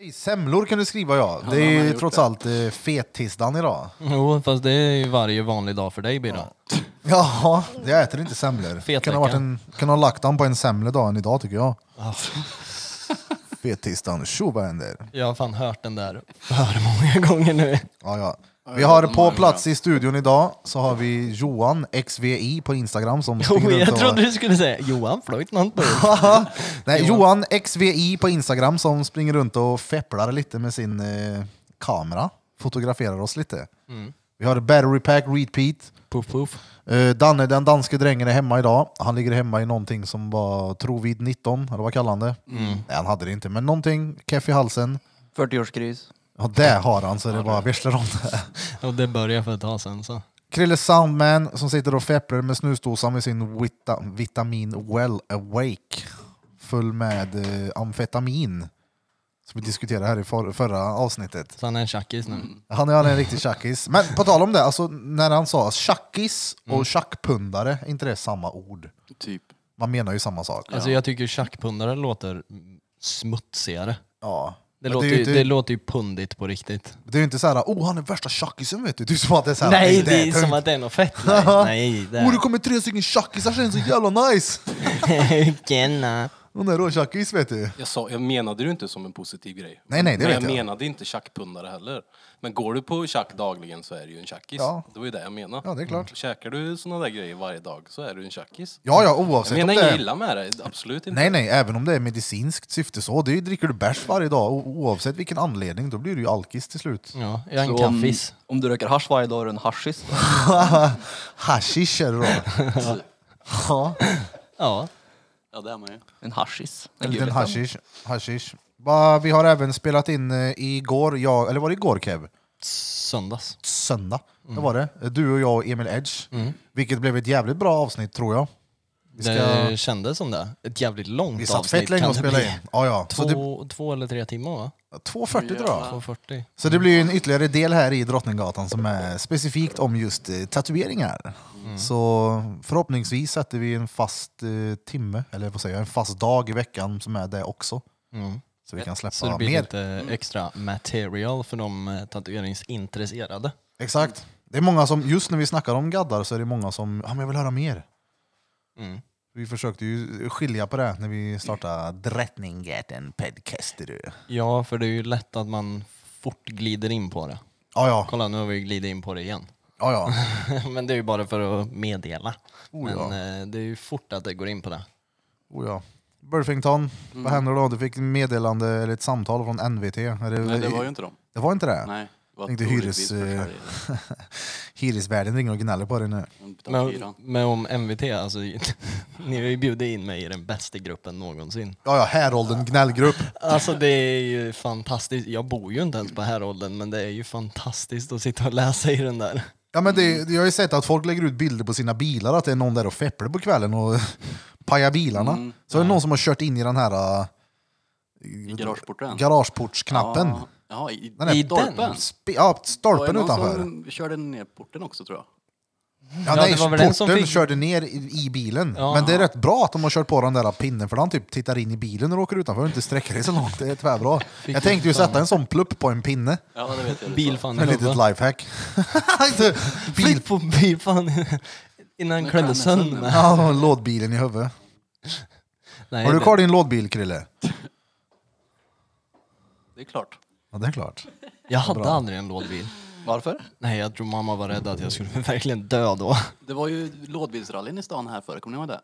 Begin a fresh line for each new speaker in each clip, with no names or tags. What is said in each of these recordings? I semlor kan du skriva ja. Det är ju trots allt eh, fettisdagen idag.
Jo, fast det är ju varje vanlig dag för dig Birra.
Jaha, jag äter inte semlor.
Fetvecka.
Kan ha, varit en, kan ha lagt an på en sämre dag än idag tycker jag. Fettisdagen, tjo vad händer?
Jag har fan hört den där för många gånger nu.
Ja, ja. Vi har på plats i studion idag så har vi Johan XVI på Instagram som
Jo,
springer runt
jag
och-
trodde du skulle säga Johan Flöjtnant på
Nej, Johan XVI på Instagram som springer runt och fepplar lite med sin eh, kamera. Fotograferar oss lite. Vi har Battery Pack Repeat.
Puff puff.
Eh, Danne, den danske drängen, är hemma idag. Han ligger hemma i någonting som var trovid 19, eller vad kallar han det? Nej, han hade det inte, men någonting, keff i halsen.
40-årskris.
Ja, det har han, så det bara visslar om det.
Och det började för ett tag sedan så.
Krille Soundman som sitter och fepplar med snusdosan med sin vita, vitamin Well Awake. Full med eh, amfetamin. Som vi diskuterade här i for, förra avsnittet.
Så han är en tjackis nu.
Han är, han är en riktig tjackis. Men på tal om det, alltså, när han sa tjackis
Mm.
och tjackpundare, är inte det samma ord?
Typ.
Man menar ju samma sak.
Alltså jag tycker tjackpundare låter smutsigare.
Ja.
Det,
Men
låter,
det, är ju
ju,
inte,
det låter ju pundigt på riktigt.
det är ju inte så här, oh han är värsta tjackisen vet du. Det är som att det är så här,
Nej, det
det
är som att det är något fett. Nej, nej det
Oh, det kommer tre stycken tjackisar sen, så jävla nice!
är... Tjena.
Hon är råtjackis vet du.
Jag, sa, jag menade ju inte som en positiv grej.
Nej, nej, det
men
vet
jag.
jag.
menade inte tjackpundare heller. Men går du på tjack dagligen så är du ju en tjackis.
Ja.
Det var ju det jag menade.
Ja, det är klart.
Käkar du såna där grejer varje dag så är du en tjackis.
Ja, ja,
Jag
oavsett om
menar
det
inget
är...
illa med det, absolut inte.
Nej, nej, även om det är medicinskt syfte så. Det är, ju- dricker du bärs varje dag, o- oavsett vilken anledning, då blir du ju alkis till slut.
Ja, jag är en
Så om,
kaffis.
om du röker hasch varje dag är du en haschis.
Mm.
Hashish är det då. ja,
Ja.
ja det är man ju. En haschis.
en liten hashish. hashish. Va, vi har även spelat in eh, igår, jag, eller var det igår Kev?
Söndags.
Söndag,
Mm.
det var det. Du och jag och Emil Edge. Vilket blev ett jävligt bra avsnitt tror jag. Vi, ska,
Det kändes som det. Ett jävligt långt
vi
avsnitt
satt fett länge
kan
och
det
spelade
bli.
in. Ja, ja. Så det,
Två, två eller tre timmar va?
2.40 tror jag.
2.40.
Så det blir ju en ytterligare del här i Drottninggatan som är specifikt om just eh, tatueringar.
Mm.
Så förhoppningsvis sätter vi en fast eh, timme, eller vad säger jag, en fast dag i veckan som är det också.
Mm.
Så vi kan
Så det
släppa
blir
mer.
lite extra material för de eh, tatueringsintresserade.
Exakt. Det är många som, just när vi snackar om gaddar så är det många som, ja men jag vill höra mer.
Mm.
Vi försökte ju skilja på det när vi startade Drottninggatan podcast. du.
Ja, för det är ju lätt att man fort glider in på det.
Ja, ja.
Kolla, nu har vi glidit in på det igen.
ja, ja.
Men det är ju bara för att meddela.
Oh, ja.
Men eh, det är ju fort att det går in på det.
Oh ja. Burfington,
Mm.
vad händer då? Du fick meddelande eller ett samtal från NVT. Är det,
Nej, det var ju inte dem.
det var inte det?
Nej. Det var
Tänkte hyres-
troligtvis
eh,
försäljare.
Hyresvärden ringer och gnäller på dig nu.
De betalade
Men,
hyran.
men om MVT, alltså, ni har ju bjudit in mig i den bästa gruppen någonsin.
Ja, ja, häråldern gnällgrupp.
Alltså det är ju fantastiskt. Jag bor ju inte ens på Häråldern men det är ju fantastiskt att sitta och läsa i den där.
Ja, men det,
Mm.
jag har ju sett att folk lägger ut bilder på sina bilar, att det är någon där och fepplar på kvällen och pajar bilarna.
Mm.
så är det någon som har kört in i den här äh,
I garageporten.
garageportsknappen.
Ja, ja, i,
Den är-
i
I
den?
stolpen.
Spe- ja,
Det var ju
stolpen
någon
utanför.
som körde ner porten också tror jag.
Ja,
Ja,
nej,
det var väl
porten
den som fick-
körde ner i, i bilen.
Ja.
Men det är rätt bra att de har kört på den där pinnen, för den typ tittar in i bilen när du åker utanför och inte sträcker dig så långt. Det är tvärbra. Jag tänkte ju sätta en sån plupp på en pinne.
Ja, det vet jag.
Bilfan i
Ett litet
huvudet.
lifehack. Inte Bil...
Flytt på bilfan innan den klädde sönder mig.
Ja, lådbilen i huvudet.
Nej,
Har du
det-
kvar din lådbil, Krille?
Det är klart.
Ja, det är klart.
Jag hade aldrig en lådbil.
Varför?
Nej, jag tror mamma var rädd att jag skulle verkligen dö då.
Det var ju lådbilsrallyn i stan här förr, kommer ni ihåg det?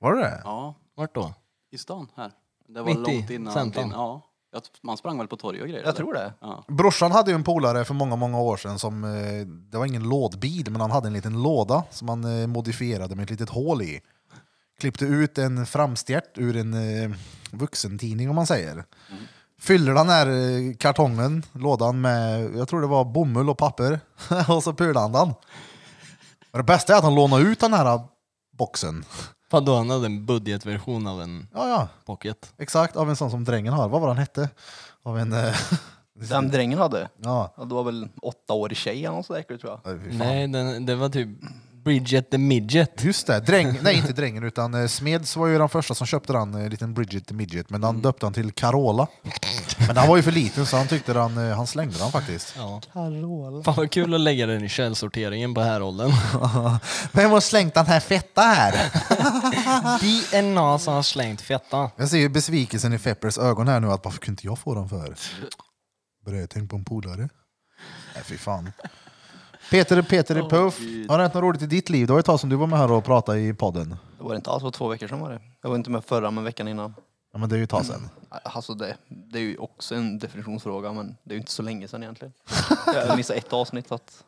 Var det det?
Ja,
Vart då?
i stan här. Det var
Mitt i
långt innan.
centrum.
din- Ja, Jag t- man sprang väl på torg och grejer?
Jag tror det.
Ja.
Brorsan hade ju en polare för många, många år sedan som, eh, det var ingen lådbil, men han hade en liten låda som han eh, modifierade med ett litet hål i. Klippte ut en framstjärt ur en eh, vuxentidning om man säger. Fyller den här eh, kartongen, lådan med, jag tror det var bomull och papper. och så pular han den. Och det bästa är att han lånar ut den här boxen.
Vadå, han hade en budgetversion av en
Ja, ja.
pocket.
Exakt, av en sån som drängen har. Vad var han hette? Av en... eh,
Den drängen hade.
ja.
Mm.
Ja, det var väl åtta år i tjej eller något sådär tror jag.
Nej, fy fan.
Nej, den, det var typ Bridget the Midget.
Just det, dräng, nej inte drängen utan eh, Smeds var ju den första som köpte den, eh, liten Bridget the Midget, men han döpte han till Carola. Men han var ju för liten så han tyckte han, eh, han slängde den faktiskt.
Ja. Fan vad kul att lägga den i källsorteringen på häråldern.
Vem har slängt den här fetta här?
DNA som har slängt fetta.
Jag ser ju besvikelsen i Feppers ögon här nu, att varför kunde inte jag få den för? Börjar jag tänka på en polare? Nej fy fan. Peter, Peter i Puff, har det hänt något roligt i ditt liv? Det var ju ett tag som du var med här och pratade i podden.
Det var inte alls för två veckor sedan var det. Jag var inte med förra men veckan innan.
Ja men det är ju ett tag sedan.
Alltså det, det är ju också en definitionsfråga men det är ju inte så länge sedan egentligen. Jag missade ett avsnitt så att...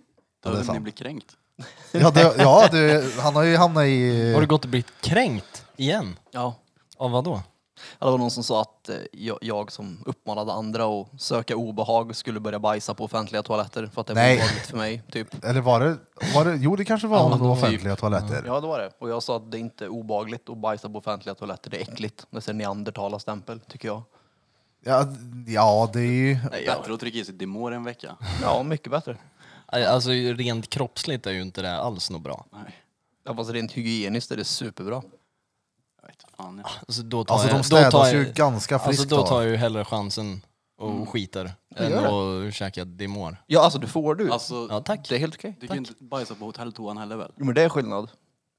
det är
Då hade ni
sant.
blivit kränkt.
Ja, det, ja det, han har ju hamnat i...
Har du gått och blivit kränkt igen?
Ja.
Av vad då?
Ja, Det var någon som sa att eh, jag, jag som uppmanade andra att söka obehag skulle börja bajsa på offentliga toaletter för att det var
Nej.
obehagligt för mig. Typ.
Eller var det, var det... Jo, det kanske var ja, offentliga toaletter.
Ja, det var det. Och jag sa att det är inte är obehagligt att bajsa på offentliga toaletter. Det är äckligt. Det är neandertalarstämpel, tycker jag.
Ja, ja, det är ju...
Nej, bättre att trycka i sig Dimor en vecka.
Ja, mycket bättre.
Alltså rent kroppsligt är ju inte det alls något bra.
Nej,
Ja, fast rent hygieniskt är det superbra.
jag vet fan. Jag.
Alltså, då tar
Alltså
jag,
de
då tar
städas
jag,
ju ganska
Alltså
friskt
då tar
då.
jag ju hellre chansen och skiter än att käka Dimor.
Ja, alltså du får du.
Alltså,
Ja tack.
det är helt okej.
du kan ju inte bajsa på hotelltoan heller väl?
Jo, Men det är skillnad.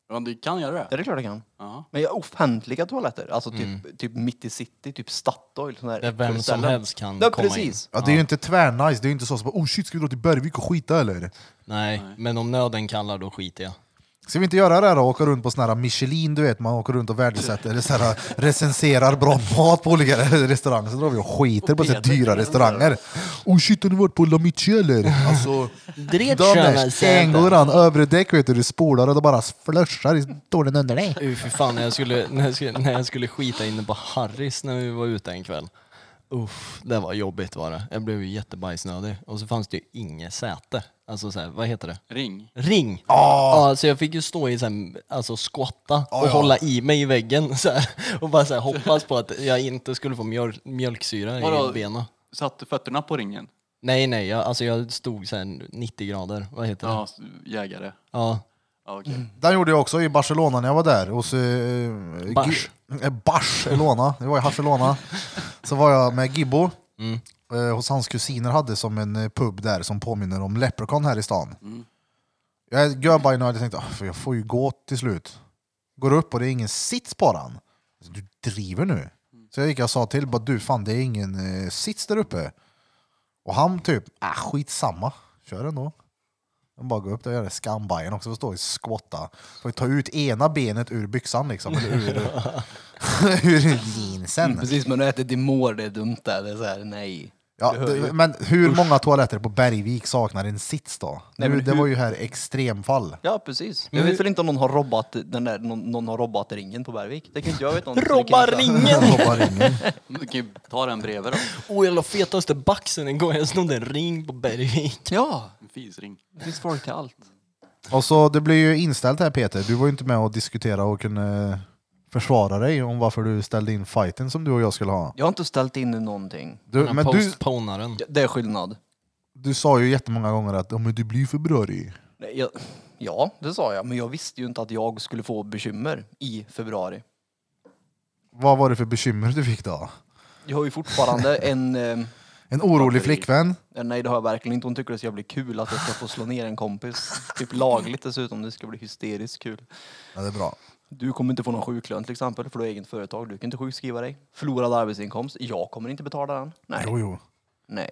Men du kan göra
Ja,
det.
det är klart jag kan.
Ja.
Men jag offentliga toaletter, alltså typ, typ mitt i city, typ Statoil. sån här
Mm. Där vem som
ställen.
helst kan
Ja,
komma
precis.
Ja, det är ju inte tvärnice. Det är ju inte så som oh shit, ska vi dra till Bergvik och skita eller?
in. Nej, men om nöden kallar då skiter jag.
Ska vi inte göra det här då? Åka runt på sån här Michelin, du vet, man åker runt och värdesätter eller så här, recenserar bra mat på olika restauranger. Så drar vi och skiter på så här
Peter,
dyra restauranger. Oh shit, har ni varit på La Michi eller? Alltså, Damers, England, övre däck vet du, du spolar och det bara flörsar i stolen under dig.
Uh, för fan, när jag, skulle, när, jag skulle, när jag skulle skita inne på Harris när vi var ute en kväll. Uff, det var jobbigt var det. Jag blev ju jättebajsnödig. Och så fanns det ju inget säte. Alltså så här, vad heter det?
Ring.
Ring! Ja, så jag fick ju stå i så här, alltså skotta och
ja.
hålla i mig i väggen så här, och bara så här, hoppas på att jag inte skulle få mjöl mjölksyra
Vadå?
i benen.
Satte fötterna på ringen?
Nej, nej, jag, alltså jag stod så här 90 grader, vad heter det?
Ja, s- jägare.
Ja.
Ja, okej.
Den gjorde jag också i Barcelona när jag var där. Hos, eh,
Bars.
Gi- eh, Barcelona. Det var i Barcelona. Så var jag med Gibbo. Eh, hos hans kusiner hade som en eh, pub där som påminner om Leprechaun här i stan. Jag är görbajnödig och tänkte "Ah, för jag får ju gå till slut. Går upp och det är ingen sits på den. Alltså, Du driver nu. Så jag gick och sa till bara du fan det är ingen eh, sits där uppe. Och han typ, äh skitsamma, kör ändå. De bara går upp där och gör det skambajen också, får stå och squatta. Får ta ut ena benet ur byxan liksom, eller ur, ur jeansen.
Mm, Precis, men att äta Dimor, det är dumt där. Det är så här, nej.
Ja, det, men hur många toaletter på Bergvik saknar en sits då?
Nej,
nu,
men
det
hur-
var ju här extremfall.
Ja, precis. Jag vet väl inte om någon har robbat, den där, någon, någon har robbat ringen på Bergvik. Det kan inte jag veta. om. Så det kan
Robba
inte-
ringen!
Jag hoppar in.
Men Du kan ju ta den bredvid då.
Och jag la fetaste baxen en gång, jag snodde en ring på Bergvik.
Ja,
En fisring.
det finns folk till allt.
Och så det blir ju inställt här Peter, du var ju inte med och diskutera och kunde försvara dig om varför du ställde in fighten som du och jag skulle ha.
Jag har inte ställt in någonting.
Du,
Den
men
här
du,
postponaren.
Det är skillnad.
du sa ju jättemånga gånger att ja, men det blir februari.
Nej, jag, ja, det sa jag. Men jag visste ju inte att jag skulle få bekymmer i februari.
Vad var det för bekymmer du fick då?
Jag har ju fortfarande en... Eh,
En orolig flickvän?
nej, det har jag verkligen inte. Hon tycker det ska bli kul att jag ska få slå ner en kompis. Typ lagligt dessutom. Det ska bli hysteriskt kul.
Ja, det är bra.
Du kommer inte få någon sjuklön till exempel, för du har eget företag. Du kan inte sjukskriva dig. Förlorad arbetsinkomst. Jag kommer inte betala den. Nej.
Jo, jo.
Nej.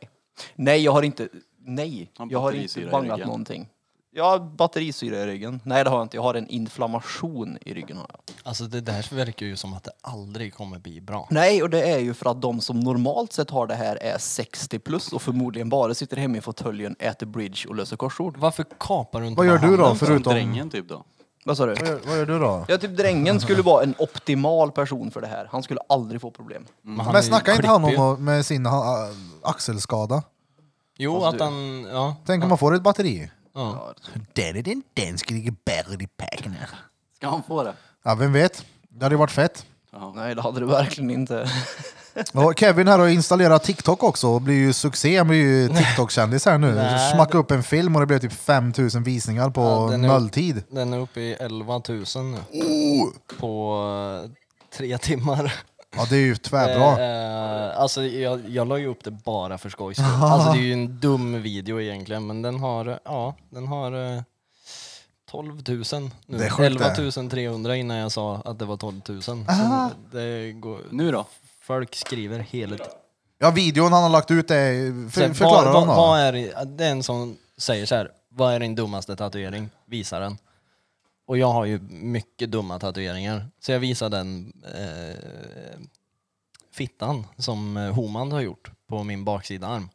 Nej, jag har inte... Nej,
Han
jag har
batterisyra
inte
i
bangat
ryggen.
någonting. Jag har batterisyra i ryggen. Nej, det har jag inte. Jag har en inflammation i ryggen. Har jag.
Alltså det där verkar ju som att det aldrig kommer bli bra.
Nej, och det är ju för att de som normalt sett har det här är 60 plus och förmodligen bara sitter hemma i fåtöljen, äter bridge och löser korsord.
Varför kapar du inte
Vad
bara
gör du då
handen?
Förutom...
förutom...
Drängen typ då.
Vad sa du?
Vad gör, vad gör du då?
Ja, typ drängen skulle vara en optimal person för det här. Han skulle aldrig få problem.
Men, han är
Men
ju
snackar inte han om
klippig.
att- med sin ha- axelskada?
Jo,
Fast
att
du-
han... Ja.
Tänk om man får ett batteri?
ja.
Den är den danske ligger bättre i packen.
Ska han få det?
Ja, vem vet? Det hade ju varit fett.
Ja.
Nej, det hade det verkligen inte.
Ja, Kevin här har installerat TikTok också och blir ju succé. Han blir ju TikTok-kändis här nu.
Nej,
Smacka upp en film och det blev typ 5000 visningar på
Ja, den är-
nolltid.
Den är uppe i 11 000 nu.
Oh!
På eh, tre timmar.
Ja, det är ju tvärbra.
Eh, alltså jag, jag la ju upp det bara för skojs skull. Alltså det är ju en dum video egentligen men den har, eh, ja, den har eh, 12 000 nu.
Det är sjukt
11
det.
300 innan jag sa att det var 12 000. Så det går,
Nu då?
folk skriver hela tiden.
Ja, videon han har lagt ut är...
Så här,
För, förklara
vad,
den
vad, vad
då.
är, det- det är en som säger så här, vad är din dummaste tatuering? Visa den. Och jag har ju mycket dumma tatueringar. Så jag visar den eh, fittan som eh, Homan har gjort på min baksida arm.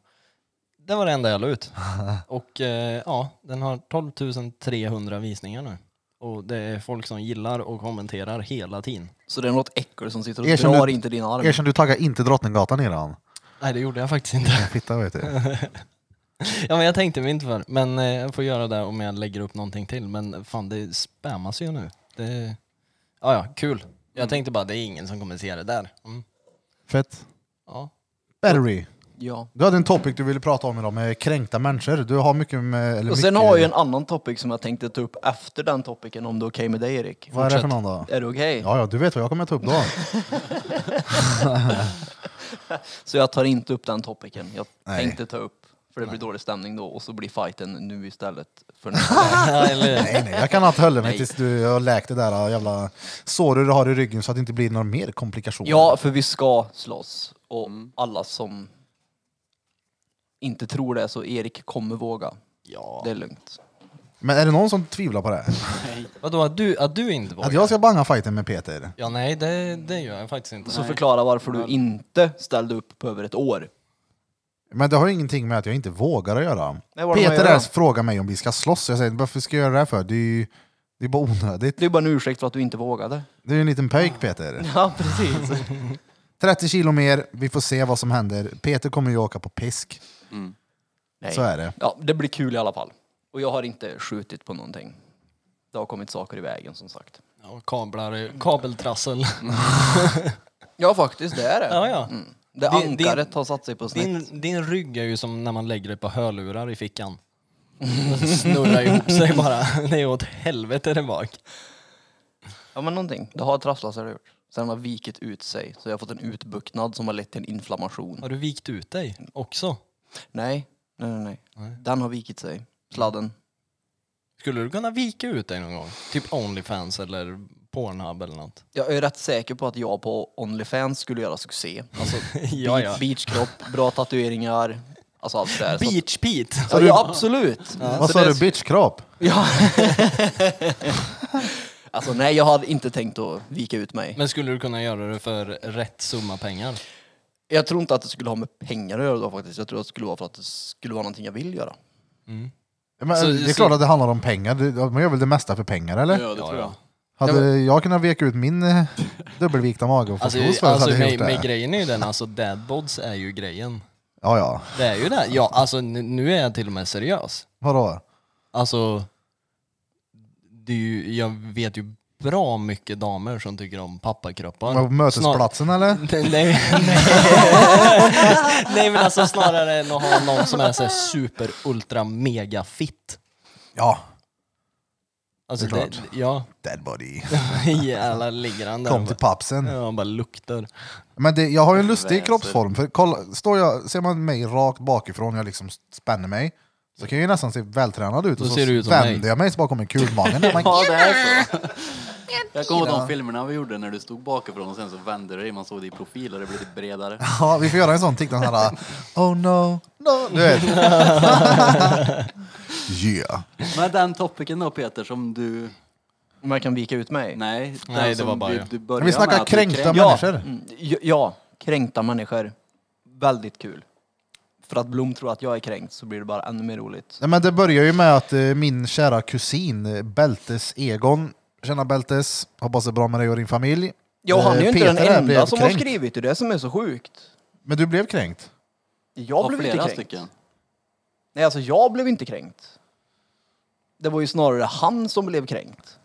Det var det enda jag la ut. Och eh, ja, den har 12 300 visningar nu. Och det är folk som gillar och kommenterar hela tiden.
Så det är något äckel som sitter och
Erkänn
drar
du-
inte din arm.
Erkänn, du taggar inte Drottninggatan i den.
Nej, det gjorde jag faktiskt inte.
Fitta vet du.
Ja, men jag tänkte mig inte för. Men eh, jag får göra det om jag lägger upp någonting till. Men fan, det spammas ju nu. Det... Ja, ja, kul. Jag tänkte bara, det är ingen som kommer se det där. Mm.
Fett.
Ja.
Battery.
Ja.
Du hade en topic du ville prata om idag med kränkta människor. Du har mycket med... Eller
Och
mycket,
sen har jag ju en annan topic som jag tänkte ta upp efter den topicen om det är okej med dig Erik.
Vad är det för någon då?
Är det okej?
Ja, ja, du vet vad jag kommer ta upp då.
Så jag tar inte upp den topicen. Jag
Nej.
tänkte ta upp, för det blir dålig stämning då och så blir fighten nu istället för nästa gång.
Ja, eller,
Nej, nej, jag kan alltid hålla mig
Nej.
tills du har läkt det där äh, jävla såret du har i ryggen så att det inte blir några mer komplikationer.
Ja, för vi ska slåss och alla som inte tror det så Erik kommer våga.
ja.
Det är lugnt.
Men är det någon som tvivlar på det?
Vadå, att du, att du inte
Att
vågar?
jag ska banga fighten med Peter?
Ja, nej, det, det gör jag faktiskt inte.
Så förklara varför du inte ställde upp på över ett år.
Men det har ju ingenting med att jag inte vågar att göra.
Nej, vad de
Peter
gör då?
är- frågar mig om vi ska slåss. Jag säger, varför ska jag göra det här för? Det är ju det är bara onödigt.
Det är bara en ursäkt för att du inte vågade.
Det är ju en liten pöjk Peter.
Ja, precis.
30 kilo mer, vi får se vad som händer. Peter kommer ju åka på pisk.
Nej.
Så är det.
Ja, det blir kul i alla fall. Och jag har inte skjutit på någonting. Det har kommit saker i vägen som sagt.
Ja, kablar, kabeltrassel.
Ja, faktiskt, det är det.
Ja, ja.
Mm. Det
Din-
ankaret har satt sig på snett.
Din, din rygg är ju som när man lägger ett par hörlurar i fickan. Den snurrar ihop sig bara. Det är åt helvete där bak.
Ja, men någonting. Det har trasslat sig, det har gjort. Sen har vikit ut sig, så jag har fått en utbuktnad som har lett till en inflammation.
Har du vikt ut dig också?
Nej, nej, nej. nej.
Nej.
Den har vikit sig. Sladden.
Skulle du kunna vika ut dig någon gång? Typ Onlyfans eller Pornhub eller något?
Jag är rätt säker på att jag på Onlyfans skulle göra succé. Alltså,
Ja, ja.
beach- beachkropp, bra tatueringar, alltså allt det där. Så att-
Beach Pete!
Ja, ja, absolut!
Vad
Så
sa
det-
du? Bitchkropp?
Ja. alltså nej, jag hade inte tänkt att vika ut mig.
Men skulle du kunna göra det för rätt summa pengar?
Jag tror inte att det skulle ha med pengar att göra då faktiskt. Jag tror att det skulle vara för att det skulle vara någonting jag vill göra.
Men
Så-
det är
så-
klart att det handlar om pengar. Det- Man gör väl det mesta för pengar eller?
Ja, det tror jag.
Hade jag kunnat veka ut min eh, dubbelvikta mage och fått
Alltså,
alltså, för
alltså
hade jag gjort
med,
det.
med grejen är ju den, alltså dadbods är ju grejen.
Ja, ja.
Det är ju det. Ja, alltså nu- nu är jag till och med seriös.
Vadå?
Alltså, det är ju, jag vet ju bra mycket damer som tycker om pappakroppar.
På mötesplatsen eller?
Nej, nej, nej. nej men alltså snarare än att ha någon som är så här super ultra mega fit.
Ja.
Alltså
Det är
det,
klart.
ja,
Dead body.
jävlar ligger han där.
Kom till papsen.
Ja, han bara luktar.
Men det, jag har ju en lustig
Väser.
kroppsform. För kolla, står jag, ser man mig rakt bakifrån, jag liksom spänner mig, så kan jag ju nästan se vältränad ut. Och
Då
så
ser du ut som
vänder
mig.
jag mig så bara kommer kulmagen. där. Man-
Ja, det är så. Jag kommer ihåg de filmerna vi gjorde när du stod bakifrån och sen så vände du dig, man såg dig i profil och det blev lite bredare.
ja, vi får göra en sån TikTok här. Oh no, no. Du vet. yeah.
Men den topicen då Peter som du...
Om jag kan vika ut mig?
Nej, den
Nej, det
som
var bara
du,
jag.
du började
Men vi
med
snackar
att du
kränkta
kränk-
Ja,
människor.
mm, j- ja, kränkta människor. Väldigt kul. För att Blom tror att jag är kränkt så blir det bara ännu mer roligt.
Nej, men det börjar ju med att eh, min kära kusin eh, Beltes Egon, tjena Beltes, hoppas det är bra med dig och din familj.
Ja, han är ju
Eh,
inte
Peter
den
här blev
enda som
kränkt.
har skrivit det, det är det som är så sjukt.
Men du blev kränkt?
Jag
var
blev inte
flera
kränkt.
stycken.
Nej, alltså jag blev inte kränkt. Det var ju snarare han som blev kränkt.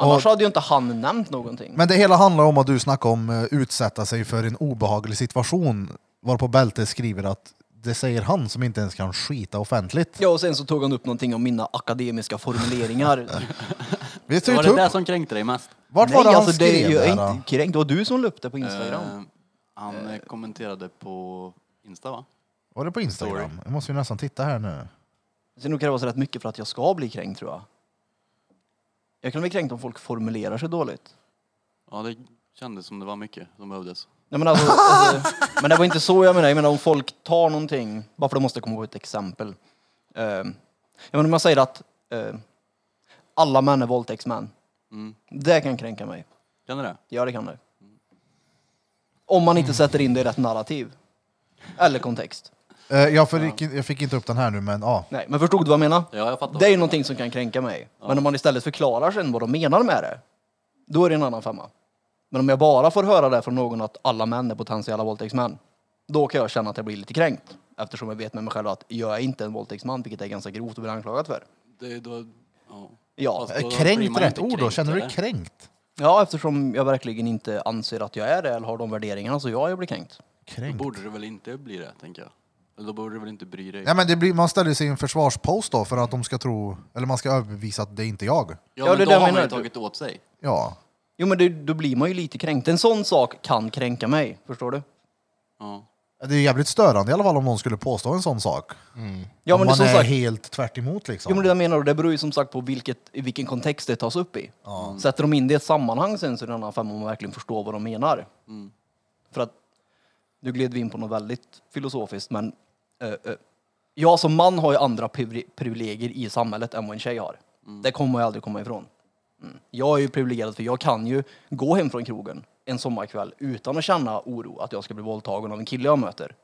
Annars hade ju inte han nämnt någonting.
Men det hela handlar om att du snackar om eh, utsätta sig för en obehaglig situation. Varpå Bälte skriver att det säger han som inte ens kan skita offentligt.
Ja, och sen så tog han upp någonting om mina akademiska formuleringar.
Visst är
Var
det
det det
tupp?
som kränkte dig mest?
Vart var det
Nej,
han
alltså det är
skrev
ju
det här?
inte kränkt. Det var du som la upp det på Instagram.
Eh, han eh, kommenterade på Insta va?
Var det på Instagram? Jag måste ju nästan titta här nu.
Så nog krävs rätt mycket för att jag ska bli kränkt tror jag. Jag kan bli kränkt om folk formulerar sig dåligt.
Ja det kändes som det var mycket som behövdes.
Nej, men, alltså, alltså, men det var inte så jag menade. Jag menar om folk tar någonting, bara för att jag måste komma på ett exempel. Eh, jag menar om jag säger att eh, alla män är våldtäktsmän.
Mm.
Det kan kränka mig.
Känner du det?
Ja, det kan det. Om man
Mm.
inte sätter in det i rätt narrativ. Eller kontext.
Eh, Jag fick, jag fick inte upp den här nu, men ja.
Nej, men förstod du vad jag menar?
Ja jag fattar.
Det är ju någonting som kan kränka mig. Men om man istället förklarar sen vad de menar med det, då är det en annan femma. Men om jag bara får höra det från någon att alla män är potentiella våldtäktsmän, då kan jag känna att jag blir lite kränkt. Eftersom jag vet med mig själv att jag är inte en våldtäktsman, vilket är ganska grovt att bli anklagad för.
det, då, ja.
Ja.
Fast då
Eh,
blir
Kränkt
man
rätt
inte
ord då? Känner du dig
eller?
kränkt?
ja, eftersom jag verkligen inte anser att jag är det eller har de värderingarna, så ja, jag blir kränkt.
Kränkt?
Då borde det väl inte bli det tänker jag. Eller då borde du väl inte bry dig.
Ja, men det blir, man ställer sig i en försvarspost då för att de ska tro, eller man ska överbevisa att det är inte jag.
Ja,
Ja,
men
det
då
där
har man
menar
ju
du.
tagit åt sig.
Ja.
Jo, men det, då blir man ju lite kränkt. En sån sak kan kränka mig, förstår du?
Ja.
Det är jävligt störande i alla fall om någon skulle påstå en sån sak.
Mm. Ja,
om
men det är
man
som
är
sagt,
helt tvärt emot liksom.
Jo men det jag menar, och det beror ju som sagt på vilket, i vilken kontext det tas upp i.
Ja.
Sätter de in det i ett sammanhang sen så är det en annan femma om man verkligen förstår vad de menar.
Mm.
För att, nu gled vi in på något väldigt filosofiskt men, eh, eh, jag som man har ju andra privile- privilegier i samhället än vad en tjej har. Det kommer man ju aldrig komma ifrån. Mm. Jag är ju privilegierad för jag kan ju gå hem från krogen en sommarkväll utan att känna oro att jag ska bli våldtagen av en kille jag möter.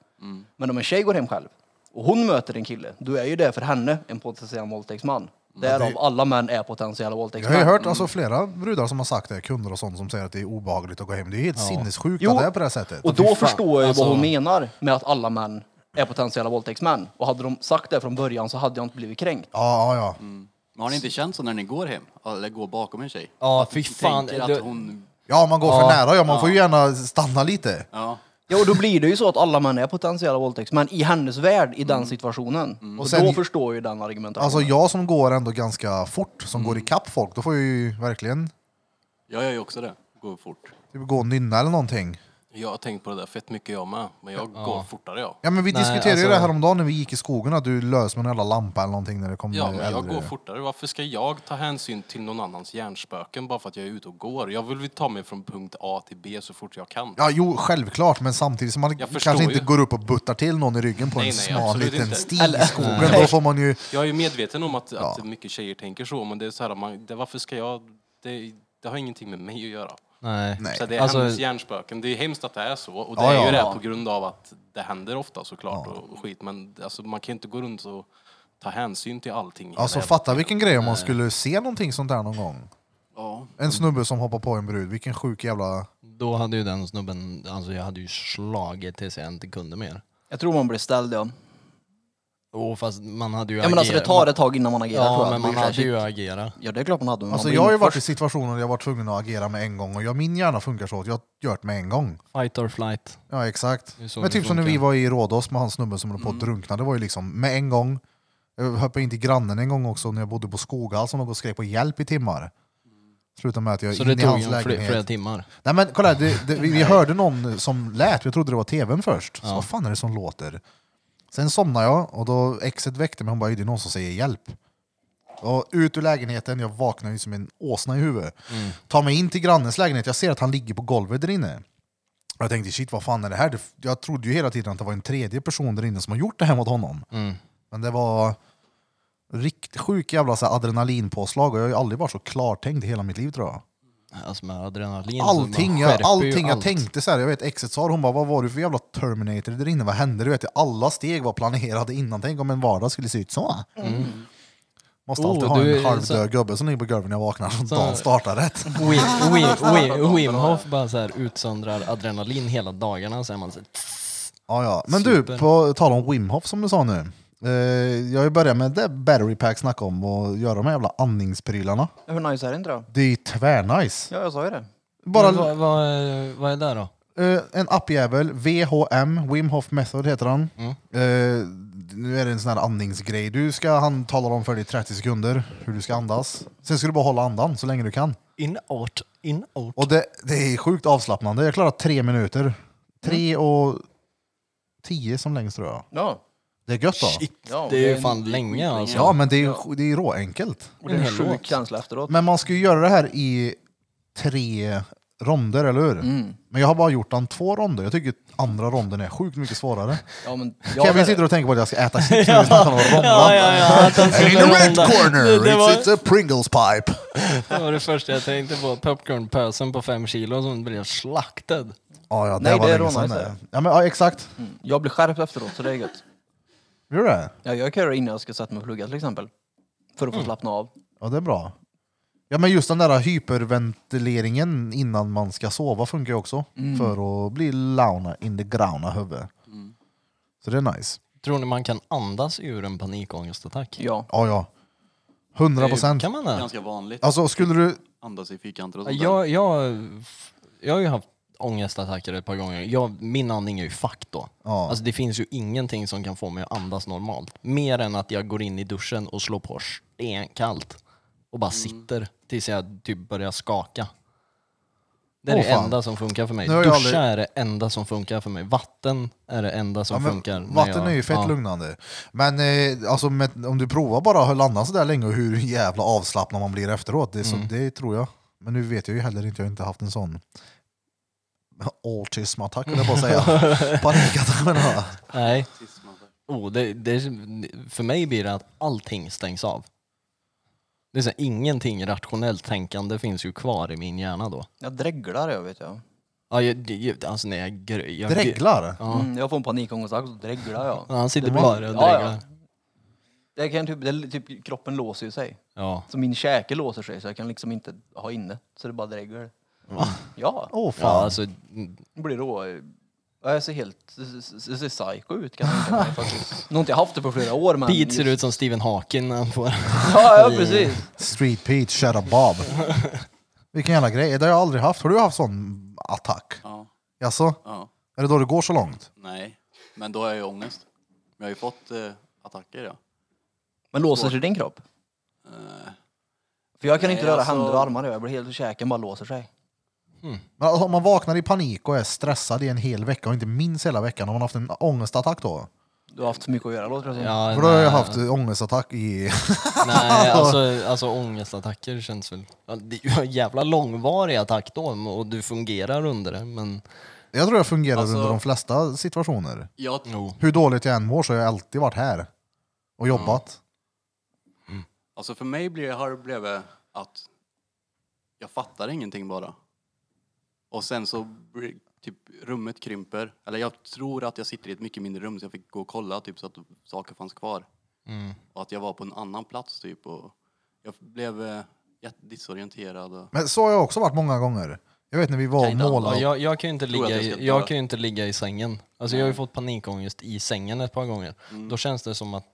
Men om en tjej går hem själv och hon möter en kille, då är ju det för henne en potentiell våldtäktsman. Därav alla män är potentiella
Jag har ju
våldtäktsmän.
hört alltså, flera brudar som har sagt det, kunder och sånt som säger att det är obehagligt att gå hem. Det är ju helt sinnessjukt
Jo.
att det är på det här sättet.
Och då förstår jag ju
Alltså-
vad hon menar med att alla män är potentiella våldtäktsmän. Och hade de sagt det från början så hade jag inte blivit kränkt.
Ja, ja, ja.
Mm.
Men har ni inte känt så när ni går hem? Eller går bakom en tjej?
Ja,
Att
fy
ni
fan,
Tänker
det-
att hon...
Ja, man går för
Ja.
nära. Ja, man får ju gärna stanna lite.
Ja.
Ja, och då blir det ju så att alla män är potentiella våldtäktsmän i hennes värld, i den situationen. Och,
Mm. Och sen-
då förstår jag ju den argumentationen.
Alltså jag som går ändå ganska fort, som
Mm.
går ikapp folk, då får jag ju verkligen
Jag gör ju också det. Går fort.
typ, gå och nynna eller någonting.
Jag har tänkt på det där fett mycket jag med, men jag går fortare jag.
Ja men vi
Nej,
diskuterade ju det
alltså-
här om dagen när vi gick i skogen, att du lös med en jävla lampa eller någonting när det kom
Ja,
eh,
men jag
äldre.
går fortare. Varför ska jag ta hänsyn till någon annans hjärnspöken bara för att jag är ute och går? Jag vill väl ta mig från punkt A till B så fort jag kan.
Ja, jo, självklart, men samtidigt som man
Jag
kanske
förstår
inte
ju.
går upp och buttar till någon i ryggen på
Nej,
en
nej,
smal
absolut
liten
inte.
stig i skogen, då får man ju...
Jag är ju medveten om att, att mycket tjejer tänker så, men det är så här, man, det, varför ska jag... Det, det har ingenting med mig att göra.
Nej.
Nej.
Så det är
Alltså-
hennes hjärnspöken. Det är hemskt att det är så. Och det
Ja,
är
ja.
ju det på grund av att det händer ofta såklart och och skit. Men alltså, man kan ju inte gå runt och ta hänsyn till allting. i
Alltså
hela
fatta vilken grej om man skulle se någonting sånt där någon gång.
Ja.
En snubbe som hoppar på en brud, vilken sjuk jävla...
Då hade ju den snubben, alltså jag hade ju slagit tills jag inte kunde mer.
Jag tror man blir ställd ja.
Åh fast man hade ju
Ja men alltså det
agerat-
tar ett tag innan man agerar tror
Ja
jag.
men
Det
man
blir så här,
hade ju
shit.
agerat.
Ja det är klart man hade. men man
Alltså
blir
jag har ju
nog
varit i
först-
situationer där jag var tvungen att agera med en gång och jag, min hjärna funkar så att jag gör det med en gång.
Fight or flight.
Ja exakt.
Det är så
Men
det
typ som när vi
funkar. Mm.
var i Rhodos med han snubben som höll på att drunkna, det var ju liksom med en gång. Jag hoppade in till grannen en gång också när jag bodde på Skoghall som låg och skrek på hjälp i timmar. Slutade med att jag
Så
in
det
i
tog
hans
ju flera, flera
lägenhet.
timmar.
Nej men kolla, här, det, det, vi, vi hörde någon som lät, jag trodde det var tvn först. Så vad fan är det som låter? Sen somnade jag och då exet väckte mig, hon bara "Är det är någon som säger hjälp. Och ut ur lägenheten, jag vaknar ju som en åsna i huvudet. Tar mig in till grannens lägenhet, jag ser att han ligger på golvet där inne. Och jag tänkte shit vad fan är det här? Det- Jag trodde ju hela tiden att det var en tredje person där inne som har gjort det här mot honom. Men det var riktigt sjuk jävla så här, adrenalinpåslag och jag har ju aldrig varit så klartänkt i hela mitt liv tror jag.
Alltså med adrenalin. så
Allting,
man
jag,
skärper ju
allting jag
allt.
tänkte så här, jag vet exet sa det, hon bara vad var du för jävla Terminator där inne, vad hände? Du vet, alla steg var planerade innan, tänk om en vardag skulle se ut så. Måste
Mm. Oh,
alltid ha
du är
en halvdöd
så-
gubbe som ligger på golvet när jag vaknar så
Så-
dagen startar rätt.
Wim, Wim, Wim, Wim Hof bara så här utsöndrar adrenalin hela dagarna. Så är man så här,
Ja, ja. Men du,
Super.
på tal om Wim Hof som du sa nu. Eh, jag har ju börjat med det battery pack snackade om och göra de här jävla andningsprylarna.
Hur nice är det inte då?
Det är ju tvärnice.
Ja, jag sa ju det.
Bara
Men vad, vad, är- vad är det då?
Eh, en appjävel, VHM, Wim Hof Method heter han. Eh, nu är det en sån här andningsgrej. Du ska, han talar om för dig i 30 sekunder hur du ska andas. Sen ska du bara hålla andan så länge du kan.
In out, in out.
Och det, det är sjukt avslappnande. Jag klarar tre minuter. Tre och tio som längst tror jag.
Ja.
Det är gött då.
ja
Det är ju
en-
fan länge alltså.
Ja, men det är ju det är ju råenkelt.
Och det är
en
en
hel
sjuk
låt.
känsla efteråt.
Men man ska ju göra det här i tre ronder, eller hur? Men jag har bara gjort den två ronder. Jag tycker andra ronden är sjukt mycket svårare.
Ja, men
Kevin
jag,
sitter och tänker på att jag ska äta chips när vi snackar om rondar.
Ja, ja, ja, att han
In
skulle
the red
runda.
corner,
Det- det var-
it's, it's a Pringles pipe.
Det var det första jag tänkte på. Popcornpösen på fem kilo som blev slaktad.
Ja, ja, det
Nej,
var
det är
länge sedan
rånare,
det. Ja, men, ja, exakt.
jag blir skärpt efteråt, så det är gött.
Gör du det?
Ja, jag kör innan jag ska sätta mig och plugga till exempel. För
Mm.
att få slappna av.
Ja, det är bra. Ja, men just den där hyperventileringen innan man ska sova funkar ju också.
Mm.
För att bli launa in the grauna huvud. Så det är nice.
Tror ni man kan andas ur en panikångestattack?
Ja.
Ja, ja. 100 procent.
Kan man det?
Ganska vanligt.
Alltså, skulle du...
Andas i fyrkanter och sånt där.
Jag, jag, jag har ju haft ångestattacker ett par gånger. Jag, min andning är ju fucked då.
Ja.
Alltså det finns ju ingenting som kan få mig att andas normalt. Mer än att jag går in i duschen och slår på stenkallt. Och
Mm.
bara sitter tills jag typ börjar skaka. Det är
Åh,
det
fan.
enda som funkar för mig.
Nu har
Duscha
jag aldrig-
är det enda som funkar för mig. Vatten är det enda som
Ja, men
funkar. när
vatten
jag-
är ju fett
ja.
lugnande. Men eh, alltså, med, om du provar bara att hålla andan sådär länge och hur jävla avslappnad man blir efteråt, det, är
Mm.
så, det tror jag. Men nu vet jag ju heller inte, jag har inte haft en sån autismattack höll jag på att säga. Panikattack menar jag.
Nej. Oh, det, det, för mig blir det att allting stängs av. Det är så här, ingenting rationellt tänkande finns ju kvar i min hjärna då.
Jag dreglar jag vet jag.
Ja, jag, det- jag, alltså när jag, gr- jag
Dreglar?
Ja.
Mm, jag får en panikångestattack och så dreglar jag.
Ja, han sitter
Det blir-
bara och
Ja, ja.
dreglar.
Det kan typ, det, är typ, kroppen låser ju sig.
Ja.
Så min käke låser sig så jag kan liksom inte ha inne. Så det bara dreglar. Ja,
Åh
Ja,
fan.
alltså, mm,
det blir då... Ja, jag ser helt s- s- s- psycho ut kan jag tänka mig faktiskt. Nu har inte jag haft det på flera år men...
Pete ser ut som Stephen Hawking när han får...
Ja, ja precis.
Street Pete, shut up Bob. Vilken jävla grej, det har jag aldrig haft. Har du haft sån attack?
Ja,
Jaså?
ja.
Är det då det går så långt?
Nej, men då har jag ju ångest. Men jag har ju fått eh, attacker ja.
Men låser sig din kropp?
Eh,
För jag kan
Nej,
inte röra
alltså-
händer och armar. Jag blir helt... Käken bara låser sig.
Men alltså, om man vaknar i panik och är stressad i en hel vecka och inte minns hela veckan, har man haft en ångestattack då?
Du har haft så mycket att göra låter det som.
Ja,
För då har
nej,
jag haft ångestattack i...
Nej, alltså, alltså ångestattacker känns väl... Ja, Det är ju en jävla långvarig attack då och du fungerar under det, men...
Jag tror jag fungerar
Alltså-
under de flesta situationer.
jag,
Jo.
Hur dåligt jag än mår så har jag alltid varit här och
Mm.
jobbat.
Alltså för mig blir, har det blivit att jag fattar ingenting bara. Och sen så blir, typ rummet krymper. Eller jag tror att jag sitter i ett mycket mindre rum så jag fick gå och kolla typ så att saker fanns kvar.
Mm.
Och att jag var på en annan plats typ och jag blev eh, jätte- disorienterad. Och,
Men så har jag också varit många gånger. Jag vet när vi var och
Kajdan,
Ja,
målade.
jag, jag, kan ju inte
Tror att
ligga
jag ska
i,
dö.
jag kan ju inte ligga i sängen. Alltså, jag har ju fått panikångest i sängen ett par gånger.
Mm.
Då känns det som att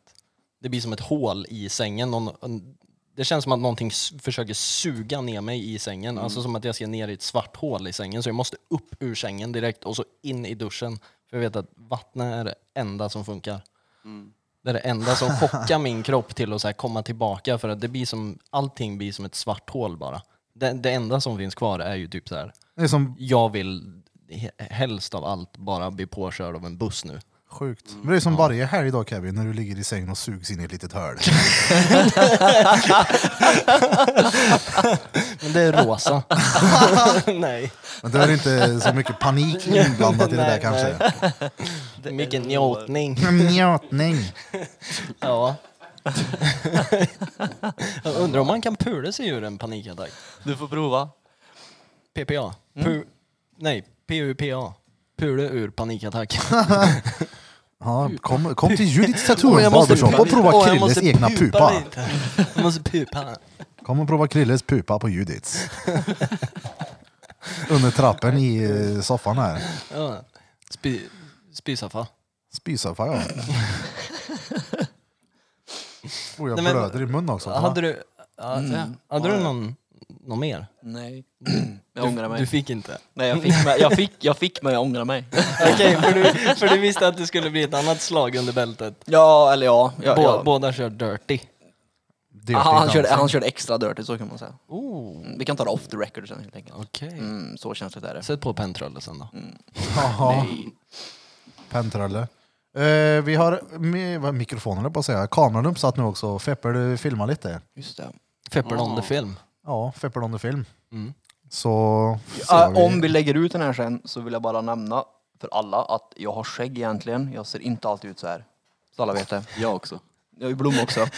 det blir som ett hål i sängen. Någon, en- det känns som att någonting s- försöker suga ner mig i sängen.
Mm.
Alltså som att jag ska ner i ett svart hål i sängen. Så jag måste upp ur sängen direkt och så in i duschen. För jag vet att vattnet är det enda som funkar.
Mm.
Det är det enda som chockar min kropp till att så här komma tillbaka för att det blir som, allting blir som ett svart hål bara. Det, det enda som finns kvar är ju typ så här
Det är som
jag vill he- helst av allt bara bli påkörd av en buss nu.
sjukt. Men det är som varje helg då Kevin, när du ligger i sängen och sugs in i ett litet hörn.
Men det är rosa. nej.
Men det är inte så mycket panik inblandat i det där
Nej,
kanske.
Mycket njutning.
Njutning.
Ja. Jag undrar om man kan pula sig ur en panikattack.
Du får prova.
PPA. Pu- Nej, PUPA. Pula ur panikattack.
Ja, kom, kom till Judiths
Åh,
Tattoo
jag måste
Barbershop och
pupa lite.
prova
Åh, jag
Krilles
måste
egna pupa.
lite. Jag måste pupa.
Kom och prova Krilles pupa på Judiths. Under trappen i eh, soffan här.
Ja. Spy, spysoffa.
Spysoffa ja. Och jag
Nej, men-
blöder i munnen också.
Hade du, ja,
Mm.
hade
Ja,
du
ja.
någon, någon mer?
Nej.
Jag ångrar mig.
Du fick inte?
Nej, jag fick, mig, jag, fick, jag fick men jag ångrar mig.
Okej, för, du, för du visste att det skulle bli ett annat slag under bältet.
Ja, eller ja. ja,
Bå,
ja.
Båda kör dirty.
Det är
Ah, han,
inte
körde,
alls.
han körde extra dirty, så kan man säga.
Oh,
Mm, Vi kan ta det off the record sen helt enkelt.
Okej. Mm.
Mm, så känsligt är det.
Sätt på pentrullen sen då.
Jaha.
Mm.
Pentralle. Eh, vi har med, vad, mikrofonen höll på att säga. Kameran uppsatt nu också. Fepper du filmar lite.
Just det.
Fepper on the
Ah.
film.
Ja, Fepper under film.
Mm.
Så...
Ja,
ser vi-
om vi lägger ut den här sen så vill jag bara nämna för alla att jag har skägg egentligen. Jag ser inte alltid ut så här. Så alla vet det.
Jag också.
Jag har ju blom också.
Mm.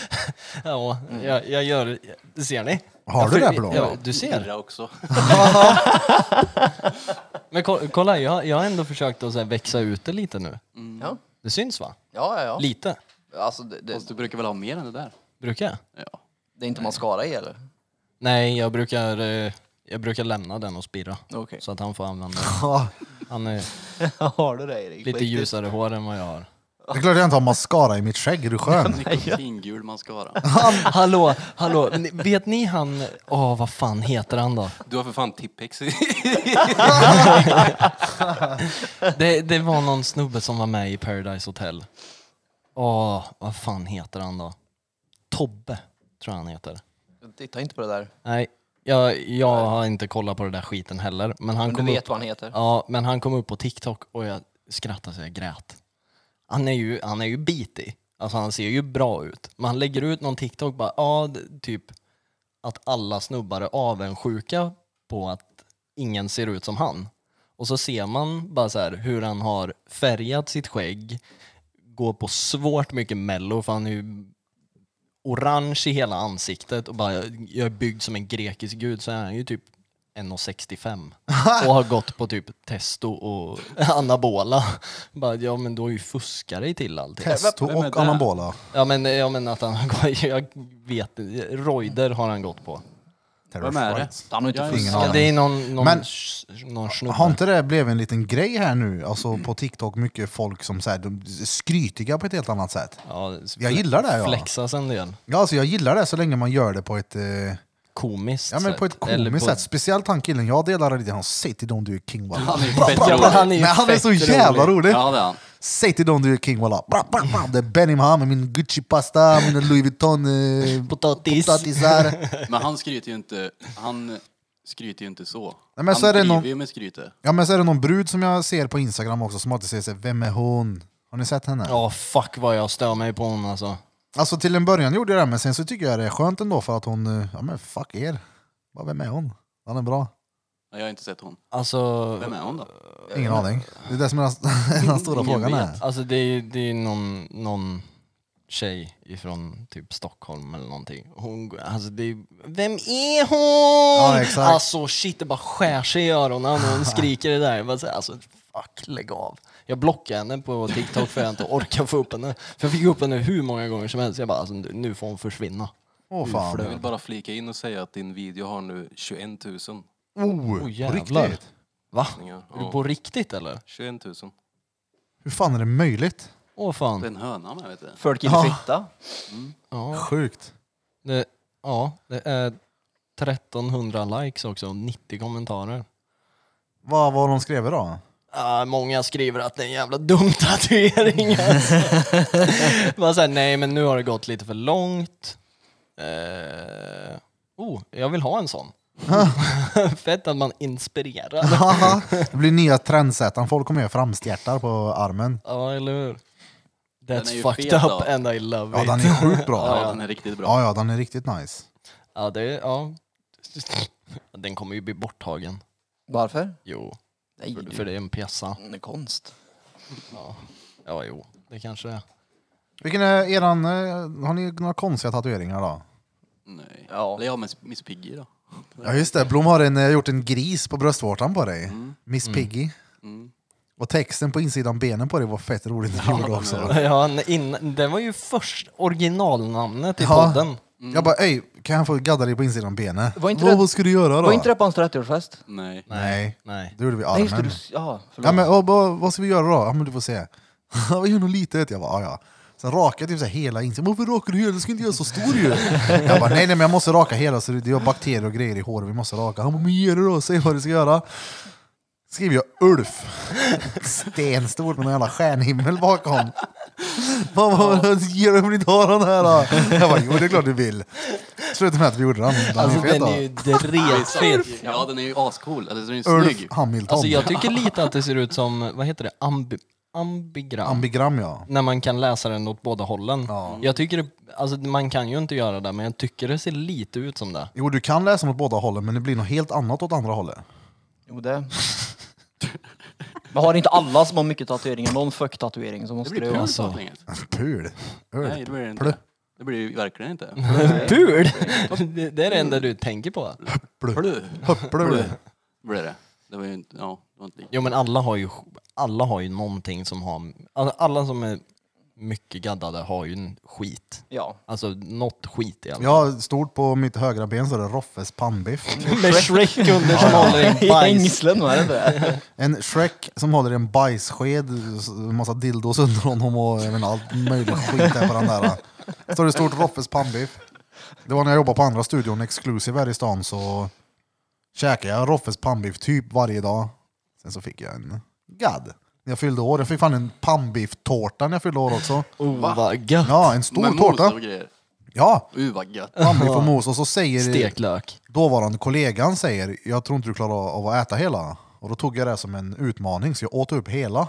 Ja, jag, jag gör... Ser ni?
Har du det Blom?
Ja, du ser.
Irra också.
Men ko- kolla, jag, jag har ändå försökt att så här växa ut det lite nu.
Ja,
Det syns va?
ja, ja.
Lite.
ja. Alltså, det, det,
Fast du brukar väl ha mer än det där?
Brukar jag?
Ja.
det är inte mascara i eller?
Nej, jag brukar, eh, jag brukar lämna den och spira.
Okej.
Så att han får använda
Ja,
Han är
har du det Erik?
lite ljusare hår än vad jag har.
Det är klart jag inte har mascara i mitt skägg. Är du skön?
Nikotingul mascara.
Han, hallå, hallå. Ni- Vet ni han... Åh, vad fan heter han då?
Du har för fan Tippex.
Det, det var någon snubbe som var med i Paradise Hotel. Åh, vad fan heter han då? Tobbe, tror jag han heter.
Titta inte på det där.
Nej, jag, jag har inte kollat på den där skiten heller. Men han,
Men du
kom upp,
vet vad han heter.
ja, men han kom upp på TikTok och jag skrattade så jag grät. Han är ju, han är ju bitig. Alltså han ser ju bra ut. Men han lägger ut någon TikTok bara, ja, d- typ att alla snubbar är avundsjuka på att ingen ser ut som han. Och så ser man bara så här hur han har färgat sitt skägg, går på svårt mycket mello för han är ju orange i hela ansiktet och bara, jag är byggd som en grekisk gud så är han ju typ 1,65 och har gått på typ testo och anabola. Bara, ja men då är ju fuskare till allting.
Testo
vem är
och
det?
anabola.
Ja men, ja, men att han har gått, jag vet inte. Roider har han gått på.
Vem är det?
Han har inte
Jag är-
Ingen
Ja, det
aning.
är någon, någon,
Men-
s- någon snubbe.
Har inte det blivit en liten grej här nu? Alltså på TikTok, mycket folk som så här, de är skrytiga på ett helt annat sätt.
Ja,
Jag gillar det, ja.
Flexas en del.
Ja, alltså jag gillar det så länge man gör det på ett... Eh,
Komiskt
Ja men på ett
Eller
komiskt sätt, speciellt han killen jag delar lite, han säger till dem du är king walla.
Han är ju
Bra,
fett
bra, bra.
rolig.
Han är ju
Nej han är
fett
så jävla rolig!
Ja det är han.
Säg till dem du är king walla. Bra, bra, bra. Det är Benny Mohammed, min Gucci-pasta, mina Louis Vuitton eh,
Potatis.
potatisar.
Men han skryter ju inte, han skryter ju inte så.
men
han
så är det
driver
någon-
ju med skrytet.
Ja men så är det någon brud som jag ser på Instagram också som alltid säger såhär, vem är hon? Har ni sett henne?
Ja fuck vad jag stör mig på hon alltså.
Alltså till en början gjorde jag det, men sen så tycker jag det är skönt ändå för att hon, eh, ja men fuck er. Bara, Vem är hon? Han är bra.
Jag har inte sett hon.
Alltså,
Vem är hon då?
Ingen aning. Det är det som är den- den stora
Eh, Ingen
frågan
vet.
är.
alltså det är ju det är någon, någon tjej ifrån typ Stockholm eller någonting. Hon, alltså det är, vem är hon?
Ja, exakt.
Alltså shit det bara skär sig i öronen när hon skriker det där. Jag bara, så här, alltså fuck lägg av. Jag blockade henne på TikTok för att jag inte orkar få upp henne. För jag fick upp henne hur många gånger som helst. Jag bara alltså nu får hon försvinna.
Åh
Jag
fan.
vill bara flika in och säga att din video har nu 21 000
Oh,
Åh,
på
jävlar.
riktigt.
Va?
visningar.
Är du
Ja,
på riktigt eller?
21 000.
Hur fan är det möjligt?
Åh fan.
Det är en höna med vet du.
Folk gillar
Ja.
fitta.
Ja,
Sjukt.
det, ja, det är 1300 likes också och 90 kommentarer.
Vad var de skrev då?
Ah, många skriver att det är en jävla dum tatuering. Alltså. Man säger nej men nu har det gått lite för långt. Eh, oh, jag vill ha en sån. Fett att man inspirerar.
det blir nya trendsättaren. Folk kommer göra framstjärtar på armen.
Ja, eller hur?
Den är
That's
ju
fucked
fet,
up
då.
and I love
Ja,
it.
den är sjukt
Ja,
bra.
den är riktigt bra.
Ja, ja, den är riktigt nice.
Ja, det, är- ja. Den kommer ju bli borttagen.
Varför?
Jo,
Nej,
för,
du.
för det är en pjäsa.
Det är konst.
Ja, ja jo, det kanske det är.
Vilken är eran, eh, har ni några konstiga tatueringar då?
Nej.
Ja.
Eller jag med Miss Piggy då.
Ja just det, Blom har en, eh, gjort en gris på bröstvårtan på dig. Miss Piggy.
Mm.
Och texten på insidan benen på dig var fett roligt när du gjorde också.
Ja, n- in, det var ju först originalnamnet i
Ja.
podden.
Jag bara, ej, kan jag få gadda dig på insidan benen?
Var inte
Vad-
det-
Vad ska du göra då?
Var inte det på hans 30-årsfest?
Nej.
Nej,
Nej.
det gjorde vi
Nej just det,
armen.
du... Ja, förlåt.
Ja men och, vad, vad ska vi göra då? Ja men du får se. Vi gör nog lite vet jag. Jag Bara, ja, ja. Sen rakade jag typ så här hela insidan. Varför rakar du hela? Du ska inte göra så stor ju. Jag bara, nej nej men jag måste raka hela så det är bakterier och grejer i håret. Vi måste raka. Han bara, men ge det då. Säg vad du ska göra. Skriver jag Ulf. Stenstort med någon jävla stjärnhimmel bakom. Mamma, ger du inte ha den här då? Jag bara, jo det är klart du vill. Slutade med att vi gjorde den. den
Alltså
fet,
den
då.
är ju dretfet.
Ja, den är ju ascool. Eller den är ju
Ulf
snygg.
Hamilton.
Alltså jag tycker lite att det ser ut som, vad heter det, Ambi, ambigram.
Ambigram ja.
när man kan läsa den åt båda hållen.
Ja.
Jag tycker det, alltså man kan ju inte göra det, men jag tycker det ser lite ut som det.
Jo, du kan läsa åt båda hållen, men det blir något helt annat åt andra hållet.
Jo, det... Men har inte alla som har mycket tatueringar någon fuck-tatuering så
Det
måste
blir
det
pul
ju...
alltså.
alltså.
Pul. Öl.
Nej, det blir det
Plö.
inte. Det blir det ju verkligen inte.
Pul! Det- det är det enda du tänker på.
Plö.
Plö.
Höpplö.
Blir det. Det var ju inte... Ja, det var inte likt.
Jo men alla har ju, alla har ju någonting som har, alltså, alla som är mycket gaddade har ju en skit.
Ja.
Alltså något skit i alla fall.
Ja, stort på mitt högra ben så är det Roffes pannbiff.
Med Shrek under som håller i en
I
bajs.
hängslen, vad är det det?
En Shrek som håller en bajssked, s- massa dildos under honom och jag menar, allt möjligt skit där på den där. Står det stort Roffes pannbiff. Det var när jag jobbade på andra studion, Exclusive här i stan, så käkade jag Roffes pannbiff typ varje dag. Sen så fick jag en gadd. När jag fyllde år, jag fick fan en pannbiff-tårta när jag fyllde år också.
Oh, vad gött.
Ja, en stor
Med mos
tårta.
och grejer.
Ja,
Uh, vad gött.
pannbiff och mos. Och så säger
Steklök.
dåvarande kollegan säger, jag tror inte du klarar av att äta hela. Och då tog jag det som en utmaning, så jag åt upp hela.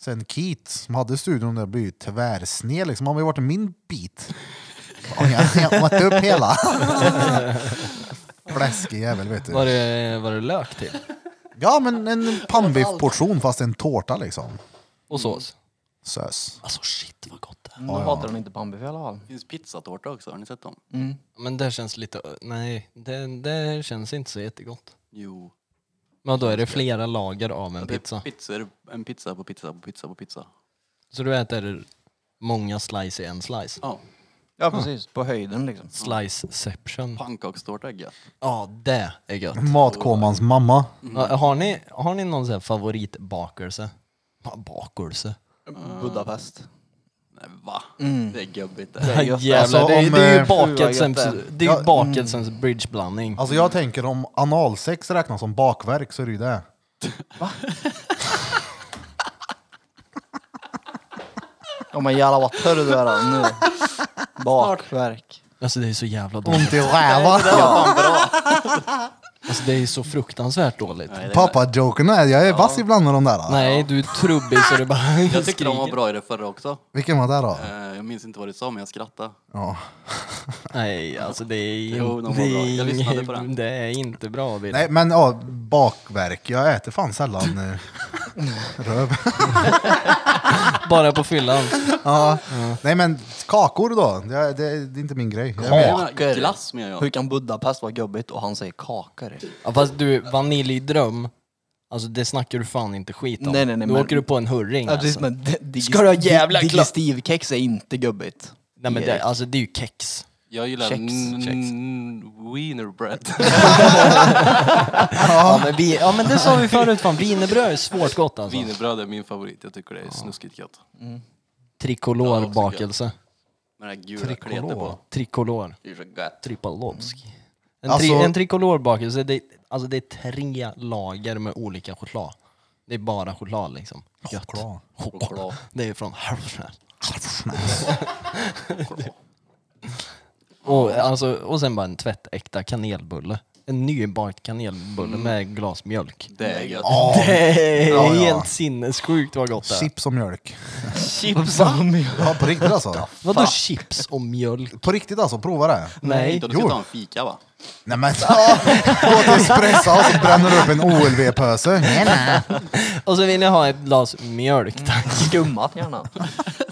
Sen Keith, som hade studion där, blev ju tvärsned. Liksom. Han har ju varit i min bit. Och jag, jag åt upp hela. Fläskig jävel, vet
Var
du.
det, var det lök till?
Ja, men en pannbiffportion fast en tårta liksom.
Och sås?
Sös.
Alltså shit vad gott det är.
Nu hatar de inte bambi i alla fall.
Det finns pizzatårta också, har ni sett dem?
Men det känns lite, nej, det, det känns inte så jättegott.
Jo.
Men då är det flera lager av en
Det är
pizza.
Pizzor, en pizza på pizza på pizza på pizza.
Så du äter många slice i en slice.
Ja,
Ja, precis. På höjden liksom.
Sliceception.
pannkakstårta är gött.
Ja, det är gött.
Mm. Matkomans mamma.
Ja, Har ni, har ni någon sån här favoritbakelse? Ba- Bakelse?
Budapest.
Nej, va? Det är gubbigt det.
är gött.
Jävlar,
Alltså,
det,
om,
det är ju
eh,
bakelsens,
Gud, vad
det är
Ja,
ju bakelsens bridgeblandning.
Alltså jag tänker om analsex räknas som bakverk så är det ju det.
Alltså, Ja, men jävlar vad törr du är då, nu. Bakverk.
Alltså det är så jävla dåligt.
Ont i rävar.
Alltså det är så fruktansvärt dåligt.
Nej, det är-
Pappa-jokerna, är- jag är vass ibland med de där.
Nej, du är trubbig så du bara
Jag tyckte de var
skriker.
bra i det förra också.
Vilken var det då?
Eh, Jag minns inte vad du sa, men jag skrattade.
Ja.
Nej, alltså det är,
Jo, de var
det
bra.
är,
Jag lyssnade på
inget-
den.
det är inte bra. Bill.
Nej men ja, bakverk. Jag äter fan sällan eh, röv.
Bara på fyllan.
ja. Nej men kakor då, det, det, det är inte min grej. Jag
Jag
vet.
menar,
Kakor.
Glass med jag.
Hur kan Budapest vara gubbigt och han säger kakor?
Ja, fast du, vaniljdröm, alltså det snackar du fan inte skit om.
Nej, nej, nej,
du
men-
åker du på en hurring
Ja, precis,
alltså.
men di- dig-
Ska du ha jävla
dig-
kla-
Digestivkex är inte gubbigt.
Nej men det,
Erik.
alltså det är ju kex.
Jag gillar
Checks,
n-
checks.
n- wiener bread.
Ja men, vi, ja men det sa vi förut, fan wienerbröd är svårt gott alltså.
Wienerbröd är min favorit. Jag tycker det är snuskigt gött.
Tricolor bakelse.
Med det här gula kletet på.
Tricolor.
Det är så gött.
Tripalovski. En,
Alltså-
tri, en tricolor bakelse, det, alltså det är tre lager med olika choklad. Det är bara choklad liksom. Gött.
Choklad.
Choklad. Det är från Havrosnäs. Och, alltså, och sen bara en tvättäkta kanelbulle. En nybakt kanelbulle med glas mjölk.
Det är gött.
Ja,
Det är
Ja, ja.
helt sinnessjukt vad gott det är.
Chips och mjölk.
Chips och mjöl.
Ja, på riktigt alltså.
Vadå chips och mjölk?
På riktigt alltså, prova det.
Nej.
Du ska
Jo.
ta en fika va?
Nej men ja, gå till Espressa och så bränner du upp en OLV-pöse. Nej nej.
Och så vill jag ha ett glas mjölk tack.
Skummat gärna.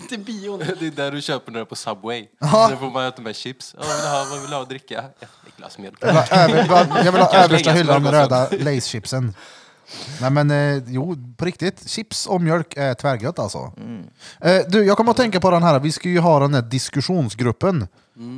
Till bion. Det är där du köper när du är på Subway. Där får man äta med chips. Ja, vad vill du ha? Vad vill du ha att dricka? Ett glas mjölk.
Jag vill ha över- Jag vill ha översta
slänga
hyllan med
smörgåsen.
röda Lace-chipsen. Nej men eh, jo, på riktigt. Chips och mjölk är tvärgött alltså.
Mm.
Eh, du, jag kommer att tänka på den här, vi ska ju ha den här diskussionsgruppen.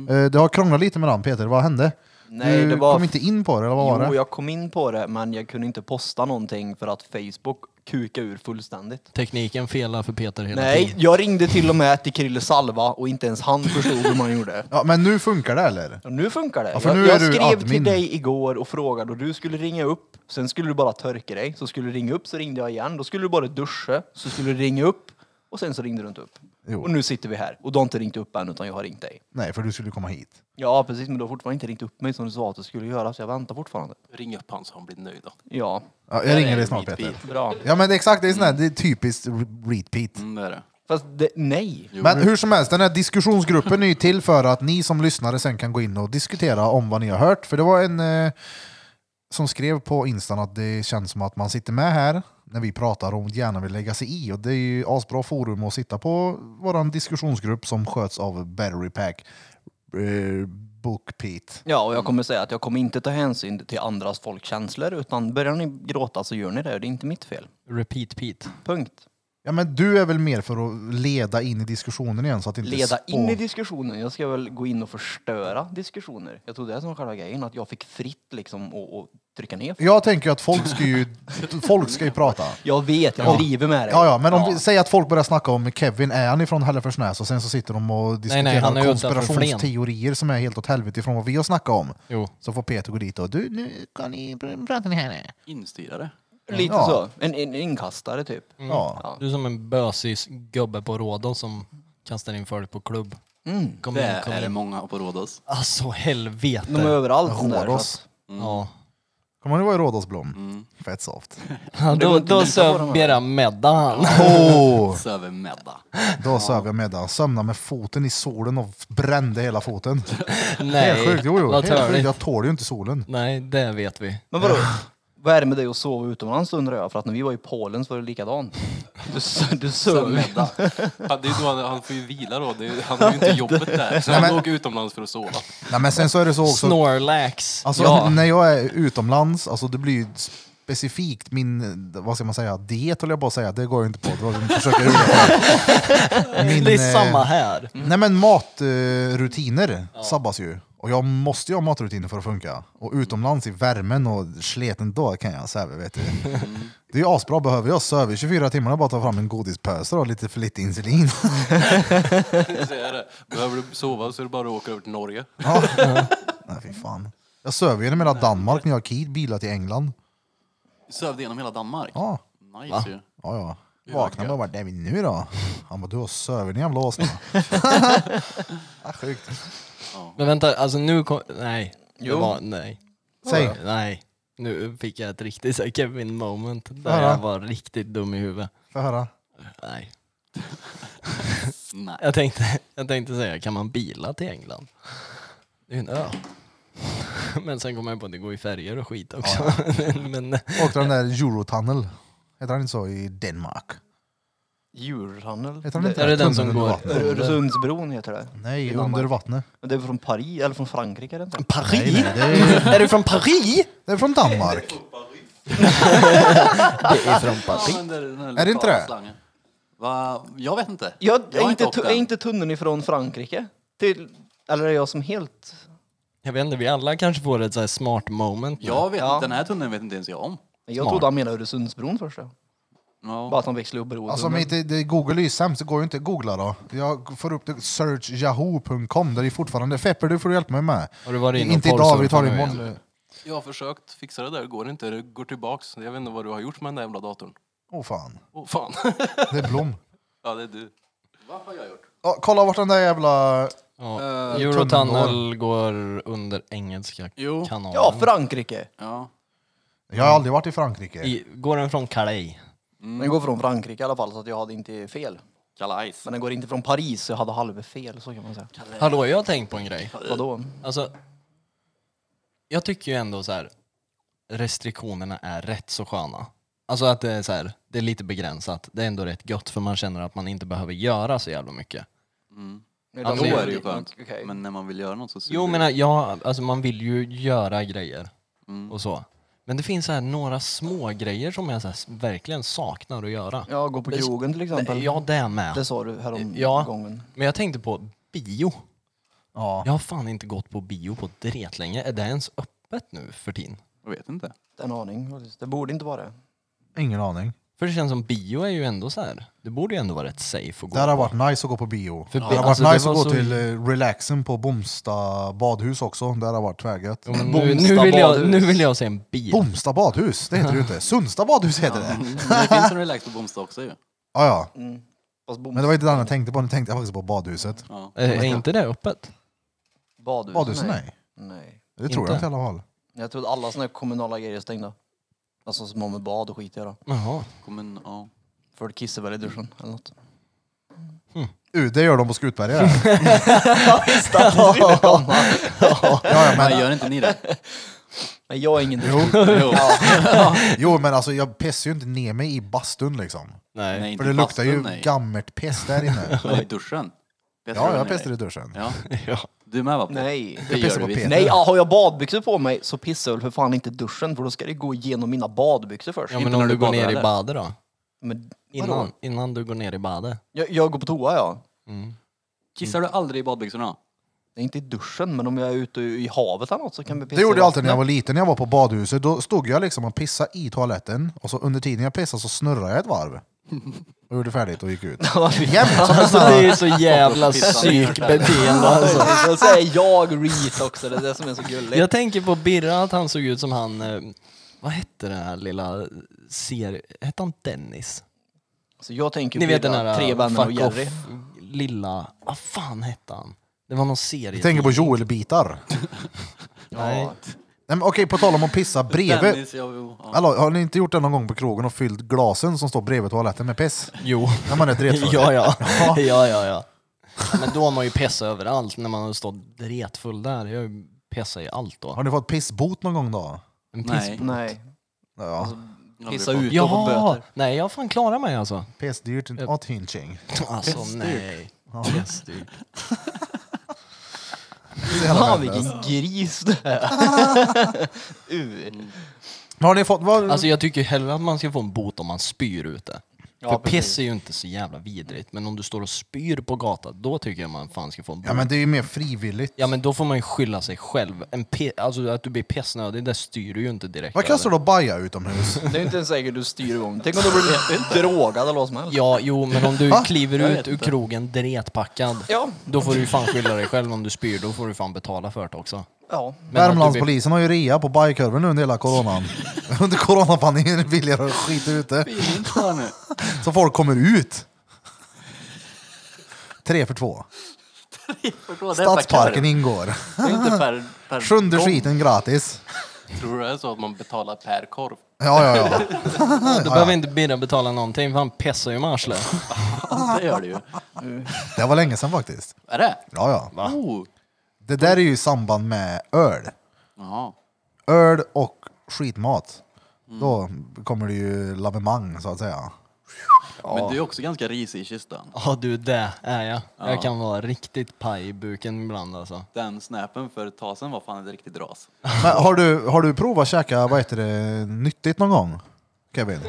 Eh, det har krånglat lite med den Peter, vad hände?
Mm. Nej,
du
det var-
kom inte in på det, eller vad var
Jo,
det?
jag kom in på det men jag kunde inte posta någonting för att Facebook kuka ur fullständigt.
Tekniken felar för Peter hela
Nej,
tiden.
jag ringde till och med till Krille Salva och inte ens han förstod hur man gjorde.
Ja, men nu funkar det eller?
Ja, nu funkar det.
Ja, för
jag
nu
jag
är du
skrev till
admin.
dig igår och frågade och du skulle ringa upp. Sen skulle du bara törka dig. Så skulle du ringa upp så ringde jag igen. Då skulle du bara duscha. Så skulle du ringa upp och sen så ringde du inte upp.
Jo.
Och nu sitter vi här. Och du har inte ringt upp än utan jag har ringt dig.
Nej, för du skulle komma hit.
Ja precis men du har fortfarande inte ringt upp mig som du sa att du skulle göra så jag väntar fortfarande.
Ring upp han så han blir nöjd. då.
Ja,
Ja,
Där
jag ringer
är
dig snart
mitt
Peter.
bit.
bra.
Ja men det är exakt, det är, sån här, det är typiskt re- repeat.
Mm, det är det.
Fast det, nej.
Jo.
Men hur som helst, den här diskussionsgruppen är ju till för att ni som lyssnare sen kan gå in och diskutera om vad ni har hört. För det var en eh, som skrev på Instan att det känns som att man sitter med här när vi pratar om gärna vill lägga sig i. Och det är ju asbra forum att sitta på våran diskussionsgrupp som sköts av Battery Pack. Eh, Book Pete.
Ja och jag kommer säga att jag kommer inte ta hänsyn till andras folkkänslor utan börjar ni gråta så gör ni det och det är inte mitt fel.
Repeat Pete.
Punkt.
Ja men du är väl mer för att leda in i diskussionen igen så att inte
leda in
spå-
i diskussionen. Jag ska väl gå in och förstöra diskussioner. Jag tror det är som själva grejen, att jag fick fritt liksom och, och trycka ner.
Jag tänker att folk ska ju, folk ska ju prata.
Jag vet, jag
Ja.
driver med det.
Ja, ja, men om vi säger att folk börjar snacka om Kevin, är han ifrån Hälleforsnäs? Och sen så sitter de och diskuterar
nej, han är ju utanför
konspirationsteorier som är helt åt helvete ifrån vad vi har snackat om.
Jo.
Så får Peter gå dit och du, nu ska ni pr- prata ni
Mm.
här. Mm,
Instyrare.
Lite
Ja. Mm.
så. En, en inkastare typ.
Ja.
Ja.
Du är som en bösig gubbe på råden som kastar in folk på klubb.
Mm.
Kom
Det
in, kom
är det
in.
många på Rhodos.
Alltså
De är Mm.
helvete.
överallt. sån Där, så
Rhodos.
att-
Ja.
Kommer du ihåg Rådhusblom?
Mm.
Fett soft.
Ja,
går
då
inte
då
att lita på de här.
söp Bera Medda han.
Åh,
Söver medda.
då söv jag med det. Sömnade med foten i solen och brände hela foten. Helt
Nej,
sjukt, jo, jo.
vad
Helt sjukt.
törligt.
Jag tål ju inte solen.
Nej, det vet vi.
Men vadå? Vad är det med dig att sova utomlands undrar jag? För att när vi var i Polen så var det likadant. Du, s- du
Sen
sov.
vända. Han, det är då han, han får ju vila då. Det är, han har ju inte jobbet där. Så han åker utomlands för att sova.
Nej, men sen så är det så också.
Snorlax.
Alltså
Ja.
när jag är utomlands, alltså det blir ju specifikt min, vad ska man säga, diet höll jag på att säga, det går ju inte på. Det var- jag försöker lura på. Min,
det är
eh,
samma här.
Nej men matrutiner sabbas ju. Och jag måste ju ha matrutiner för att funka. Och utomlands i värmen och sleten, då kan jag söva vet du. Det är ju asbra, behöver jag söva i 24 timmar och bara ta fram en godispöse och lite för lite insulin.
Så är det. Behöver du sova så är det bara att åka över till Norge.
Ja. Nej fy fan. Jag söver ju hela Danmark när jag har kid, bilar till England.
Sövde genom hela Danmark.
Ja.
Nice ju.
Ja, ja. Vaknar man och bara, det är vi nu då? Han bara, du har söver din jävla åsna. ah, sjukt.
Men vänta, alltså nu kom... Nej. Det
Jo.
var, nej.
Säg.
Nej. Nu fick jag ett riktigt så här Kevin moment där
Vadå?
jag var riktigt dum i huvudet.
Får jag höra?
Nej.
Nej.
Jag tänkte, jag tänkte säga, kan man bila till England? Det är ju en ö. Men sen kom jag på att det går i färger och skit också. Men
Åkte den där Eurotunnel. Heter han inte så i Danmark?
Djurhandel.
Heter han inte
är det den som
Tunneln under
går?
vattnet?
Öresundsbron heter det.
Nej,
I Danmark.
under vattnet.
Men det är från Paris, eller från Frankrike är det inte?
Paris?
Nej, det, är,
Är du från Paris?
det är från Danmark.
Det är från Paris.
Är det inte det?
Va? Jag vet inte.
Jag,
har
är, inte,
åkt
tu- är
än.
inte tunneln ifrån Frankrike? Till, eller är jag som helt...
Jag vet inte, vi alla kanske får ett så här smart moment. nu.
Jag vet
Ja.
Den här tunneln vet inte ens jag om.
Jag trodde han menade Öresundsbron först. ja.
Ja.
Bara att han växlade upp bron.
Alltså, men inte, det, Google är ju sämst, det går ju inte att googla då. Jag får upp det, searchyahoo.com, där det är fortfarande... Fepper, du får hjälpa mig med.
Har du varit inne och
Inte idag, vi tar det
porrsurfat nu
imorgon.
Jag har försökt fixa det där, det går inte. Det går tillbaks. Jag vet inte vad du har gjort med den där jävla datorn.
Åh fan,
Åh fan.
det är Blom.
Ja, det är du.
Vad har jag gjort?
Ja, kolla vart den där jävla...
Ja.
Eh,
Eurotunnel går under engelska
Jo.
kanalen.
Ja, Frankrike!
Ja.
Jag har aldrig varit i Frankrike.
I, går den från Calais?
Den går från Frankrike i alla fall, så att jag hade inte fel.
Kalais.
Men den går inte från Paris, så jag hade halv fel, så kan man säga.
Hallå, jag har tänkt på en grej.
Vadå?
Alltså, jag tycker ju ändå så här. restriktionerna är rätt så sköna. Alltså att det är så här, det är lite begränsat. Det är ändå rätt gött för man känner att man inte behöver göra så jävla mycket.
Ja, då
Alltså,
är det ju skönt.
Okej.
Men när man vill göra något så suger
Jo
det.
men ja, alltså man vill ju göra grejer och så. Men det finns så här några små grejer som jag så här, verkligen saknar att göra.
Ja, gå på
Det-
krogen till exempel.
Ja, det med.
Det sa du härom
Ja.
gången.
Men jag tänkte på bio.
Ja.
Jag har fan inte gått på bio på länge. Är det ens öppet nu för tiden?
Jag vet inte.
En aning faktiskt. Det borde inte vara det.
Ingen aning.
För det känns som bio är ju ändå så här. det borde ju ändå vara rätt safe att gå
Det hade
på.
varit nice att gå på bio.
För
det
bi-
hade varit
alltså, det
nice att
var
gå
så-
till eh, relaxen på Bomsta badhus också. Det hade varit tvärgött.
Jo, men nu, nu,
Bomsta
vill jag,
badhus.
nu vill jag se en bil.
Bomsta badhus, det heter det ju inte. Sundsta badhus heter det.
Men det finns en relax på Bomsta också ju.
Ja, ja.
Fast bom-
Men det var inte det jag tänkte på. Nu tänkte jag faktiskt på badhuset.
Ja.
Eh, Är inte det öppet?
badhus?
Badhuset, nej.
Nej.
Det tror
Inte.
jag inte i alla fall.
Jag trodde alla såna här kommunala grejer är stängda. Alltså som har med bad och skit att göra.
Jaha.
Kommun, ja.
Folk kissar väl i duschen eller något.
Uh, det gör de på Skutberget. ja, ja, men
Nej, gör inte ni det?
Nej jag är ingen dusch.
Jo.
Jo.
Jo men alltså jag pissar ju inte ner mig i bastun liksom.
Nej.
Nej, inte
För det luktar
bastun,
ju
nej.
gammelt piss där inne.
Men i duschen? Pessar du
Ja,
ner
jag
dig?
pissar i duschen.
Ja,
Ja.
du med va? Pet?
Nej.
Det
pissar
gör du
på
visst.
Peter.
Nej, ja, har jag badbyxor på mig så pissar jag väl för fan inte i duschen för då ska det gå igenom mina badbyxor först.
ja
Inte
men
när
om
du
du går
badar,
ner i
eller?
badet då?
Men vadå?
Innan, innan du går ner i badet?
Jag, jag går på toa ja.
Kissar du aldrig i badbyxorna?
Inte i duschen men om jag är ute i havet eller något så kan vi pissa
Det gjorde
i
jag alltid när jag var
vattnet.
liten, när jag var på badhuset. Då stod jag liksom och pissade i toaletten och så under tiden jag pissade så snurrade jag ett varv. Och gjorde färdigt och gick ut. Jämt som en
Alltså
snurra.
det är ju så jävla
Pissa ner.
psykbeteende alltså.
Så säger jag Reet också, det är det som är så gulligt.
Jag tänker på Birra, att han såg ut som han, eh, vad hette den här lilla serien, hette han Dennis?
Så jag tänker
Ni vet
Birra,
den här
Tre vänner och
fuck
Jerry.
off lilla, vad fan hette han? Det var någon serie.
Jag tänker på Joel-bitar. Nej,
Nej.
men Okej, på tal om att pissa bredvid.
Dennis, jag, ja.
Hallå, har ni inte gjort det någon gång på krogen och fyllt glasen som står bredvid toaletten med piss?
Jo.
När man är dretfull?
ja, ja. ja, ja, ja. Men då har man ju pissat överallt när man har stått dretfull där. Jag har ju pissat i allt då.
Har ni fått pissbot någon gång då?
En
Nej.
piss-
Nej.
Ja.
Alltså-
Pissa ut och få
Jaha!
böter.
Nej, jag har fan klarat mig alltså.
Pissdyrt och hinching.
Alltså nej. Pissdyrt.
Fan vilken
alltså.
gris det är. Uh.
Men Har ni fått... Vad,
Alltså jag tycker hellre att man ska få en bot om man spyr ute.
Ja,
För
precis.
piss är ju inte så jävla vidrigt, men om du står och spyr på gatan, då tycker jag man fan ska få en bot.
ja men det är ju mer frivilligt.
Ja men då får man ju skylla sig själv. En pe- alltså att du blir pissnödig, det styr du ju inte direkt
Vad
över.
kastar du då baja utomhus?
Det är inte ens säkert du styr igång. Tänk om du blir drogad eller vad som helst.
Ja, jo men om du
Va?
kliver ut ur krogen dretpackad,
Ja.
då får du ju fan skylla dig själv om du spyr, då får du fan betala för det också. Men
Ja.
att du blir-
Värmlandspolisen har ju rea på bajkorven nu under hela coronan. under coronapandemin är det billigare att skita ute. Så folk kommer ut. Tre för två. Stadsparken ingår.
Det är inte per, per
Sjunde
gång.
skiten gratis.
Tror du det är så att man betalar per korv?
Ja, ja, ja.
Då behöver inte Birra betala någonting, för han pissar ju med arslet.
Det gör det ju.
Det var länge sedan faktiskt.
Är det?
Ja, ja.
Oh.
Det där är ju i samband med öl.
Jaha.
Öl och skitmat. Då kommer det ju lavemang så att säga.
Men du är också ganska risig i kistan.
Ja du, det är jag. Jag kan vara riktigt paj i buken ibland alltså.
Den snäpen för ett tag sedan var fan ett riktigt ras.
Men har du, har du provat att käka, vad heter det, nyttigt någon gång? Kevin?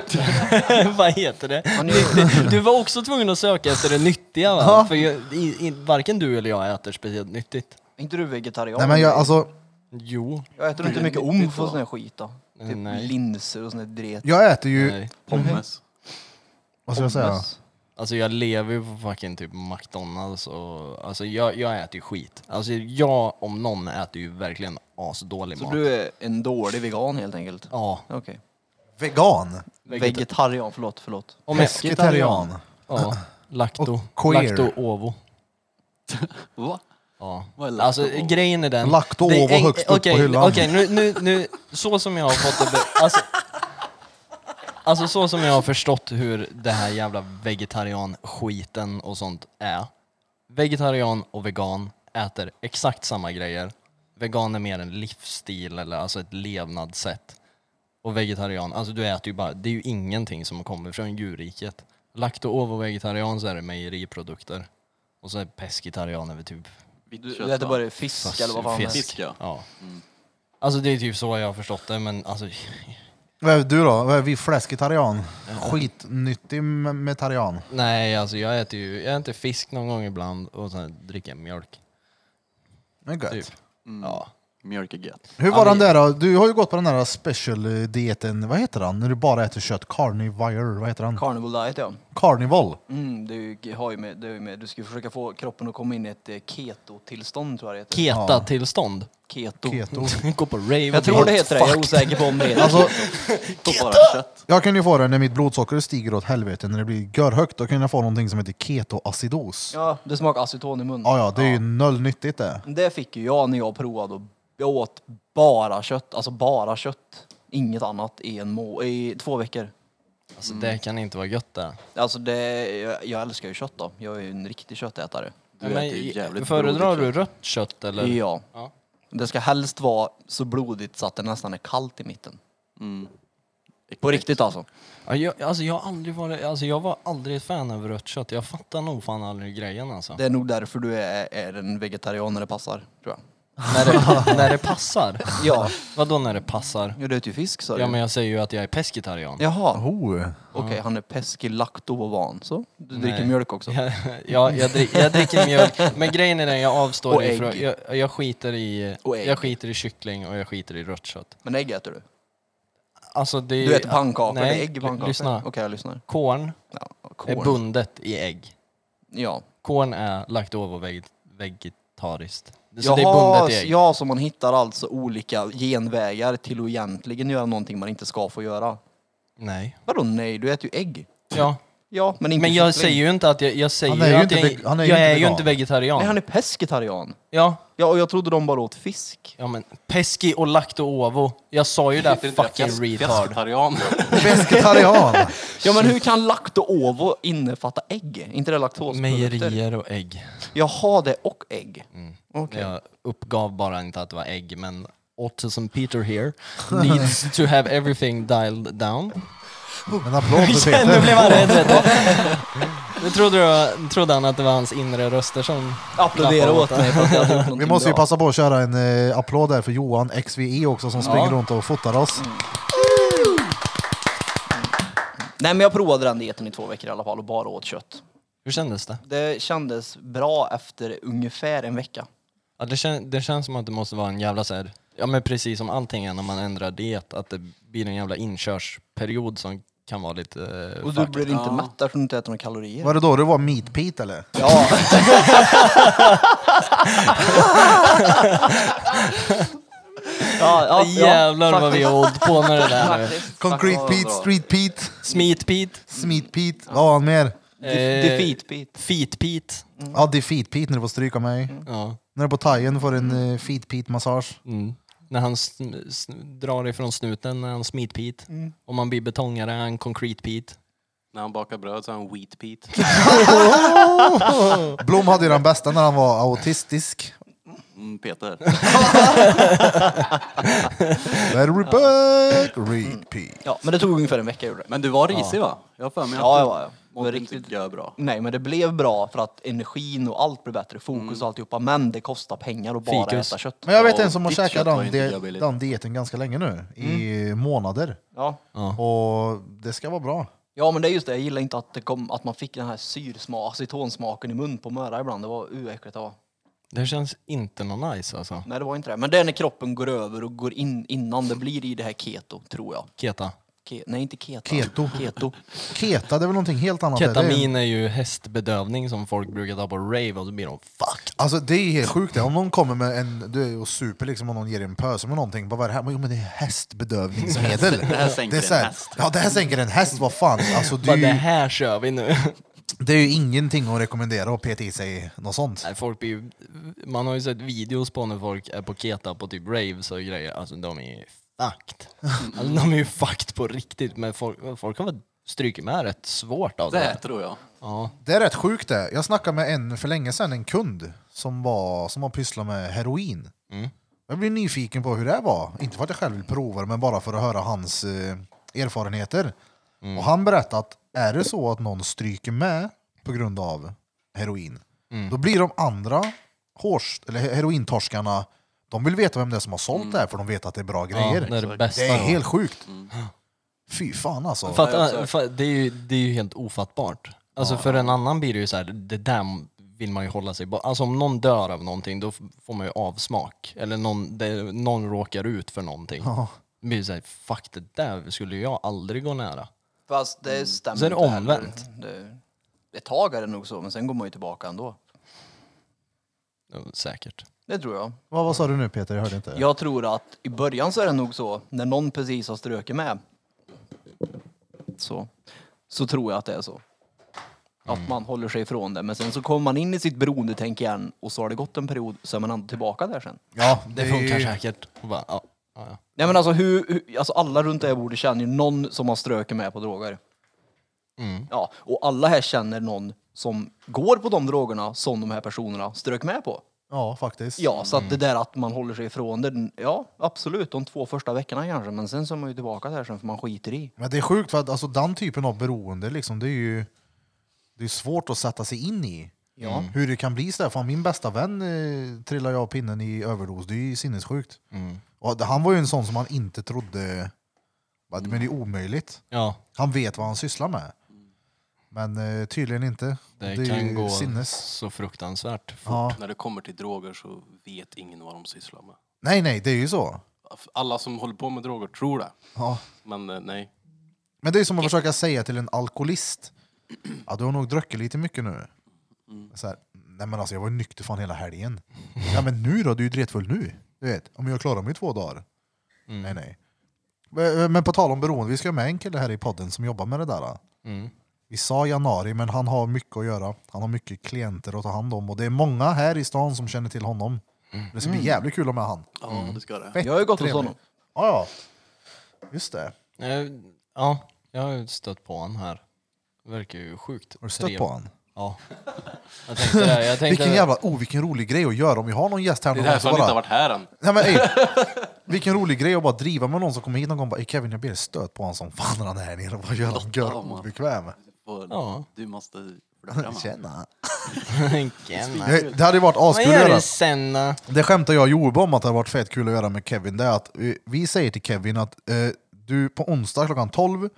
Vad heter det?
nu-
Du, du var också tvungen att söka efter det nyttiga va? För jag, i, i, varken du eller jag äter speciellt nyttigt.
Är inte du vegetarian?
Nej men jag, alltså,
Jo.
Jag äter inte mycket omf och sån här skit då.
Mm,
Nej,
Typ
nej.
linser och sån här dret.
jag äter ju,
Nej.
Pommes.
vad ska jag säga?
Pommes.
Alltså jag lever ju på fucking typ McDonalds och alltså jag, jag äter ju skit. Alltså jag om någon äter ju verkligen asdålig
Så
mat.
du är en dålig vegan helt enkelt?
Ja.
Okej.
Vegan,
Vegetarian, förlåt, förlåt.
Om jag-
pescetarian.
Ja. Lacto.
Och queer.
Lacto ovo.
Mm. Va?
Ja.
Vad är
Alltså
lacto-ovo?
grejen är den...
Lacto-ovo
det är en-
högst upp på
okej,
hyllan.
Okej, nu, nu, nu, så som jag har fått det... be- Alltså, alltså så som jag har förstått hur det här jävla vegetarian-skiten och sånt är. Vegetarian och vegan äter exakt samma grejer. Vegan är mer en livsstil eller alltså ett levnadssätt. Och vegetarian, alltså du äter ju bara, det är ju ingenting som kommer från djurriket. Lacto ovo vegetarian så är det mejeriprodukter. Och så är pescetarian är väl typ
Vitt
Du,
kött,
du äter
va?
bara fisk Mm. eller vad fan det är.
Fisk, ja.
Alltså det är typ så jag har förstått det, men alltså...
Vad är du då? Vad är vi fläsketarian? Skitnyttig me- metarian.
Nej, alltså jag äter ju, jag äter fisk någon gång ibland och sen dricker jag mjölk.
Det är gött.
Mm.
Typ. Ja.
Mjölk är gött.
Hur var den där då? Du har ju gått på den där special-dieten, vad heter den? När du bara äter kött, carnivore, vad heter den?
Carnival diet ja.
Carnival.
Mm, det, är ju- har ju med, det är ju med, du ska ju försöka få kroppen att komma in i ett eh, keto-tillstånd tror jag det heter.
Keta-tillstånd. Oh.
Keto.
Keto.
Gå på rave.
Jag tror det heter det, jag är osäker på om det heter
Alltså,
Och bara kött.
jag kan ju få det när mitt blodsocker stiger åt helvete, när det blir görhögt, då kan jag få någonting som heter ketoacidos. Ja,
Ja, det smakar aceton i munnen.
ja, det är ju noll nyttigt det.
Det fick ju jag när jag provade och jag åt bara kött, alltså bara kött. Inget annat i, en må- i två veckor.
Alltså,
Mm.
det kan inte vara gött det.
Alltså det, jag, jag älskar ju kött då. Jag är ju en riktig köttätare.
Du
Men
äter ju jävligt
föredrar
blodigt
du rött kött eller?
Ja.
Ja.
Det ska helst vara så blodigt så att det nästan är kallt i mitten. Mm.
kött.
På riktigt alltså.
Ja, jag, alltså, jag, har aldrig varit, alltså, jag var aldrig ett fan av rött kött. Jag fattar nog fan aldrig grejen alltså.
Det är nog därför du är, är en vegetarian när det passar, tror jag.
när, det, när det passar.
Ja,
Vadå när det passar?
ja du äter ju fisk sa du.
Ja men jag säger ju att jag är pescetarian.
Jaha,
Oh.
okej han är peskilaktovan så. Du
Nej.
dricker mjölk också.
Ja, ja jag, drick, jag dricker mjölk. Men grejen är den, jag
Och
avstår
ägg.
ifrån. Jag, jag, skiter i,
Och ägg.
jag skiter i kyckling och jag skiter i rött kött.
Men ägg äter du?
Alltså, det är,
Du äter pannkakor,
nej,
det är ägg i
l-
pannkakor?
lyssna.
Okej, jag lyssnar.
Korn,
Ja,
är
korn.
bundet i ägg.
Ja.
Korn är lagt över veg- vegetariskt. Så
Jaha,
det är bundet i ägg.
ja, så man hittar alltså olika genvägar till att egentligen göra någonting man inte ska få göra.
Nej.
Vadå nej, du äter ju ägg.
Ja.
Ja, men inte
Men jag
kyckling.
säger ju inte att jag, jag säger
Han är ju
att
inte
jag,
veg- han är ju
jag
inte
är ju
vegan.
inte vegetarian.
Nej, han är pescetarian.
Ja.
Ja, och jag trodde de bara åt fisk.
ja, men pesci och lacto ovo. Jag sa ju det,
Heter inte det
fucking
fes-
retard.
Fesketarian.
Vegetarian.
Ja, men hur kan lakto-ovo innefatta ägg? inte det laktosprodukter?
Mejerier och ägg.
Jaha, det och ägg.
Mm.
Okej.
Jag uppgav bara inte att det var ägg, men autism Peter here needs to have everything dialed down.
En applåd för
nu blev
Peter.
han rädd vet du. Nu trodde, du, trodde han att det var hans inre röster som...
Applådera åt mig för att jag har
Vi måste ju passa på att köra en eh, applåd där för Johan XVI också som springer runt och fotar oss.
Nej, men jag provade den dieten i två veckor i alla fall och bara åt kött.
Hur kändes det?
Det kändes bra efter ungefär en vecka.
Ja, det, kän, det känns som att det måste vara en jävla så här, Ja men precis som allting är när man ändrar diet, att det blir en jävla inkörsperiod som kan vara lite... eh,
Och du
fucked.
blir inte mätt därför du inte äter några kalorier.
Var det då du var Meat Pete eller?
Ja. ja, ja,
Jävlar vad vi har hållit på med det där nu.
Faktiskt.
Concrete Pete, Street Pete,
Smeet Pete,
Smeet Pete, vad har han mer?
Eh,
Def- Defeat Pete.
Feet Pete.
Ja, Defeat Pete när du får stryka mig.
Ja.
När du är på thaien får en eh, Feet Pete-massage.
Mm. När han sn- sn- drar ifrån snuten, när han smeet Pete.
Mm.
Om man blir betongare är han concrete Pete.
När han bakar bröd så är han wheat Pete.
Blom hade ju den bästa när han var autistisk.
Mm, Peter.
Very back, repeat.
Ja, men det tog ungefär en vecka gjorde det.
Men du var risig va? Jag har för mig att
Ja, jag var jag.
du mådde riktigt gör bra.
Nej, men det blev bra för att energin och allt blev bättre, fokus
Mm.
och alltihopa. Men det kostar pengar att bara
Fikus.
äta kött.
Men jag vet
Ja,
en som har
ditt
käkat
kött var
den,
inte lika
di-
billigt.
den dieten ganska länge nu, i månader.
Ja.
Och det ska vara bra.
ja, men det är just det. Jag gillar inte att, det kom, att man fick den här syrsma, acetonsmaken i mun på möra ibland. Det var uäckligt. Det var.
Det känns inte någon nice alltså.
Nej, det var inte det. Men det är när kroppen går över och går in innan det blir i det här keto, tror jag.
Keta.
Ke- nej, inte keto.
Keto.
keto.
Keta, det är väl någonting helt annat. där. Det är,
Ketamin är ju hästbedövning som folk brukar ta på rave och så blir de fuck.
Alltså det är helt sjukt det. Om någon kommer med en, du är och super liksom och någon ger dig en pöse med någonting. Bara, vad är det här? Men, Jo men det är hästbedövningsmedel. det
här sänker
är så här-
en häst.
Ja det här sänker en häst, vad fan. Alltså, det, är
Bara, det
ju,
här kör vi nu.
det är ju ingenting att rekommendera att peta i sig något sånt.
Nej, folk blir ju, man har ju sett videos på när folk är på keta på typ raves och grejer. Alltså de är ju fucked. Alltså, de är ju fucked på riktigt. Men folk, folk har väl strykit med rätt svårt av det.
Det
här.
tror jag.
Ja.
Det är rätt sjukt det. Jag snackade med en för länge sedan, en kund som, var, som har pysslat med heroin.
Mm.
Jag blev nyfiken på hur det var. Inte för att jag själv vill prova det, men bara för att höra hans eh, erfarenheter.
Mm.
Och han berättade att är det så att någon stryker med på grund av heroin,
Mm.
då blir de andra hårs, eller he- herointorskarna, de vill veta vem det är som har sålt det här för de vet att det är bra grejer.
Mm. det Mm. är det bästa.
är
då.
helt sjukt. Fy fan alltså.
eh, Fatta, fa- det, är ju, det är ju helt ofattbart. Alltså för en annan blir det ju så här, det där vill man ju hålla sig borta. Alltså om någon dör av någonting då f- får man ju avsmak. Eller någon, det, någon råkar ut för någonting.
Ja.
Det blir såhär, fuck det där skulle jag aldrig gå nära.
Fast det stämmer
Så är det
inte heller.
omvänt.
Det, ett tag är det nog så, men sen går man ju tillbaka ändå.
Ja, Säkert.
Det tror jag.
Vad, vad sa du nu Peter? Jag hörde inte.
Jag tror att i början så är det nog så, när någon precis har ströket med, så, så tror jag att det är så. Att man håller sig ifrån det, men sen så kommer man in i sitt beroendetänk igen och så har det gått en period, så är man ändå tillbaka där sen.
ja,
Det
är
funkar
ju-
säkert. Och Bara, ja, ja, ja.
Nej men alltså, hur, hur, alltså alla runt det här bordet känner ju någon som har ströket med på droger.
Mm.
Ja, och alla här känner någon som går på de drogerna som de här personerna strök med på.
Ja, faktiskt.
Ja, så att det där att man håller sig ifrån det, ja absolut, de två första veckorna kanske, men sen så är man ju tillbaka där sen för man skiter i.
Men det är sjukt för att alltså, den typen av beroende, liksom, det är ju det är svårt att sätta sig in i.
Mm.
Hur det kan bli sådär. Fan, min bästa vän eh, trillade jag av pinnen i överdos. Det är ju sinnessjukt.
Mm.
Och det- han var ju en sån som man inte trodde... Va, Men det är omöjligt.
ja
Han vet vad han sysslar med. Men eh, tydligen inte.
det,
är
kan
ju
gå
sinnes.
så fruktansvärt fort.
Ja.
När det kommer till droger så vet ingen vad de sysslar med.
Nej, nej, det är ju så.
Alla som håller på med droger tror det.
Ja.
Men eh, nej.
Men det är som att försöka säga till en alkoholist Ja, du har nog druckit lite mycket nu. Så här, Nej men alltså jag var ju nykter fan hela helgen. Ja men nu då, du är ju dretfull nu. Du vet, om jag klarar mig i två dagar. Nej nej. Men- Men på tal om beroende, vi ska ha med en kille här i podden som jobbar med det där. eh. Vi sa januari, men han har mycket att göra. Han har mycket klienter att ta hand om och det är många här i stan som känner till honom. Det ska bli jävligt kul att ha med han.
Ja, det ska det.
Fett
Jag har ju gått hos
trevlig.
honom.
Ja, ja. Just det.
Eh, Ja, jag har ju stött på han här. Verkar ju sjukt
Har du stött på han?
Ja. Jag tänkte det. Jag tänkte
Vilken jävla, oh vilken rolig grej att göra om vi har någon gäst här
Det är
någon
därför
gång
han
så
inte har
bara,
varit här än.
nej, men, ey, Vilken rolig grej att bara driva med någon som kommer hit någon gång och bara "Ey, Kevin jag ber dig stöt på honom som fan när han är här nere och bara gör honom gör
man.
obekväm.
Och
Ja.
Du måste flörta med
Tjena.
Vilken...
Det det hade ju varit
Vad
askul att
gör
göra.
du sen då?
Det skämtar jag och Joel om att det hade varit fett kul att göra med Kevin. Det är att eh, vi säger till Kevin att eh, du på onsdag klockan 12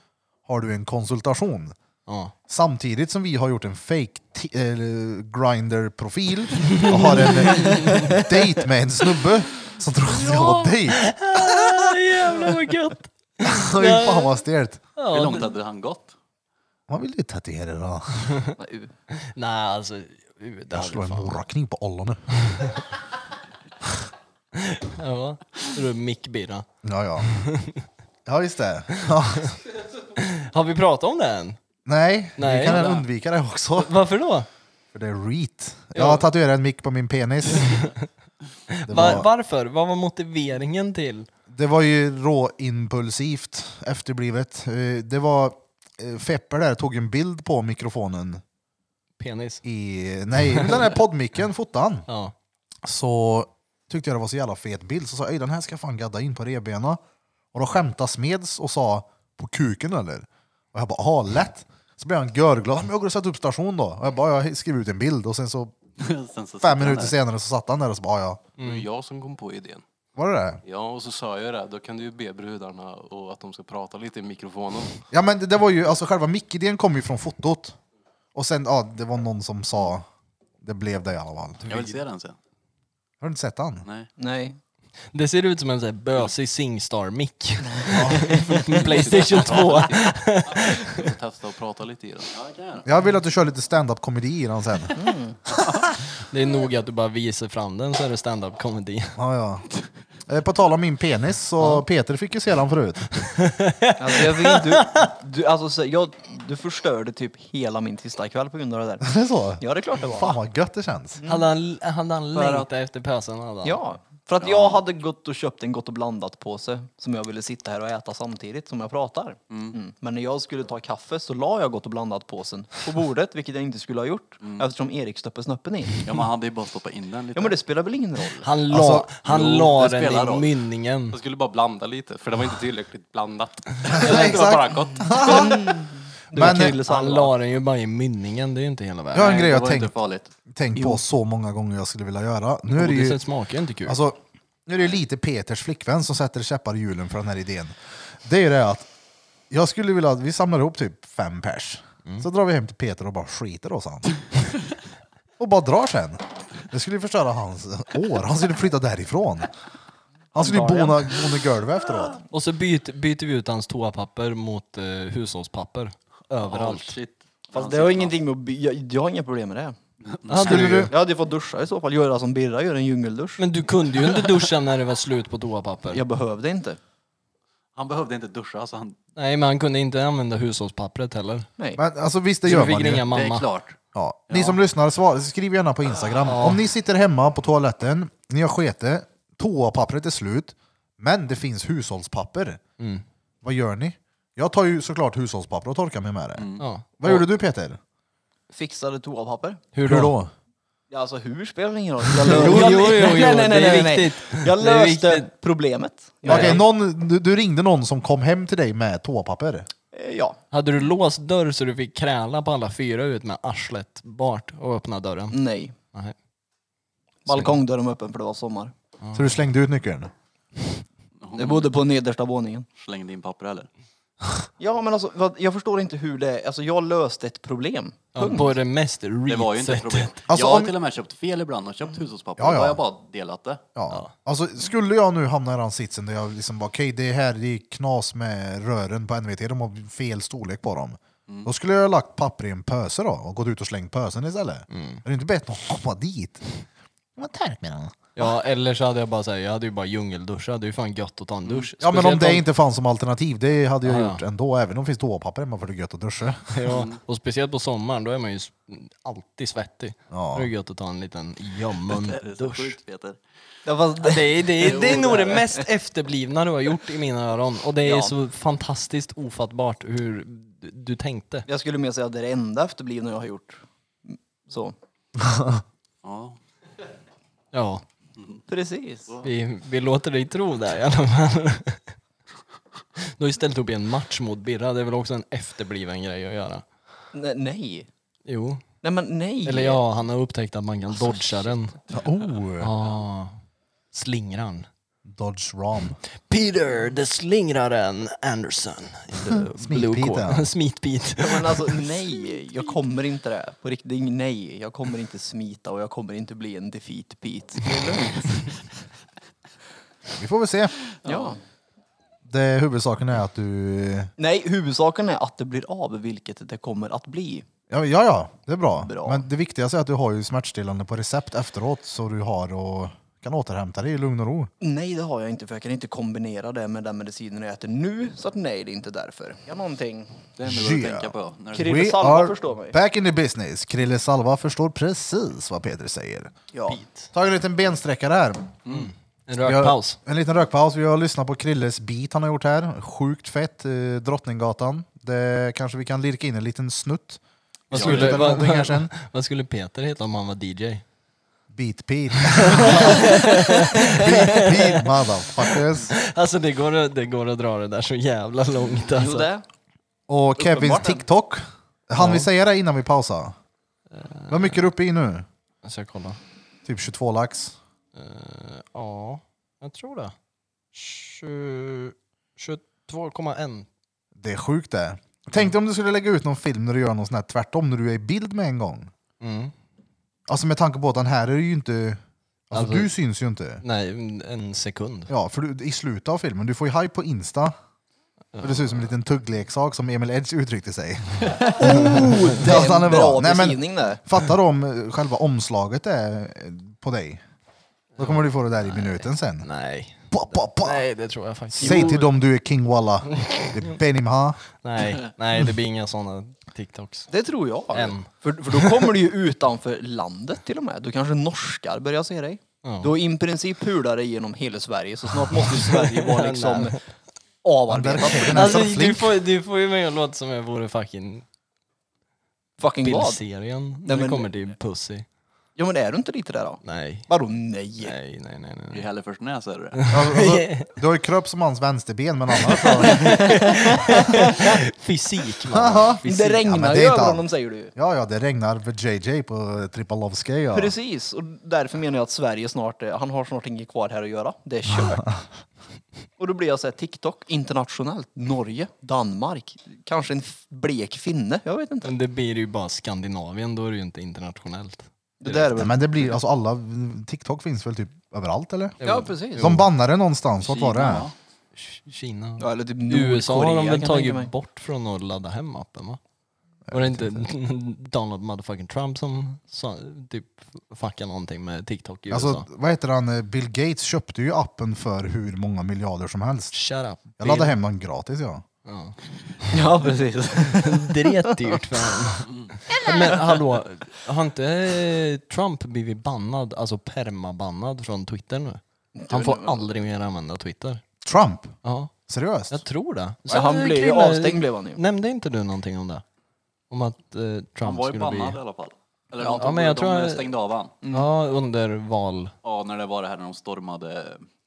har du en konsultation.
Ja.
Samtidigt som vi har gjort en fake t- eller grinder-profil och har en eh, dejt med en snubbe som tror att jag har dejt.
Ah, Jävlar vad gött!
Fy fan vad stelt.
Hur långt hade han gått?
Vad vill du tatuera då?
Nej,
Nej alltså, uh, det
Jag
hade
slår en
fan...
morrakniv på ollonet.
Ja. Tror du Mickbirra.
Ja, ja. Ja, just det. Ja.
Har vi pratat om det än?
Nej, vi
Nej,
kan
ja.
undvika det också.
Varför då?
För det är reet. Jag
Ja.
har tatuerat en mick på min penis. Det
Va-
var,
Varför? Vad var motiveringen till?
det var ju råimpulsivt, efterblivet. Eh, Det var... eh, Fepper där tog en bild på mikrofonen
Penis?
i... Nej, den här poddmicken fotade han.
Ja.
så tyckte jag det var så jävla fet bild. Så sa jag "Ey, den här ska jag fan gadda in på revbena. Och då skämtade Smeds och sa på kuken eller? Och jag bara, aha lätt. Så blev han görglad. Men jag går och sätter upp station då. Och jag bara, jag skriver ut en bild. Och sen så
Sen så
fem minuter senare så satt han där och så bara, ja.
Det var ju jag som kom på idén.
Var det det?
Ja, och så sa jag det. Då kan du ju be brudarna och att de ska prata lite i mikrofonen.
Ja men det, det var ju, alltså själva mickidén kom ju från fotot. Och sen, ja det var någon som sa, det blev det i alla fall.
Jag vill se den sen.
Har du inte sett han?
Nej.
nej.
Det ser ut som en sån här bösig Singstar-mick. Från Playstation 2.
Testa att prata lite i den.
Ja, det kan jag göra.
Jag vill att du kör lite stand-up komedi i den sen.
Det är nog att du bara visar fram den så är det stand-up comedy.
Ja, ja. Eh, På tal om min penis, så Peter fick ju se den förut.
Alltså, jag vet, du, du, alltså, så- jag, du förstörde typ hela min tisdagkväll på grund av det där.
Är det så?
Ja, det är klart det var.
Fan vad gött det känns.
Mm.
Hade han, hade han
För att-
längtat efter pösen? Hade han?
Ja, för att jag hade gått och köpt en Gott och blandat-påse som jag ville sitta här och äta samtidigt som jag pratar. Mm. Men när jag skulle ta kaffe så la jag Gott och blandat-påsen på bordet, vilket jag inte skulle ha gjort eftersom Erik stöppte snoppen i.
Ja, man hade ju bara stoppat in den lite.
Ja, men det spelar väl ingen roll?
Han la,
Alltså,
han
jo,
la
det
den i
spelar roll.
mynningen.
Jag skulle bara blanda lite, för det var inte tillräckligt blandat.
exakt.
det var bara gott.
Du var
Men- eh,
tydlig, sa
Han
han.
la den ju bara i mynningen, det är ju inte hela
Jag
världen.
har en grej
det
jag
var inte
tänkt,
farligt.
tänkt på så många gånger jag skulle vilja göra. Nu är det ju,
Godiset smakar ju inte kul.
alltså, nu är det ju lite Peters flickvän som sätter käppar i hjulen för den här idén. Det är ju det att jag skulle vilja att
Mm.
vi samlar ihop typ fem pers. Så drar vi hem till Peter och bara skiter oss han. och bara drar sen. Det skulle ju förstöra hans år. Han skulle flytta därifrån. Han skulle ju bona, bona golvet efteråt.
Och så byter, byter vi ut hans toapapper mot eh, hushållspapper.
Oh,
Överallt.
shit.
Fast det har ingenting med att by- jag, jag har inga problem med det.
Hade
Skulle
du,
du,
Jag hade ju fått duscha i så fall, göra som Birra gör, en djungeldusch.
men du kunde ju inte duscha när det var slut på toapapper.
Jag behövde inte.
Han behövde inte duscha så han...
Nej, men han kunde inte använda hushållspappret heller.
Nej.
men alltså visst, det
Så
gör
vi fick
man ju.
ringa
Det är
mamma.
klart.
Ja. Ni som lyssnar, svar, skriv gärna på Instagram. Om ni sitter hemma på toaletten, ni har skete, toapappret är slut, men det finns hushållspapper.
Mm.
Vad gör ni? Jag tar ju såklart hushållspapper och torkar mig med det.
Mm. Ja.
Vad gjorde du Peter?
Fixade toapapper.
Hur då?
Ja, alltså hur spelar ingen roll. Jag
Jo,
jag,
jo, jo, jo,
nej, nej, nej,
det är
nej, nej.
viktigt.
Jag
Det är
löste
viktigt.
problemet.
Okej,
Jag,
någon, du, du ringde någon som kom hem till dig med toapapper.
eh, Ja.
Hade du låst dörr så du fick kräla på alla fyra ut med arslet bart och öppna dörren?
Nej.
Nej.
Balkongdörren var öppen för det var sommar.
Så du slängde ut nyckeln?
Det bodde på nedersta våningen.
Slängde in papper eller?
Ja, men alltså vad- jag förstår inte hur det... Alltså jag löste ett problem.
Ja, på det mest
Det var ju inte ett
reet
problem.
sättet.
Alltså,
jag har
om-
till och med köpt fel ibland och köpt hushållspapper.
Ja,
Då har
ja.
jag bara delat det.
Ja. Alltså, skulle jag nu hamna i den sitsen där jag liksom bara, okej det här det är knas med rören på NVT, de har fel storlek på dem. Då skulle jag ha lagt papper i en pöse då och gått ut och slängt pösen istället. Mm. Är det inte bättre att komma dit? Vad tärk med den.
Ja, eller så hade jag bara såhär, jag hade ju bara djungelduschat. Det är ju fan gött att ta en dusch.
Mm. Ja men om
Speciellt
det inte fanns som alternativ, det hade jag
Ja, ja.
gjort ändå. Även om det finns toapapper hemma för det är gött att duscha.
Ja, Mm. och speciellt på sommaren, då är man ju s- alltid svettig.
Ja.
Då är det gött att ta en liten ljummen
Det är så
dusch.
sjukt Peter.
Ja, fast det,
Det är, det, är, det är nog det mest efterblivna du har gjort i mina öron. Och det är
Ja.
så fantastiskt ofattbart hur du- du tänkte.
jag skulle mer säga att det är det enda efterblivna jag har gjort. Mm, Så.
Ja.
Ja,
Precis.
vi, vi låter dig tro det i alla fall. Du har ju ställt upp i en match mot Birra, det är väl också en efterbliven grej att göra?
Ne- nej.
Jo.
Nej, men nej.
Eller ja, han har upptäckt att man kan
Alltså,
dodga den.
Oh,
Ah, slingran.
Dodge Ram.
Peter, the slingraren Anderson.
Smitpiten.
Smitpit.
Ja, Men alltså nej, jag kommer inte det. På riktigt, nej. Jag kommer inte smita och jag kommer inte bli en defeat Pete. Det är lugnt.
Vi får väl se.
Ja.
Det, huvudsaken är att du...
Nej, huvudsaken är att det blir av, vilket det kommer att bli.
Ja, ja, ja det är bra.
Bra.
Men det viktigaste är att du har ju smärtstillande på recept efteråt så du har och kan återhämta dig i lugn och ro.
Nej, det har jag inte, för jag kan inte kombinera det med den medicinen jag äter nu. Så att nej, det är inte därför. Ja, någonting.
Det är det enda
Yeah.
att tänka på. När det...
Krille Salva förstår mig.
back in the business. Krille Salva förstår precis vad Peter säger.
Ja.
Ta en liten bensträckare här.
En
Vi har-
rökpaus.
En liten rökpaus. Vi har lyssnat på Krilles beat han har gjort här. Sjukt fett. Eh, Drottninggatan. Det kanske vi kan lirka in en liten snutt.
Vad
Ja, det
skulle,
är
vad,
någonting här sen.
vad, vad skulle Peter heta om han var DJ?
Beat Pete. beat Pete motherfuckers.
Alltså det går, att- det går att dra det där så jävla långt
Jo,
alltså.
det.
Och Kevins
Uppenbarligen.
TikTok. Han vi säga det innan vi pausar? Vad mycket är du uppe i nu?
Alltså, Jag ska kolla.
Typ 22 lax.
Eh, ja, jag tror det. 20 22,1.
Det är sjukt det. Tänk dig om du skulle lägga ut någon film när du gör någon sån här tvärtom, när du är i bild med en gång.
Mm.
Alltså med tanke på att den här är ju inte... Alltså,
Alltså-
du syns ju inte.
Nej, en sekund.
Ja, för du, i slutet av filmen, du får ju hype på Insta. Och det ser ut som en liten tuggleksak som Emil Edge uttryckte sig.
Oh, det
Ja, så han
är
är bra.
en bra
Nej, men-
beskrivning det.
Fattar du om eh, själva omslaget är eh, på dig? Då kommer du få det där i minuten sen.
Nej.
Pa, pa, pa.
Nej, det tror jag faktiskt
Säg till dem du är King Walla. Det är Benim Ha.
Nej, nej, det blir inga sådana TikToks.
Det tror jag.
En.
För, för då kommer du ju utanför landet till och med. Du kanske norskar börjar se dig.
Ja.
Du har i princip pular dig genom hela Sverige så snart måste Sverige vara liksom avarbetat.
Den är
Alltså,
så
du,
flink.
får, du får ju mig att låta som jag vore fucking
Fucking glad.
Billserien när
men-
det kommer till Pussy.
Ja men är du inte lite där då?
Nej.
Vadå nej?
Nej, nej, nej. nej,
I
nej.
Hälleforsnäs är det det
Alltså, du har ju kropp som hans vänsterben men annars så...
Fysik, man.
Det
Fysik.
Ja, men
regnar
det är inte
ju över
allt.
honom säger du ju.
Ja, ja, det regnar för JJ på Tripalovskij. Ja.
Precis, och därför menar jag att Sverige snart, är- han har snart inget kvar här att göra. Det är kört. och då blir jag såhär TikTok, internationellt, Norge, Danmark, kanske en f- blek finne, jag vet inte.
Men det blir ju bara Skandinavien, då är det ju inte internationellt.
Det där är
Nej,
väl...
men det blir, alltså alla, TikTok finns väl typ överallt eller?
Ja, precis.
De bannade någonstans, vart var det?
va?
K- Kina.
Ja, eller typ
USA har de väl
Nordkorea, kan jag tänka mig.
tagit bort från att ladda hem appen va? Var det inte Donald motherfucking Trump som sa, typ fuckade någonting med TikTok i
Alltså,
USA?
vad heter han? eh, Bill Gates köpte ju appen för hur många miljarder som helst.
Shut up.
Jag laddade hem den gratis ja.
Ja.
Ja, precis.
Dretdyrt för honom. Men hallå, har inte eh, Trump blivit bannad, alltså permabannad från Twitter nu? Han får aldrig mer använda Twitter.
Trump?
Ja,
Seriöst?
jag tror det.
Så han
eh,
blev ju
Krille,
avstängd blev han ju.
Nämnde inte du någonting om det? Om att eh, Trump
Han var ju
skulle bli...
bannad i alla fall. Eller
Ja,
ja,
men jag
de
tror-
stängde av han.
Ja, under val,
Ja, när det var det här när de stormade.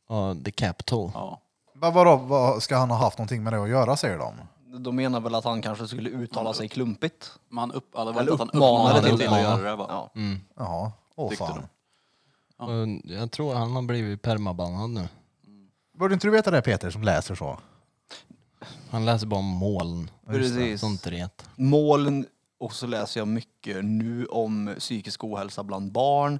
ja, the capital.
Ja.
Men vadå, vad ska han ha haft någonting med det att göra säger de?
De menar väl att han kanske skulle uttala sig klumpigt.
Men han upp, eller,
Eller
att han
uppmanade
uppmanade
till
till
det.
att göra det va?
Ja.
Ja, åh
Tyckte
fan.
Och jag tror han har blivit permabannad nu.
Borde inte du veta det Peter som läser så?
Han läser bara om moln.
Precis.
Sånt ret.
Målen, och så läser jag mycket nu om psykisk ohälsa bland barn.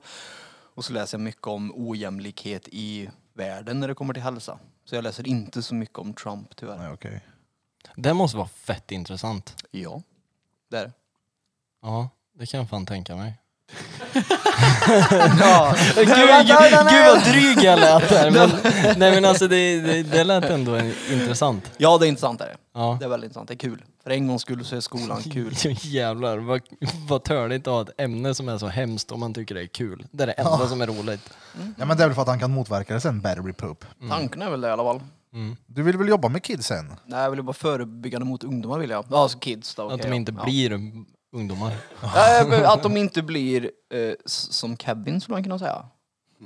Och så läser jag mycket om ojämlikhet i världen när det kommer till hälsa. Så jag läser inte så mycket om Trump tyvärr.
Nej okej.
Det måste vara fett intressant.
Ja, det är det.
Ja, det kan jag fan tänka mig.
Ja,
Gud, gud, gud vad dryg jag lät där. Men, nej men alltså det, det, det lät ändå intressant.
ja det är intressant det är det.
Ja.
Det är väldigt intressant, det är kul. För en gångs skull så är skolan kul.
Jävlar vad, vad törligt att ha ett ämne som är så hemskt om man tycker det är kul. Det är det enda som är roligt.
Ja men det är väl för att han kan motverka det sen, battery poop.
Mm.
Tanken är väl det i alla fall.
Du vill väl jobba med kidsen?
Nej, jag vill ju bara förebyggande mot ungdomar vill jag. Ja, Alltså kids då. okej,
Att de
ja.
inte
ja.
blir ungdomar.
Nej, jag be- Att de inte blir eh, s- som Kevin skulle man kunna säga.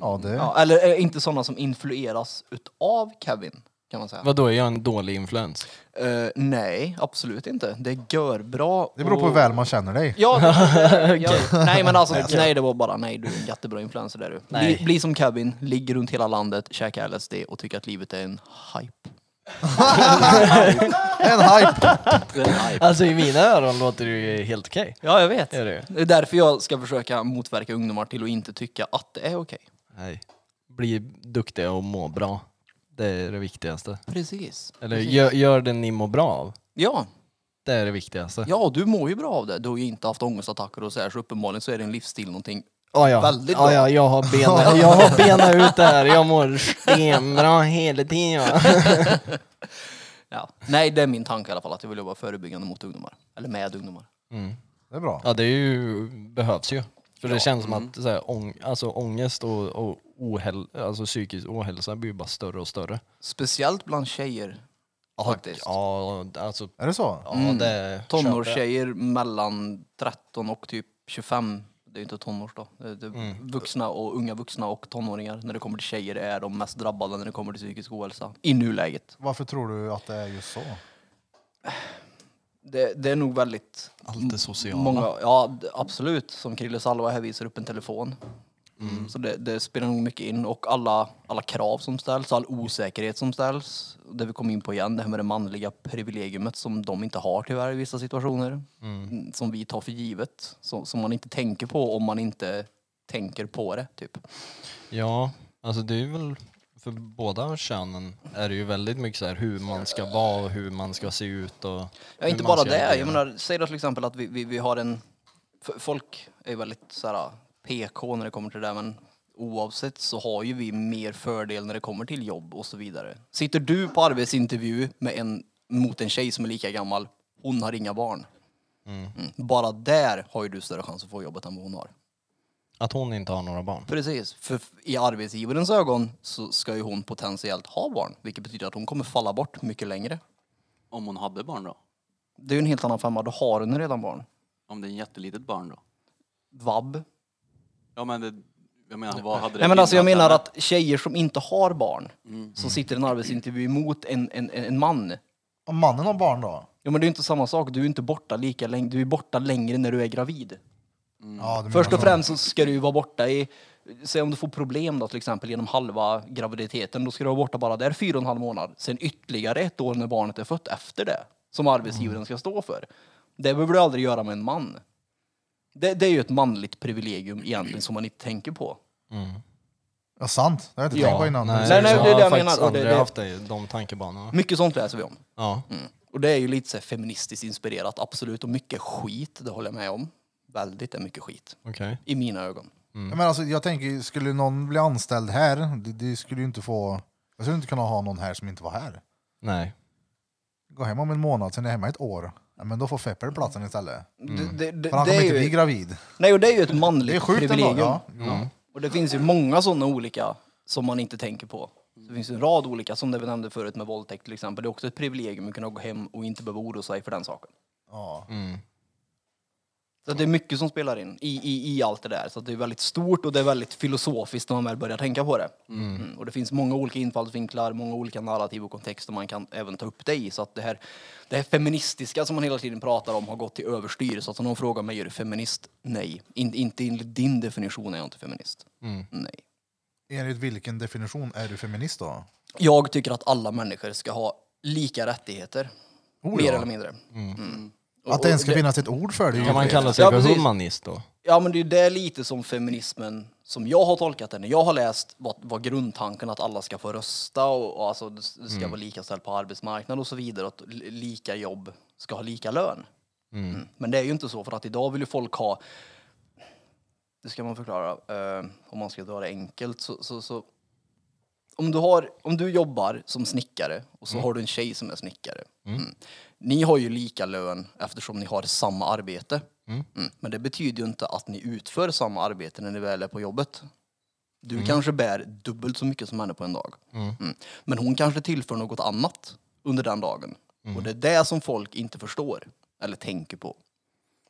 Ja det...
Ja, eller eh, inte sådana som influeras utav Kevin kan man säga.
Vadå, är jag en dålig influens?
Eh, nej, absolut inte. Det gör bra.
Det beror på hur
och-
väl man känner dig.
Ja, det- jag, nej men alltså, nej det var bara nej du är en jättebra influencer där du. Bli,
Nej.
bli som Kevin, ligg runt hela landet, käka LSD och tycka att livet är en hype.
En hype!
Alltså i mina öron låter det ju helt okej.
Ja, jag vet.
Är det ju?
Det är därför jag ska försöka motverka ungdomar till att inte tycka att det är okej.
Nej. Bli duktiga och må bra. Det är det viktigaste.
Precis.
Eller gör, gör det ni mår bra av.
Ja,
Det är det viktigaste.
ja, du mår ju bra av det. Du har ju inte haft ångestattacker och så här, så uppenbarligen så är din livsstil någonting.
Ja, ja.
Väldigt
ja,
bra.
ja, jag har benat jag har bena ut det här. Jag mår stenbra hela tiden. va?
Ja. Nej, det är min tanke i alla fall, att jag vill jobba förebyggande mot ungdomar. Eller med ungdomar.
Det är bra.
Ja, det är ju, behövs ju. För det känns som
mm.
att så här, ång, alltså, ångest och, och ohäl, alltså, psykisk ohälsa blir ju bara större och större.
Speciellt bland tjejer, faktiskt. Mm.
Ja, alltså,
Är det så?
ja, det
Tonårstjejer mellan 13 och typ 25. Det är ju inte tonårs då. Det är det är Vuxna och unga vuxna och tonåringar. När det kommer till tjejer är de mest drabbade när det kommer till psykisk ohälsa. I nuläget.
Varför tror du att det är just så?
Det, det är nog väldigt
Allt det sociala.
många, ja d- absolut. Som Krille Salva här visar upp en telefon. Så det, det spelar nog mycket in. Och alla, alla krav som ställs, all osäkerhet som ställs. Det vi kom in på igen, det här med det manliga privilegiumet som de inte har tyvärr i vissa situationer. Mm, Som vi tar för givet. Som, som man inte tänker på om man inte tänker på det. Typ.
Ja, alltså det är väl för båda könen är det ju väldigt mycket så här hur man ska vara och hur man ska se ut och
Ja,
hur
inte
man
bara
ska
det.
agera.
Jag menar, säg då till exempel att vi, vi, vi har en... f- Folk är ju väldigt så här, PK när det kommer till det där, men oavsett så har ju vi mer fördel när det kommer till jobb och så vidare. Sitter du på arbetsintervju med en, mot en tjej som är lika gammal, hon har inga barn. Mm. Bara där har ju du större chans att få jobbet än vad hon har.
Att hon inte har några barn.
Precis, för f- i arbetsgivarens ögon så ska ju hon potentiellt ha barn, vilket betyder att hon kommer falla bort mycket längre.
Om hon hade barn då?
Det är ju en helt annan femma, då har hon redan barn.
Om det är en jättelitet barn då?
Vab,
Ja men det, jag menar vad hade det
Nej men alltså jag
gynnat
menar
henne?
att tjejer som inte har barn, som sitter i en arbetsintervju emot en, en, en, en man.
Om mannen har barn då?
Ja men det är ju inte samma sak, du är inte borta lika länge, du är borta längre när du är gravid.
Ja, du
Mm. Först
menar
och
så.
främst så ska du ju vara borta i, säg om du får problem då till exempel genom halva graviditeten, då ska du vara borta bara där fyra och en halv månad. Sen ytterligare ett år när barnet är fött efter det, som arbetsgivaren ska stå för. Det behöver du aldrig göra med en man. Det, det är ju ett manligt privilegium egentligen som man inte tänker på.
Ja, sant. Det har jag inte
Ja,
tänkt på innan.
Mm. Nej,
nej, det
jag
är det jag
har faktiskt
menar, och det-
aldrig
det-
haft det, i de tankebanorna.
Mycket sånt läser vi om.
Ja.
Mm. Och det är ju lite så här feministiskt inspirerat, absolut. Och mycket skit, det håller jag med om. Väldigt är mycket skit,
Okej.
i mina ögon.
Ja, Men alltså, jag tänker, skulle någon bli anställd här, det, det skulle ju inte få... Jag skulle inte kunna ha någon här som inte var här.
Nej.
Gå hem om en månad, sen är jag hemma ett år. Ja, men då får Feppel platsen istället.
Det, det, det,
Mm. För han
det
kommer inte
är
bli
ju,
gravid.
nej, och det är ju ett
Det är
manligt
sjukt ändå.
privilegium.
Ja. Mm. Jo.
Och det finns ju många sådana olika som man inte tänker på. Det finns ju en rad olika, som det vi nämnde förut med våldtäkt till exempel. Det är också ett privilegium att kunna gå hem och inte behöva oroa sig för den saken.
Ja.
Så det är mycket som spelar in i, i, i allt det där. Så att det är väldigt stort och det är väldigt filosofiskt när man väl börjar tänka på det. Mm. Och det finns många olika infallsvinklar, många olika narrativ och kontexter man kan även ta upp det i. Så att det här, det här feministiska som man hela tiden pratar om har gått till överstyr. Så att om någon frågar mig, är du feminist? Nej. In, inte enligt din definition är jag inte feminist.
Mm.
Nej.
Enligt vilken definition är du feminist då?
Jag tycker att alla människor ska ha lika rättigheter.
Oh,
mer
ja.
eller mindre. Mm. Och-
Att det ens
och
ska finnas ett ord för det är ju
Kan man
fel.
kalla sig
Ja,
för
precis.
humanist då?
Ja, men det är ju det lite som feminismen, som jag har tolkat den, när jag har läst vad, vad grundtanken att alla ska få rösta och, och alltså det s- det ska vara lika ställt på arbetsmarknaden och så vidare, att li- lika jobb ska ha lika lön. Mm. Men det är ju inte så, för att idag vill ju folk ha, det ska man förklara, eh, om man ska dra det enkelt, så, så, så om du, har, om du jobbar som snickare och så har du en tjej som är snickare. Mm. Ni har ju lika lön eftersom ni har samma arbete. Mm. Men det betyder ju inte att ni utför samma arbete när ni väl är på jobbet. Du kanske bär dubbelt så mycket som henne på en dag. Mm. Men hon kanske tillför något annat under den dagen. Och det är det som folk inte förstår eller tänker på.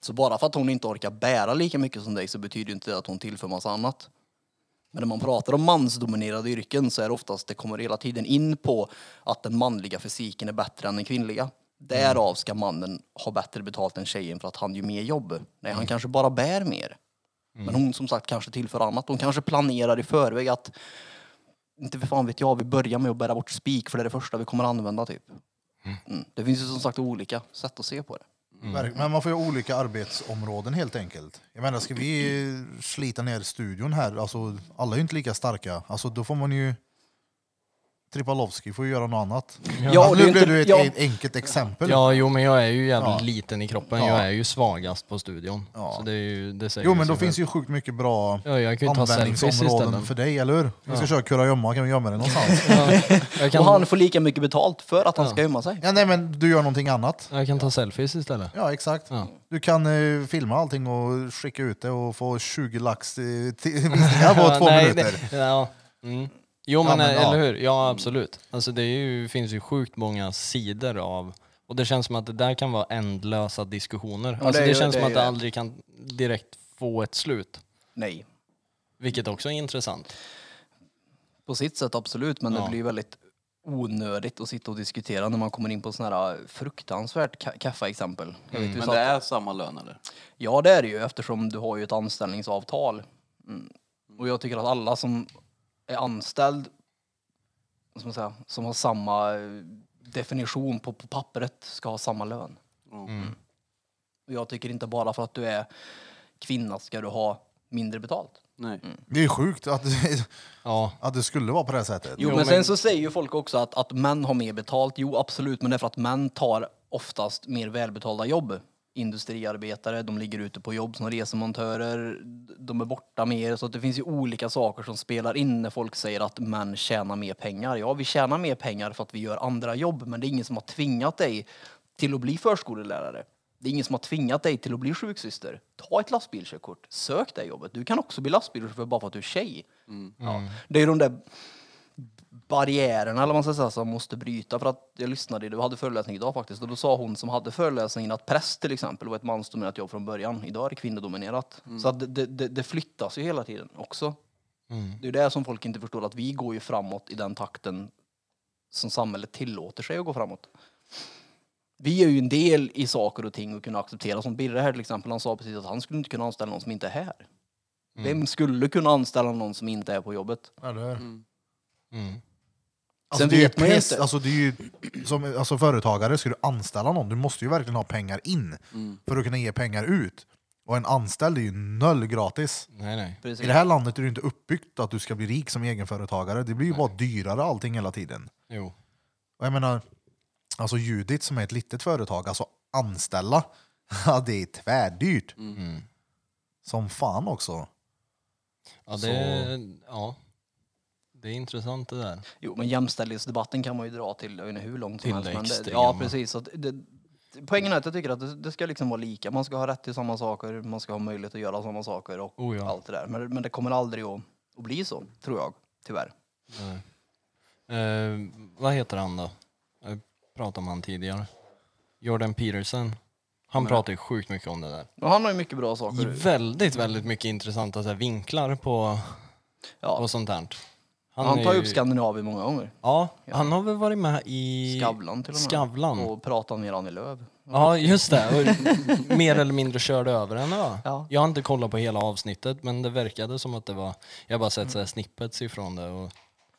Så bara för att hon inte orkar bära lika mycket som dig så betyder ju inte det att hon tillför massa annat. Men när man pratar om mansdominerade yrken så är det oftast, det kommer hela tiden in på att den manliga fysiken är bättre än den kvinnliga. Därav ska mannen ha bättre betalt än tjejen för att han gör mer jobb. Nej, han kanske bara bär mer. Men hon som sagt kanske tillför annat. Hon kanske planerar i förväg att, inte för fan vet jag, vi börjar med att bära bort spik för det är det första vi kommer använda typ. Mm. Det finns ju som sagt olika sätt att se på det.
Mm.
Verk- Men man får ju olika arbetsområden helt enkelt. Jag menar, ska vi eh, slita ner studion här, alltså, alla är ju inte lika starka. Alltså, då får man ju... Tripalowski får ju göra något annat.
Ja,
alltså,
och det
nu
är ju
blev
inte-
du ett
ja.
en- enkelt exempel.
Ja, jo men jag är ju jävligt
Ja.
liten i kroppen.
Ja.
Jag är ju svagast på studion.
Ja.
Så det, är ju, det säger
Jo,
ju
men
sig
då
själv.
finns ju sjukt mycket bra
Ja, jag kan ju ta selfies
användningsområden
istället.
för dig, eller hur? Vi ska köra kurragömma, kan vi gömma dig någonstans?
Jag kan,
Och han får lika mycket betalt för att han ska gömma sig.
ja, nej, men du gör någonting annat.
jag kan ta selfies istället.
Ja, exakt.
Ja.
Du kan eh, filma allting och skicka ut det och få 20 lax eh, till- visningar på två
Nej,
minuter.
det- ja. mm. Jo men,
men, ja.
eller hur, ja absolut. Alltså det är ju, finns ju sjukt många sidor av, och det känns som att det där kan vara ändlösa diskussioner.
det
alltså
är
det,
ju-
känns
det
som
är
att
ju
det
det.
aldrig kan direkt få ett slut.
Nej,
Vilket också är intressant.
På sitt sätt absolut, men
Ja.
det blir väldigt onödigt att sitta och diskutera när man kommer in på sådana här äh, fruktansvärt ka- kaffa exempel. Jag vet ju
Mm, Men
så
det
att-
är samma lön eller?
Ja det är det ju eftersom du har ju ett anställningsavtal. Mm. Och jag tycker att alla som är anställd, vad ska man säga, som har samma eh, definition på, på pappret ska ha samma lön.
Mm.
Och jag tycker inte bara för att du är kvinna ska du ha mindre betalt.
Nej.
Det är sjukt att,
Ja,
att det skulle vara på det här sättet.
Jo,
Jo,
men,
men-
sen så säger ju folk också att, att män har mer betalt. Jo, absolut, men det är för att män tar oftast mer välbetalda jobb. Industriarbetare, de ligger ute på jobb som resemontörer, de är borta mer. Så att det finns ju olika saker som spelar in när folk säger att män tjänar mer pengar. Ja, vi tjänar mer pengar för att vi gör andra jobb, men det är ingen som har tvingat dig till att bli förskolelärare. Det är ingen som har tvingat dig till att bli sjuksyster. Ta ett lastbilskörkort, sök det jobbet. Du kan också bli lastbilschaufför bara för att du är tjej.
Mm.
Ja. Det är ju de där barriärerna eller vad man ska säga som man måste bryta för att jag lyssnade, du hade föreläsning idag faktiskt och då sa hon som hade föreläsningen att präst till exempel var ett mansdominerat jobb från början. Idag är det kvinnodominerat.
Mm.
Så att det- det, det, det flyttas ju hela tiden också.
Mm,
Det är ju det som folk inte förstår att vi går ju framåt i den takten som samhället tillåter sig att gå framåt. Vi är ju en del i saker och ting och kunna acceptera. Som Birre här till exempel, han sa precis att han skulle inte kunna anställa någon som inte är här.
Mm.
Vem skulle kunna anställa någon som inte är på jobbet?
Eller hur?
Mm.
Alltså,
Sen
det är ju
vet man ju
press,
inte.
alltså, det är ju, som, alltså
Mm.
företagare, ska du anställa någon, du måste ju verkligen ha pengar in för att kunna ge pengar ut. Och en anställd är ju noll gratis.
Nej, nej.
I
Precis.
det här landet är det ju inte uppbyggt att du ska bli rik som egenföretagare. Det blir ju bara dyrare allting hela tiden.
Jo.
Och jag menar, alltså Judit som är ett litet företag, alltså anställa, ja, det är tvärdyrt.
Mm.
Mm. Som fan också.
Ja, det, ja. det är intressant det där.
Jo, men jämställdhetsdebatten kan man ju dra till jag vet inte hur långt som
Till
helst.
det
Men det,
extrema.
ja, precis. Så att det, poängen är att jag tycker att det, det ska liksom vara lika. Man ska ha rätt till samma saker, man ska ha möjlighet att göra samma saker och
Oh, ja.
allt det där. Men, men det kommer aldrig att, att bli så, tror jag. Tyvärr.
Mm. Eh, vad heter han då? Jag pratade om han tidigare. Jordan Peterson. Han pratar ju sjukt mycket om det där.
Men han har ju mycket bra
I
saker.
väldigt, väldigt mycket intressanta så här, vinklar på,
Ja.
på sånt här.
Han,
är
tar ju
ju-
upp Skandinavien många gånger.
Ja, han har väl varit med i...
Skavlan till och med.
Skavlan.
Och pratar med Annie Lööf.
Ja, just det. Och mer eller mindre körde över henne va?
Ja.
Jag har inte kollat på hela avsnittet men det verkade som att det var... Jag har bara sett så här snippets ifrån det. Och,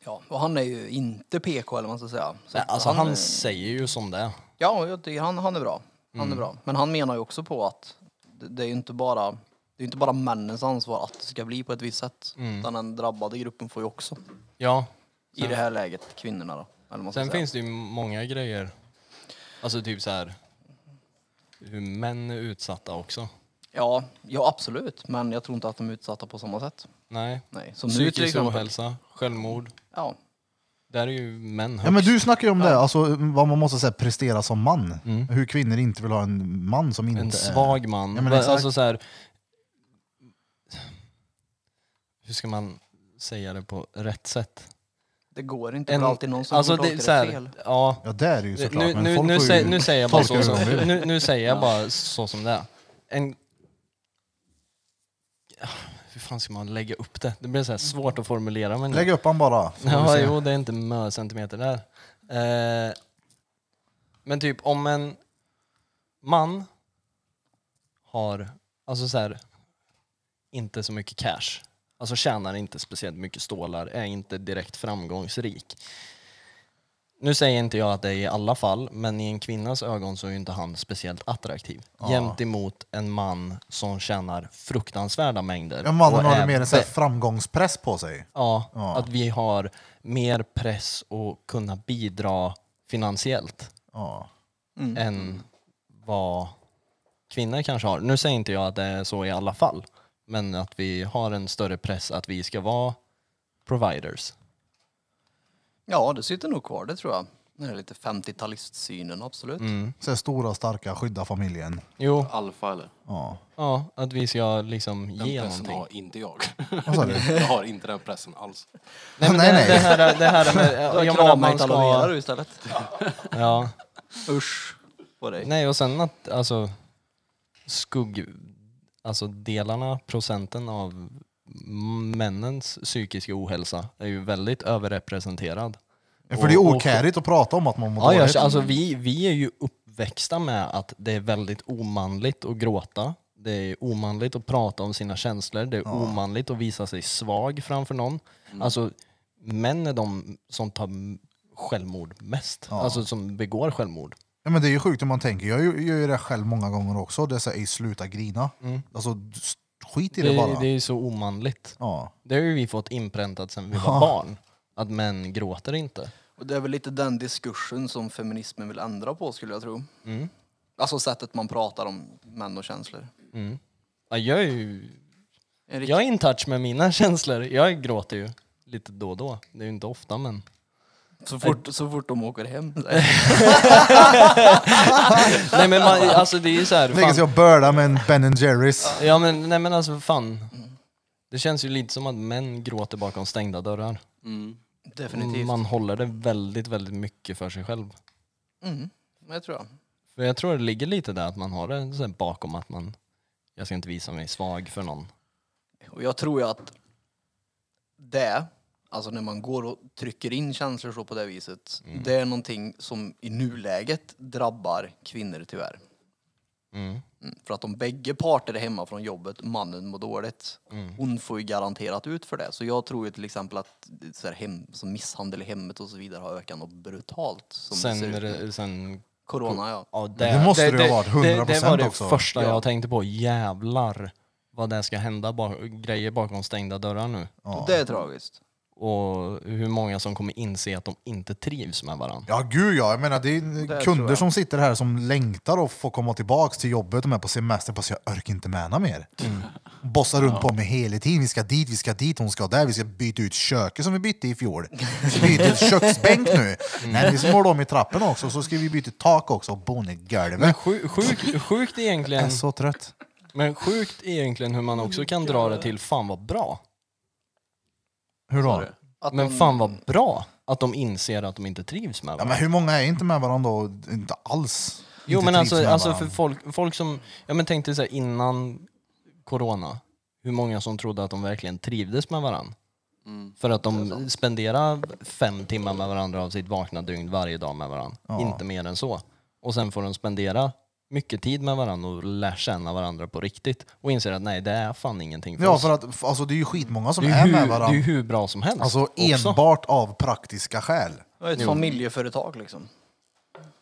Ja, och han är ju inte PK eller vad man ska säga. Så
nej,
att
alltså han,
är-
säger ju som det är.
Ja, jag tycker han, han är bra. Han
Mm.
är bra. Men han menar ju också på att det, det är ju inte bara det är inte bara männens ansvar att det ska bli på ett visst sätt.
Mm.
Utan den drabbade gruppen får ju också,
Ja.
i det här läget, kvinnorna då. Eller vad man ska
Sen
säga.
finns det ju många grejer. Alltså typ så här hur män är utsatta också.
Ja, ja, absolut. Men jag tror inte att de är utsatta på samma sätt.
Nej.
Nej. Som nu till
Psykisk
exempel.
ohälsa, självmord.
Ja.
Där är ju män högst.
Ja, men du snackar ju om det, alltså, vad man måste så här, prestera som man.
Mm.
Hur kvinnor inte vill ha en man som inte
En
är-
svag man.
Ja, men
Va-
exakt.
alltså så här, hur ska man säga det på rätt sätt?
Det går inte. En, alltid någon som
alltså
tolkar
det,
det
så här,
fel.
Ja,
Ja det är det ju såklart.
nu,
men
nu,
folk
nu,
får
sä,
ju
nu säger jag bara
tolka
så,
hur
som,
de vill.
nu, nu säger jag bara så som det är. En, Ah, hur fan ska man lägga upp det? Det blir så här svårt att formulera. Men
Lägg upp han bara. får vi
Ja,
se.
jo, det är inte många centimeter där. Eh, men typ om en man har, alltså så här, inte så mycket cash, alltså tjänar inte speciellt mycket stålar, är inte direkt framgångsrik. Nu säger inte jag att det är i alla fall, men i en kvinnas ögon så är ju inte han speciellt attraktiv. Jämt emot en man som tjänar fruktansvärda mängder.
Ja, mannen
och
har
är
ju mer en så här
vä-
framgångspress på sig.
Ja,
Ja.
att vi har mer press att kunna bidra finansiellt
Ja.
än vad kvinnor kanske har. Nu säger inte jag att det är så i alla fall, men att vi har en större press att vi ska vara providers.
Ja, det sitter nog kvar, det tror jag. Den här lite 50-talistsynen, absolut.
Mm.
Så här stora, starka, skydda familjen.
Jo,
Alfa eller?
Ja.
ja, att vi ska liksom
Den
ge
pressen
någonting.
har inte jag.
Vad sa du?
Jag har inte den pressen alls.
Nej, men
Nej,
det,
nej.
det här, det här med...
Du
jag
har
menar,
kramar
man
italoenare
ska,
du istället.
ja,
Usch på dig.
Nej, och sen att alltså skugg... Alltså delarna, procenten av m- männens psykiska ohälsa är ju väldigt överrepresenterad.
Ja, För det är okärigt att prata om att man mår
Ja,
dåligt.
jag, alltså vi, vi är ju uppväxta med att det är väldigt omanligt att gråta. Det är omanligt att prata om sina känslor. Det är omanligt att visa sig svag framför någon. Alltså män är de som tar m- självmord mest. Alltså som begår självmord.
Ja, men det är ju sjukt hur man tänker. Jag gör gör ju det själv många gånger också. Det är såhär, sluta grina. Alltså, du- skit i det,
Det,
bara.
det är ju så omanligt.
Ja.
Det har ju vi fått inpräntat sedan vi var barn. Att män gråter inte.
Och det är väl lite den diskursen som feminismen vill ändra på skulle jag tro. Alltså sättet man pratar om män och känslor.
Ja, Jag är ju
En rikt-
jag är in touch med mina känslor. Jag gråter ju lite då och då. Det är ju inte ofta men.
Så, fort, så fort de åker hem.
Nej men man, alltså det är ju så här,
Lägger sig
fan.
och bölar liksom, med en Ben Jerrys.
Ja men, nej, men alltså fan. Det känns ju lite som att män gråter bakom stängda dörrar.
Definitivt.
Man håller det väldigt, väldigt mycket för sig själv.
Mm. Men jag tror jag.
För jag tror det ligger lite där att man har det så här bakom att man, jag ska inte visa mig svag för någon.
Och jag tror ju att det, alltså när man går och trycker in känslor så på det viset,
Mm.
det är någonting som i nuläget drabbar kvinnor tyvärr.
Mm.
Mm. För att om bägge parter är hemma från jobbet, mannen mår dåligt,
Mm.
hon får ju garanterat ut för det. Så jag tror ju till exempel att så här hem, som misshandel i hemmet och så vidare har ökat något brutalt. Som det
Sen,
ser
är
ut nu.
det, sen
Corona ja.
Ja,
det måste det ju ha varit 100%
det, det var det
också.
första
Ja.
jag tänkte på. Jävlar vad det ska hända bak, grejer bakom stängda dörrar nu.
Ja.
Det är tragiskt.
Och hur många som kommer inse att de inte trivs med varandra.
Ja, gud ja. Jag menar, det är
tror
kunder
jag.
som sitter här som längtar och får komma tillbaka till jobbet. De är på semester. Bara, så jag orkar inte med henne mer. Bossar runt på mig hela tiden. Vi ska dit, vi ska dit, hon ska där. Vi ska byta ut köket som vi bytte i fjol. Vi byter ut köksbänk nu. Nej, vi ska måla om i trappen också. Så ska vi byta tak också och bonnegolvet.
Sju, sjukt, sjukt
Jag är
egentligen,
så trött.
men sjukt egentligen hur man också kan dra det till fan vad bra.
Hur då?
Att
Men
de-
fan vad bra att de inser att de inte trivs med
Ja, men
varandra.
hur många är inte med varandra då? Inte alls.
Jo
Inte
men
trivs
alltså,
med
alltså
varandra.
för folk, folk som, ja men tänk dig så här, innan corona, hur många som trodde att de verkligen trivdes med varandra.
Mm.
För att de spenderar fem timmar med varandra av sitt vakna dygn varje dag med varandra.
Ja.
Inte mer än så. Och sen får de spendera mycket tid med varandra och lär känna varandra på riktigt. Och inser att nej, det är fan ingenting för
Ja,
oss.
för att f- alltså, det är ju skitmånga som
det,
är
är ju
med
hur, det är ju
varandra.
hur bra som helst.
Alltså
också.
enbart av praktiska skäl.
Det är ett familjeföretag liksom.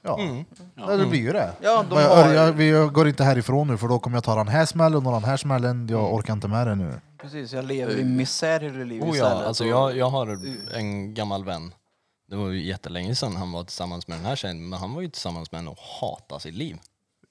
Ja.
Mm.
ja, det blir ju det.
Ja, de
Vad jag,
har-
jag, vi- jag går inte härifrån nu för då kommer jag ta den här smällen och den här smällen.
Mm.
Jag orkar inte med det nu.
Precis, jag lever i misär i livet
Eh. Oh ja,
istället. Mm.
alltså jag, jag har en gammal vän. Det var ju jättelänge sedan han var tillsammans med den här tjejen, men han var ju tillsammans med henne och hatade sitt liv.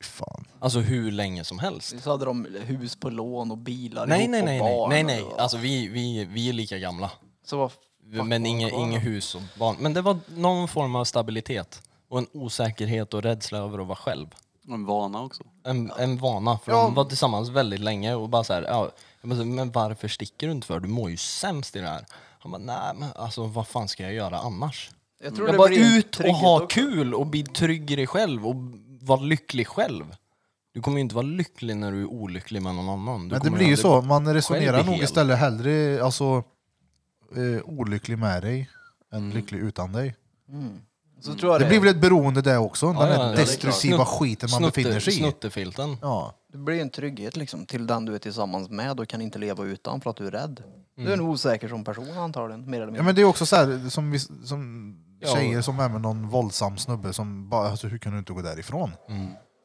Fan.
Alltså hur länge som helst.
Så hade de hus på lån och bilar
Nej,
ihop
nej,
och
nej, nej,
barn
nej,
och-
nej. Alltså vi, vi, vi är lika gamla.
Så vad fuck
Men
var
inget
kvar
inge
då?
hus och barn. Men det var någon form av stabilitet och en osäkerhet och rädsla över att vara själv.
Och en vana också.
En, en vana, för de var tillsammans väldigt länge och bara så här, ja, jag bara så, men varför sticker du inte för? Du mår ju sämst i det här. Han bara, nej men alltså vad fan ska jag göra annars?
Jag tror
Jag
det
bara
blir en
ut och
trygghet
ha
också.
kul och bli trygg i dig själv och vara lycklig själv. Du kommer ju inte vara lycklig när du är olycklig med någon annan. Du
Men det
kommer
blir ju
aldrig-
så. Man resonerar
själv är
nog
hel.
istället hellre alltså, eh, olycklig med dig än
Mm.
lycklig utan dig.
Så tror jag
Det
det,
blir väl ett beroende det också, den
ja, ja,
där
det är
destruktiva
klart.
skiten man
Snutte-
befinner sig i.
Snuttefilten.
Ja.
det blir en trygghet liksom till den du är tillsammans med och kan inte leva utan för att du är rädd. Du är
Mm.
en osäker som person antagligen, mer eller
ja,
mindre.
men det är också så här, som, vi, som
Ja.
tjejer som är med någon våldsam snubbe som bara, alltså, hur kan du inte gå därifrån?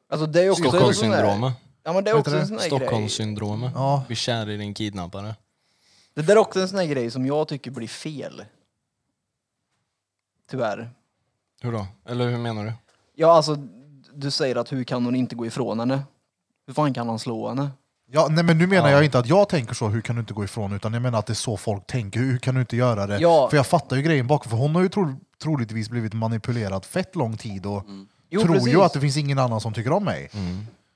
alltså det är också en sån där,
Stockholmssyndromet.
Ja men det är
Vad
också
heter
en sån där grej.
Stockholmssyndromet.
Ja.
Bli kär i din kidnappare.
Det där är också en sån där grej som jag tycker blir fel. Tyvärr.
Hur då? Eller hur menar du?
Ja alltså, du säger att hur kan hon inte gå ifrån henne? Hur fan kan han slå henne?
Ja, nej, men nu menar
Ja.
jag inte att jag tänker så, hur kan du inte gå ifrån? Utan jag menar att det är så folk tänker, hur kan du inte göra det?
Ja.
För jag fattar ju grejen bakom, för hon har ju tro, troligtvis blivit manipulerad fett lång tid och
Mm. Jo,
tror
precis. Mm.
ju att det finns ingen annan som tycker om mig.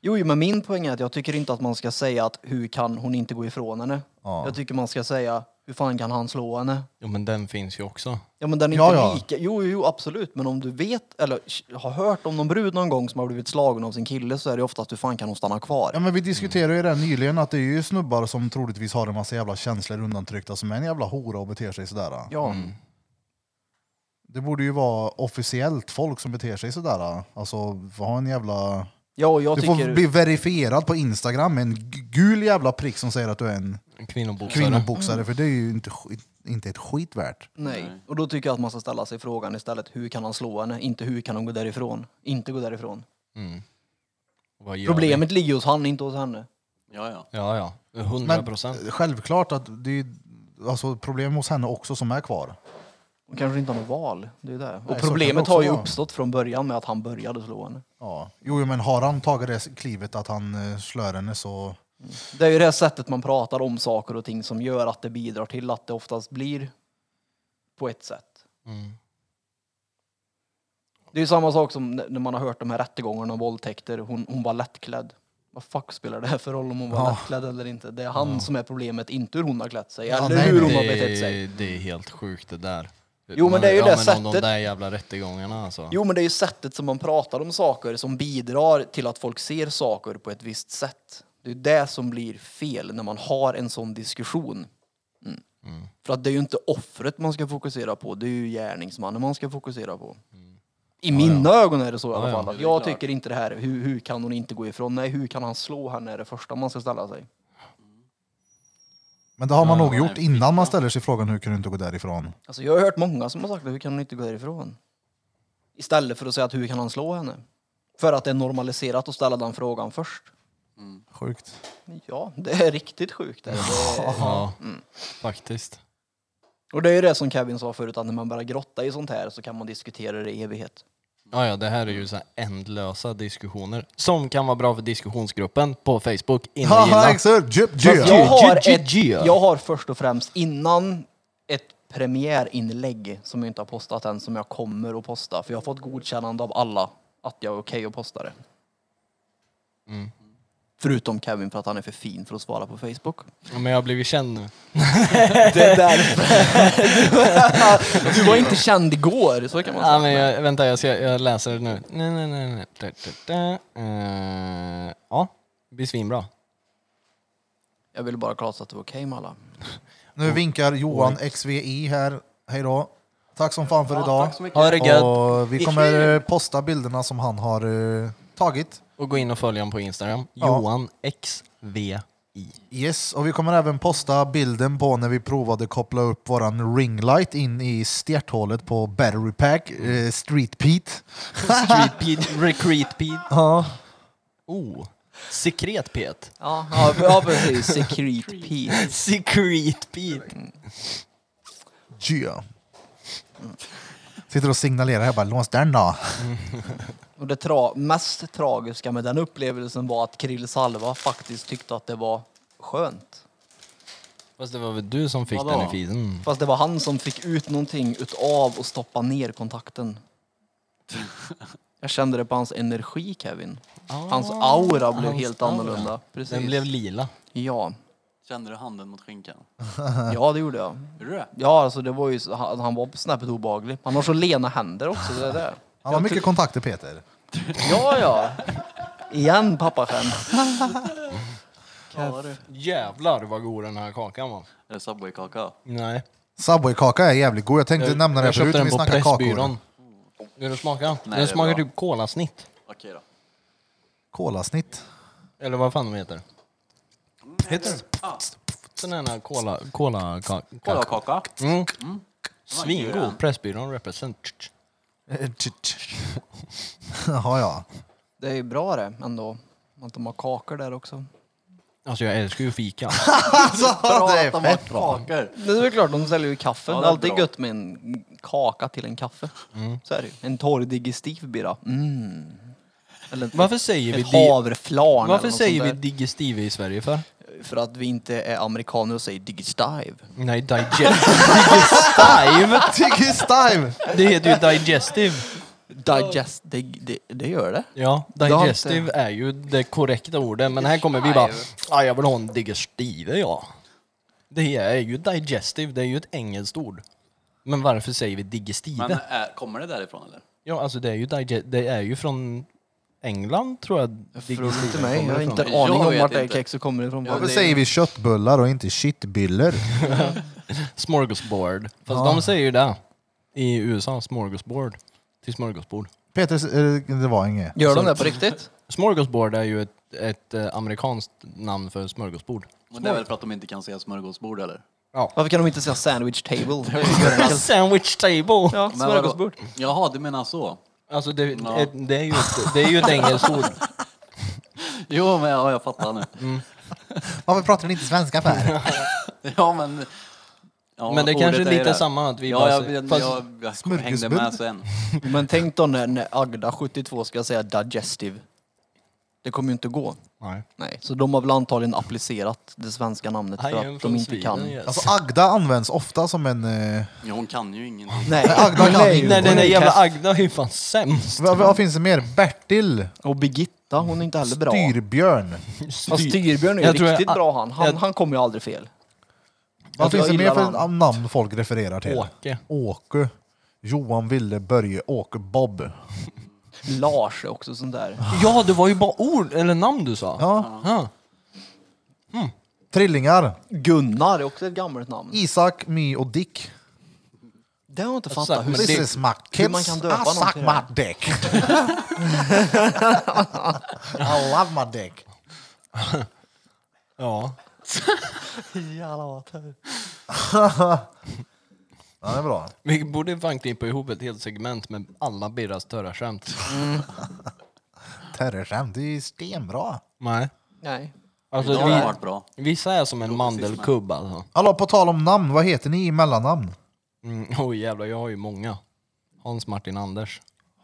Jo, jo, men min poäng är att jag tycker inte att man ska säga att hur kan hon inte gå ifrån henne?
Ja.
Jag tycker man ska säga hur fan kan han slå henne?
Jo men den finns ju också.
Ja men den är
Ja,
inte
ja.
lika. Jo, jo, jo, absolut. Men om du vet eller sh- har hört om någon brud någon gång som har blivit slagen av sin kille så är det oftast hur fan kan hon stanna kvar?
Ja, men vi diskuterade ju det här nyligen, att det är ju snubbar som troligtvis har en massa jävla känslor undantryckta som är en jävla hora och beter sig sådär.
Ja.
Det borde ju vara officiellt folk som beter sig sådär. Alltså, ha en jävla...
Ja, och jag
Du
tycker...
får bli verifierad på Instagram med en g- gul jävla prick som säger att du är en
Kvinnoboxare.
kvinnoboxare, för det är ju inte, skit- inte ett skit värt.
Nej. Och då tycker jag att man ska ställa sig frågan istället hur kan han slå henne? Inte hur kan hon gå därifrån? Inte gå därifrån.
Mm. Vad gör
Problemet ligger hos han, inte hos henne.
Ja, ja.
vi? Ja ja, 100
Men
procent.
självklart att det är alltså, problem hos henne också som är kvar.
Hon kanske inte har något val. Det är det.
så kan
Och
det
problemet
också
har ju
vara.
uppstått från början med att han började slå henne.
Ja. Jo, jo, men har han tagit det klivet att han eh, slår henne så...
Det är ju det här sättet man pratar om saker och ting som gör att det bidrar till att det oftast blir på ett sätt.
Mm.
Det är ju samma sak som när när man har hört de här rättegångarna om våldtäkter. Hon, hon var lättklädd. Vad fuck spelar det här för roll om hon var
Ja.
lättklädd eller inte? Det är han som är problemet, inte hur hon har klätt sig
Ja,
eller
nej, nej.
hur hon har
Det
betett
är-
sig.
Det är helt sjukt det där.
Jo, men det är ju
ja,
det
men Om de
sättet.
där jävla rättegångarna alltså.
Jo, men det är ju sättet som man pratar om saker som bidrar till att folk ser saker på ett visst sätt. Det är ju det som blir fel när man har en sån diskussion. Mm.
Mm.
För att det är ju inte offret man ska fokusera på, det är ju gärningsmannen man ska fokusera på. I mina ögon är det så i alla
Mm. Ja, ja.
fall. Att jag tycker inte det här, hur, hur kan hon inte gå ifrån? Nej, hur kan han slå henne är det första man ska ställa sig.
Men det har man
Ja,
nog
nej,
gjort
fitta.
innan man ställer sig frågan hur kan du inte gå därifrån?
Alltså jag har hört många som har sagt det, hur kan hon inte gå därifrån? Istället för att säga att hur kan han slå henne? För att det är normaliserat att ställa den frågan först.
Sjukt.
Ja, det är riktigt sjukt. Det. Det,
Ja,
Mm.
faktiskt.
och det är ju det som Kevin sa förut, att när man börjar grotta i sånt här så kan man diskutera det i evighet.
Ja, ja, det här är ju så här ändlösa diskussioner som kan vara bra för diskussionsgruppen på Facebook. In och
Haha,
gilla.
exakt! Jup,
Fast
jup.
Jag har,
Gee,
ett,
gee, gee.
jag har först och främst innan ett premiärinlägg som jag inte har postat än, som jag kommer att posta. För jag har fått godkännande av alla att jag är okej att posta det. Förutom Kevin för att han är för fin för att svara på Facebook.
Ja, Men jag har blivit känd nu.
Det är därför. du var inte känd igår, så kan man
Ja,
säga.
men jag, vänta, jag, ska, jag läser det nu. Nej, nej, nej, nej. Da, da, da. Eh, ja, det blir svinbra.
Jag ville bara klara så att det var okej med alla.
Nu vinkar Johan XVI här. Hej då. Tack som fan för idag.
tack så mycket.
Ha det gött. Och...
Och vi kommer eh, posta bilderna som han har eh, tagit.
gå in och följ honom på Instagram.
Ja.
Johan XVI.
Yes, och vi kommer även posta bilden på när vi provade koppla upp våran ringlight in i stjärthålet på Battery Pack, eh, Street Pete.
Street Pete, Recreat Pete.
Ja.
Oh. Sekret E Pete.
Ja, ja, ja precis. Mm. Secret Pete.
Secret Pete.
Yeah. Sitter och signalerar här bara, lås den då.
Och det tra mest tragiska med den upplevelsen var att Krill Salva faktiskt tyckte att det var skönt.
Fast det var väl du som fick
Vadå?
den i feeden?
Fast det var han som fick ut någonting utav och stoppa ner kontakten. Jag kände det på hans energi, Kevin.
Ah,
Hans aura blev
hans
helt
aura.
annorlunda. Precis.
Den blev lila.
Ja.
Kände du handen mot skinkan?
ja, det gjorde jag.
Gjorde du det?
Ja, alltså det var ju, så- han, han var snäppet obehaglig. Han har så lena händer också. Det där.
Han har mycket kontakter Peter.
Ja, ja. Igen pappaskämt.
Jävlar vad god den här kakan var.
Är det Subway-kaka?
Nej.
Subway-kaka är jävligt god. Jag tänkte nämna det
jag
förut
köpte
när
den
vi
på
snackade kakor.
Pressbyrån. Vill du smaka?
Nej, det är
den smakar
bra.
typ kolasnitt.
Okej då.
Kolasnitt.
Eller vad fan de heter.
Heter det?
Den här cola, cola, ka,
Ah, Kolla kaka.
Mm.
Vad gör
Svingod.
den?
Pressbyrån represent.
Jaha ja.
Det är ju bra det ändå. Att de har kakor där också.
Alltså jag älskar ju fika.
Alltså, det är
de har
fett bra.
kakor.
Det är väl klart, de säljer ju kaffe. det
Ja,
är Mm.
det är
alltid
bra.
gött med en kaka till en kaffe. Så är det ju. En torr digestiv blir det. Mm. Eller ett,
Varför säger vi,
ett
di-
havreflarn eller
varför
något
säger vi
sånt
digestive i Sverige för?
där. För att vi inte är amerikaner och säger digestive.
Nej, digest. digestive!
Tiggis time!
Det heter ju digestive.
Digest, det, det, det gör det.
Ja,
har
digestive är ju det korrekta ordet, men här kommer vi bara ah, jag vill ha en digestive ja. Det är ju digestive, det är ju ett engelskt ord. Men varför säger vi digestive?
Men är, kommer det därifrån eller?
Ja, alltså det är ju, digest, det är ju från England tror jag.
Fråga inte
digestiven
mig,
kommer
jag har
ifrån.
inte en
Jag
aning om
vet
vart det här
inte.
kexet kommer ifrån.
Ja,
Varför
det är-
säger vi köttbullar och inte shitbullar?
Smorgasbord. Fast de säger ju det i USA, smorgasbord. Till smörgåsbord.
Peter, eh, det var inget.
Gör de det på riktigt?
Smorgasbord är ju ett, ett eh, amerikanskt namn för smörgåsbord.
Men det är väl för att de inte kan säga smörgåsbord eller?
Varför kan de inte säga sandwich table?
Sandwich table!
ja,
Men vadå?
smörgåsbord.
Jaha, du menar så.
Alltså det,
Ja.
det, det, är ju ett, det är ju ett engelskt ord.
Jo, men ja, jag fattar nu.
Varför pratar ni inte svenska för?
Ja, men... ja,
Men det
ordet
kanske är lite
det.
samma att vi
ja,
bara
jag,
säger-
jag,
fast-
jag, jag hängde
Smörgåsbord.
med sen.
Men tänk då när, när Agda, 72, ska säga digestive. Det kommer ju inte gå.
Nej.
Nej, så de har väl antagligen applicerat det svenska namnet
Han
för
är ju
att de
från
inte
Sweden,
kan.
yes.
Alltså Agda används ofta som en... Eh,
Ja, hon kan ju ingenting.
Nej,
Agda kan
nej,
ju.
Nej, den där
nej,
jävla
Agda.
Agda är ju fan sämst.
vad, vad finns det mer? Bertil?
Och Birgitta, hon är inte heller bra.
Styrbjörn?
Fast Styrbjörn är ju
Jag tror jag-
riktigt bra han. Han,
jag-
han kommer ju aldrig fel.
Vad
Jag
finns det mer
gillar
för
namn.
namn. namn folk refererar till?
Åke.
Åke. Johan, Ville, Börje, Åke, Bob.
Lars är också sån där.
Ja, det var ju bara ord, eller namn du sa.
Ja.
Ja.
Trillingar.
Gunnar är också ett gammalt namn.
Isak, My och Dick.
Det har jag inte
sagt,
fattat.
men
Hur
This
det-
is my
hur man
kids.
kan
I
döpa någon
suck
till det.
my dick. I love my dick.
ja.
Ja, det är bra.
Vi borde fan klippa ihop ett helt segment med alla Birras större skämt.
terrorskämt, det är ju stenbra.
Nej.
Nej.
Alltså,
Idag har det
vi,
varit bra.
vissa är som en mandelkubb alltså.
Hallå, på tal om namn, vad heter ni i mellannamn?
Mm, Oj jävlar, jag har ju många. Hans Martin Anders.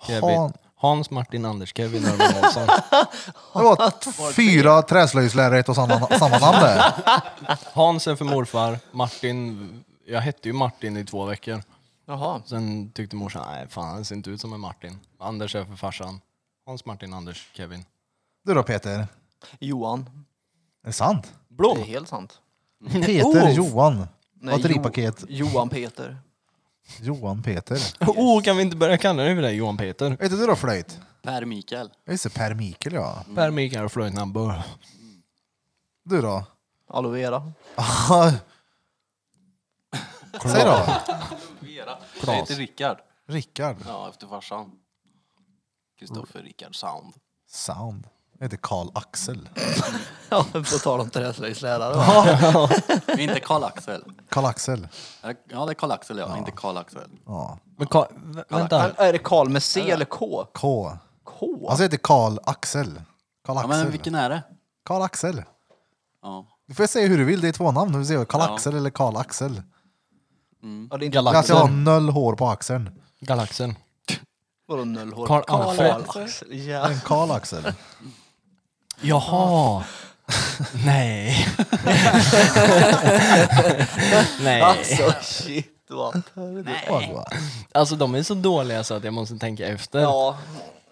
Kevin.
Han-
Hans Martin Anders Kevin Örman Olsson.
Det var t- fyra träslöjdslärare i ett och samma, samma namn där.
Hans är för morfar, Martin, jag hette ju Martin i två veckor.
Jaha.
Sen tyckte morsan, nej fan han ser inte ut som en Martin. Anders är för farsan. Hans Martin Anders Kevin.
Du då Peter? Är
Johan.
det sant?
Det är helt sant.
Peter Johan.
Oh. Nej,
Batteripaket.
Jo, Johan Peter.
Johan Peter.
Oh, kan vi inte börja kalla dig för det Johan Peter?
Vet du då flöjt?
Per Mikael.
Just det, Per Mikael ja.
Per Mikael och Floyd Number.
Du då?
Aloe vera.
Säg då.
Vera. Jag heter Rickard.
Rickard.
Ja, efter farsan. Kristoffer
Mm.
Rickard Sound.
Sound. Jag heter Karl Axel.
Ja, på tal om träslöjdslärare.
Det är Inte Karl-Axel.
Karl Axel.
Ja, det är Karl-Axel ja, inte Karl-Axel.
Ja.
Men Ka- vä- vänta.
Är det Karl med C eller K?
K.
K?
Alltså jag heter Karl Axel. Karl
Ja, men
Axel.
vilken är det?
Karl Axel.
Ja.
Du får säga hur du vill, det är två namn. Du får säga Karl Axel eller Karl Axel. Alltså,
Ja, det är inte
Jag
Galaxen.
ska ha noll hår på axeln.
Galaxen.
Vadå noll hår?
Karl Axel.
Axel. Ja.
En Karl Axel.
Jaha. Nej. Nej.
Alltså shit vad.
Alltså de är så dåliga så att jag måste tänka efter.
Ja,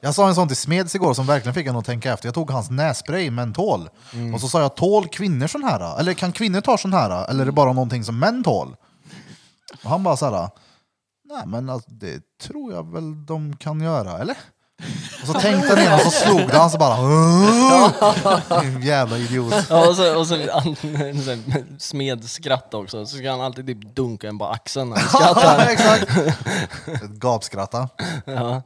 Jag sa en sån till Smeds igår som verkligen fick en att tänka efter. Jag tog hans nässpray, mentol. Och så sa jag, tål kvinnor sån här? Eller kan kvinnor ta sån här? Eller är det bara någonting som män tål? Och han bara så här, nej men alltså, det tror jag väl de kan göra, eller? Och så tänkte han igen och så slog det han så bara... "Åh!" Jävla idiot.
Ja, och så, och så, an- så här, smed skratt också, så ska han alltid typ dunka en på axeln alltså. när han skrattar.
Exakt. Ett gapskratta.
Ja.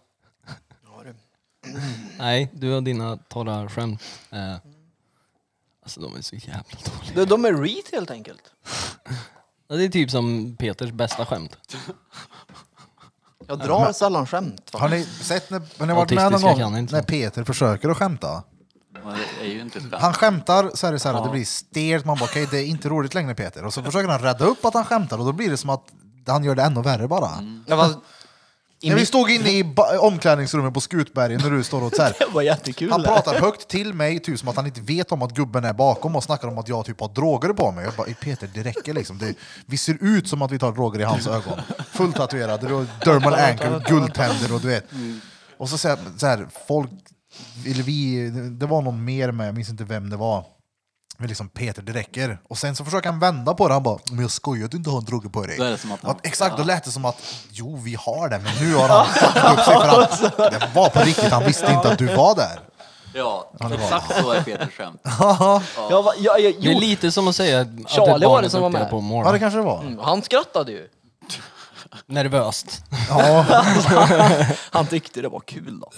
Nej, du har dina torra skämt. Eh, alltså de är så jävla dåliga.
de, de är reet helt enkelt.
Ja, Det är typ som Peters bästa skämt.
Jag drar sällan skämt.
Har
Va?
ni sett när, har ni varit med någon
Autistiska kan
gång
inte.
när Peter försöker att skämta?
Men Det är ju inte ett skämt.
Han skämtar så är det så här, det blir stelt, man bara okej det är inte roligt längre Peter. Och så försöker han rädda upp att han skämtar och då blir det som att han gör det ännu värre bara.
Ja, va, i
När vi
mitt,
stod inne i ba- omklädningsrummet på Skutberget när du står och så här.
det var jättekul.
Han
det.
pratar högt till mig, typ som att han inte vet om att gubben är bakom och snackar om att jag typ har droger på mig. Jag bara, Peter det räcker liksom. Det, vi ser ut som att vi tar droger i hans ögon. Fullt tatuerade, och dermal ankle, guldtänder och du vet.
Mm.
Och så säger jag så här, folk, eller vi, det var någon mer med, jag minns inte vem det var. Men liksom Peter, det räcker. Och sen så försöker han vända på det, han bara “men jag skojar att du inte har en drogge på dig”.
Då är det som att han-
Att- exakt, då lät det som att “jo, vi har det, men nu har han fuckat upp sig för han, det var på riktigt, han visste inte att du var där”.
Ja,
det var-
exakt så är Peters skämt.
Ja, va, ja, ja,
Det är
jo,
lite som att säga att att
Charlie var
ett barn
det
är
som var
duktigare
med.
på
Ja, det
morgonen.
kanske det var.
Mm, han skrattade ju.
Nervöst.
Ja,
Han tyckte det var kul då.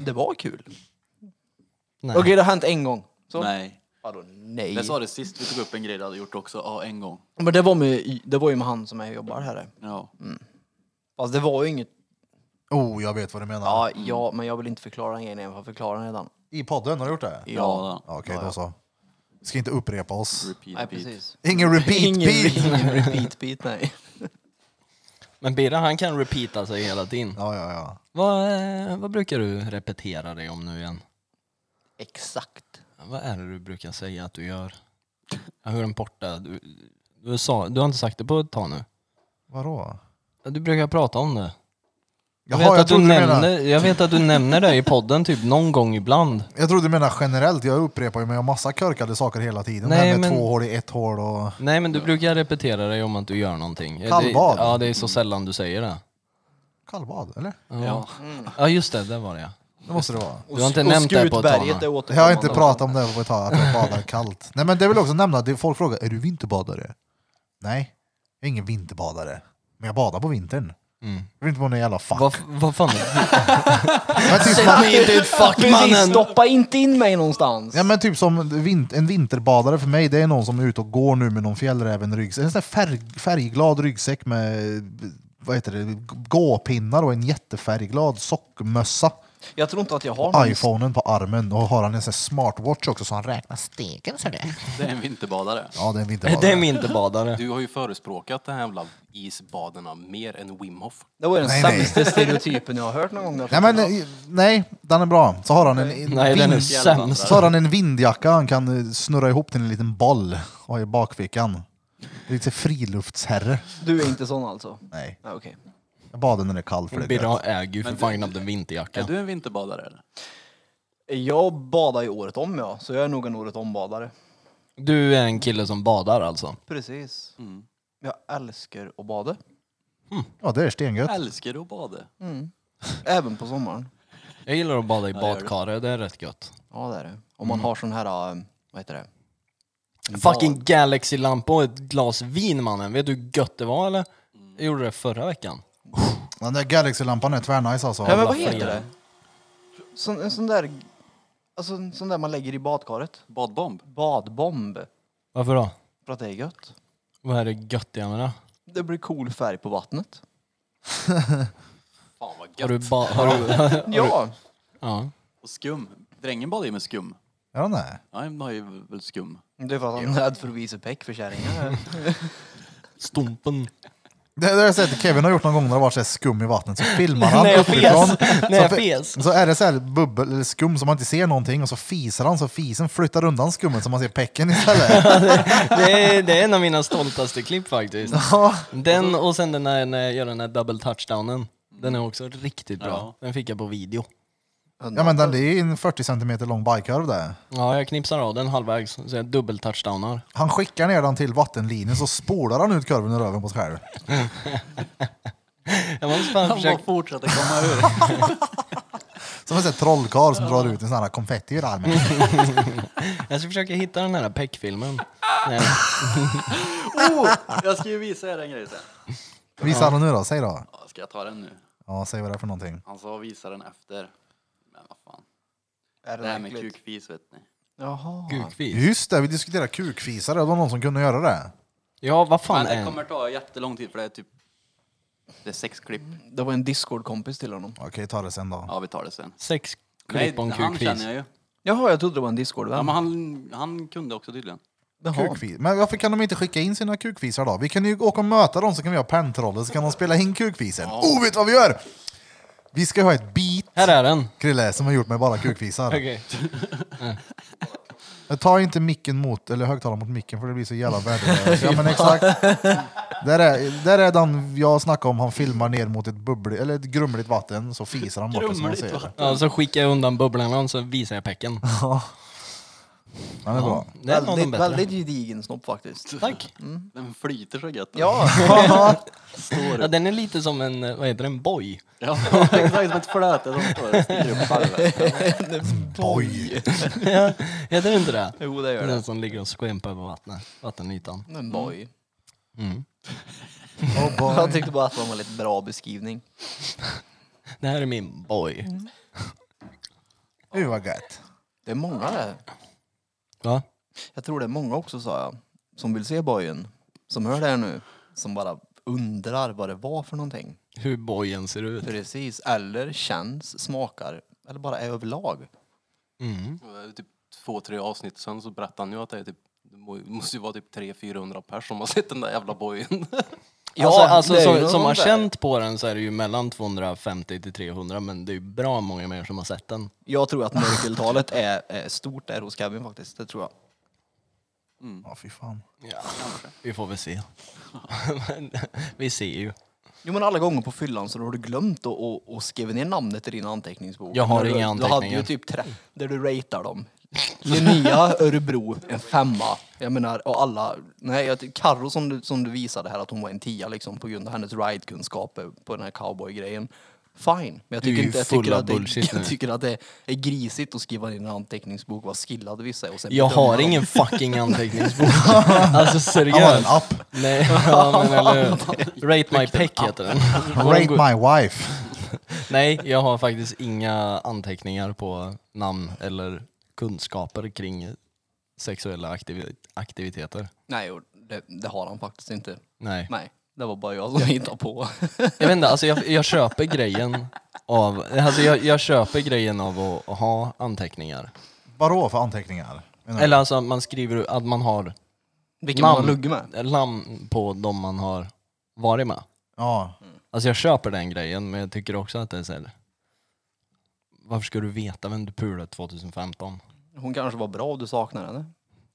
Det var kul.
Nej.
Okej, det har hänt en gång. Så.
Nej.
Vadå nej?
Jag sa det sist vi tog upp en grej du hade gjort också, ja en gång.
Men det var, med, det var ju med han som jag jobbar här.
Ja.
Fast det var ju inget...
oh, jag vet vad du menar.
Ja, mm. ja men jag vill inte förklara den grejen, jag har förklarat den redan.
I podden, har du gjort det?
Ja,
Ja, Okej, då så. Ska inte upprepa oss.
repeat,
Nej,
repeat.
precis.
Ingen repeat
Ingen,
beat!
ingen repeat beat, nej.
Men Birra han kan repeata sig hela tiden.
Ja, ja, ja.
Vad, eh, vad brukar du repetera dig om nu igen?
Exakt.
Vad är det du brukar säga att du gör? Jag hör en borta. Du, du, sa, du har inte sagt det på ett tag nu.
Vadå?
Du brukar prata om det. Jag,
Jaha,
vet, att du
trodde menade-
nämner, jag vet att du nämner det i podden typ någon gång ibland.
Jag trodde du menade generellt, jag upprepar ju men jag har massa körkade saker hela tiden.
Nej,
det här med
men-
två hål i ett hål och...
Nej men du brukar repetera dig om att du gör någonting. Ja, det,
Kallbad.
ja det är så sällan du säger det.
Kallbad, eller?
Ja.
Ja just det, där var det ja.
Det måste det vara.
Du har inte nämnt det på ett tag
Skutberget är
nu.
Jag
återkommande.
har inte pratat om det på ett tag, att jag badar kallt. Nej men det vill jag också nämna, det folk frågar, är du vinterbadare? Nej, jag är ingen vinterbadare. Men jag badar på vintern.
Mm.
Jag vill inte vara någon jävla fuck.
Vad, vad fan?
Men typ som-
Nej, inte ut fuck
Precis,
mannen!
stoppa inte in mig någonstans.
Ja men typ som vin- en vinterbadare för mig, det är någon som är ute och går nu med någon fjällräven-ryggsäck. En sån här färg, färgglad ryggsäck med vad heter det, gåpinnar och en jättefärgglad sockmössa.
Jag tror inte att jag har någon...
Iphonen på armen och har han en sån här smartwatch också så han räknar stegen så det.
Det är en vinterbadare.
Ja, den vill inte vara
Det är
där.
vinterbadare.
Du har ju förespråkat den här jävla isbaderna mer än Wim Hof.
Det var ju den
Nej, nej.
sämsta stereotypen jag har hört någon gång. där.
Nej, men, eh, nej, den är bra. Så har han en, en
Nej, den är
vind-
sämst.
så har han en vindjacka han kan eh, snurra ihop till en liten boll och ha i bakfickan. Lite friluftsherre.
Du är inte sån alltså?
Nej,
Ja, okej.
jag badar när det är kallt för det är gött.
Birra äger ju för fan knappt en vinterjacka.
Är du en vinterbadare eller?
Jag badar ju året om ja, så jag är nog en året om-badare.
Du är en kille som badar alltså?
Precis. Jag älskar att bada.
Ja, det är stengött.
Älskar du att bada?
Även på sommaren.
Jag gillar att bada i
gör det.
badkaret, det är rätt gött.
Ja, det är det. Om man har sån här, eh, vad heter det? En
Fucking
bad-
Galaxy-lampa och ett glas vin mannen. Vet du hur gött det var eller? Jag gjorde det förra veckan.
Den där Galaxy-lampan är tvärnice alltså.
Ja, men vad
Alla
heter
friar.
det? Sån, en sån där, alltså en sån där man lägger i badkaret.
Badbomb?
Badbomb.
Varför då?
För att det är gött.
Vad är det göttiga med det?
Det blir cool färg på vattnet.
Fan vad gött.
Har du ba- har du...
Ja,
ja.
Och skum? Drängen badar ju med skum.
Ja, den är.
Ja, han har ju väl skum.
det är för att han är rädd för att visa peck för kärringar.
Stumpen.
Det det har jag sett Kevin har gjort någon gång när det varit så här skum i vattnet så filmar han
När jag
uppifrån.
fes. När jag
Så-
fes.
Så är det så här bubbel eller skum som man inte ser någonting och så fiser han så fisen flyttar undan skummet så man ser pecken istället.
Det är, det är en av mina stoltaste klipp faktiskt.
Ja.
Den och sen den när, när jag gör den här double touchdownen. Den är också riktigt bra. Den fick jag på video.
ja men den det är ju en 40 cm lång bajkorv där.
Ja, jag knipsar av den halvvägs så jag dubbel touchdownar.
Han skickar ner den till vattenlinjen så spolar han ut korven ur röven på sig själv.
Jag måste fan
Han bara
försöka...
fortsätter komma ur.
Som en sån här trollkarl som drar ut en sån här konfetti ur armen.
Jag ska försöka hitta den här peckfilmen. Nej,
Oh, jag ska ju visa er en grej sen.
Visa den nu då, säg då.
Ja, Ska jag ta den nu?
Ja, säg vad det är för någonting.
Han sa visa den efter. Men vad fan.
Är
Det här med
äckligt?
kukfis vet ni.
Jaha.
Gukfis.
Just det, vi diskuterade kukfisare, det var någon som kunde göra det.
Ja, vad fan
Men
är
det
den?
kommer ta jättelång tid för det är typ... Det är sex klipp.
Det var en Discord-kompis till honom.
Okej, ta det sen då.
Ja, vi tar det sen.
Sex
Nej,
klipp om
han känner
kukfis.
jag ju.
Jaha, jag trodde det var en
Ja,
Discord-vän.
men han, han kunde också tydligen.
Jaha.
Kukfis. Men varför kan de inte skicka in sina kukfisar då? Vi kan ju åka och möta dem så kan vi ha pentroller så kan de spela in kukfisen. Oh, vet du vad vi gör? Vi ska ha ett beat,
Här är den.
Krille, som har gjort med bara kukfisar.
Okej.
Ta inte micken mot, eller högtalaren mot micken för det blir så jävla värdelöst. Ja men exakt. Där är, där är den jag snackade om, han filmar ner mot ett bubbligt, eller ett grumligt vatten så fisar han bort det som man
Grumligt
ser. det.
vatten.
Ja, så skickar jag undan bubblorna och så visar jag pecken.
Han är bra.
Det är nog den
väldigt,
bättre.
väldigt gedigen snopp faktiskt.
Tack.
Den flyter så gött.
Ja,
Ja, den är lite som en, vad heter den, boy.
Ja, exakt som ett flöte som står och stiger upp valvet.
Oj!
Heter det inte det?
jo det gör det.
Den som ligger och skvämpar över vattnet, vattenytan.
Men boy.
Oh boy.
Mm. Jag tyckte bara att det var en väldigt bra beskrivning.
Det här är min boy.
Mm.
Gud vad gött.
Det är många det.
Va?
Jag tror det är många också sa jag, som vill se bojen. Som hör det här nu. Som bara undrar vad det var för någonting.
Hur bojen ser ut.
Precis. Eller känns, smakar. Eller bara är överlag.
Mm.
Och det är Typ två, tre avsnitt sen så berättade han ju att det är typ det må- måste ju vara typ 300-400 personer som har sett den där jävla bojen.
Ja,
alltså, alltså,
det är ju
som,
någon
som har
där.
känt på den så är det ju mellan 250 till 300 men det är ju bra många mer som har sett den.
Jag tror att mörkeltalet är, är stort där hos Kevin faktiskt. Det tror jag.
Mm.
Ja fy fan.
Ja, vi får väl se. Men, vi ser ju.
Jo men alla gånger på fyllan så har du glömt att att- att skriva ner namnet i din anteckningsbok.
Jag har
Men du,
inga
Du hade
anteckningar.
ju typ tre, där du ratear dem. Linnea, Örebro, en femma. Jag menar, och alla... Nej, jag, ty- Carro som du, som du visade här, att hon var en tia liksom på grund av hennes ride-kunskaper på den här cowboy-grejen. Fine, men jag
Du är
tycker,
ju
inte, jag,
full
tycker
av
att det,
bullshit nu.
jag tycker att det är grisigt att skriva ner i en anteckningsbok vad skillade vissa är. Och sen
Jag
bedöma
har
dem.
ingen fucking anteckningsbok. alltså
Han har en
seriöst.
app.
Nej, ja, men eller hur? Rate My Peck heter den.
Rate my wife.
Nej, jag har faktiskt inga anteckningar på namn eller kunskaper kring sexuella aktivi- aktiviteter.
Nej, och det, det har han faktiskt inte.
Nej.
Nej, det var bara jag som hittade på.
Jag vet inte, alltså jag, jag köper grejen av, alltså jag, jag köper grejen av att, att ha anteckningar.
Vadå för anteckningar? Menar du?
Eller alltså att man skriver att man har
Vilken man har
Namn.
lugg med.
namn på de man har varit med.
Ja.
Alltså jag köper den grejen, men jag tycker också att det är så här, Varför ska du veta vem du pulade 2015?
Hon kanske var bra och du saknar henne.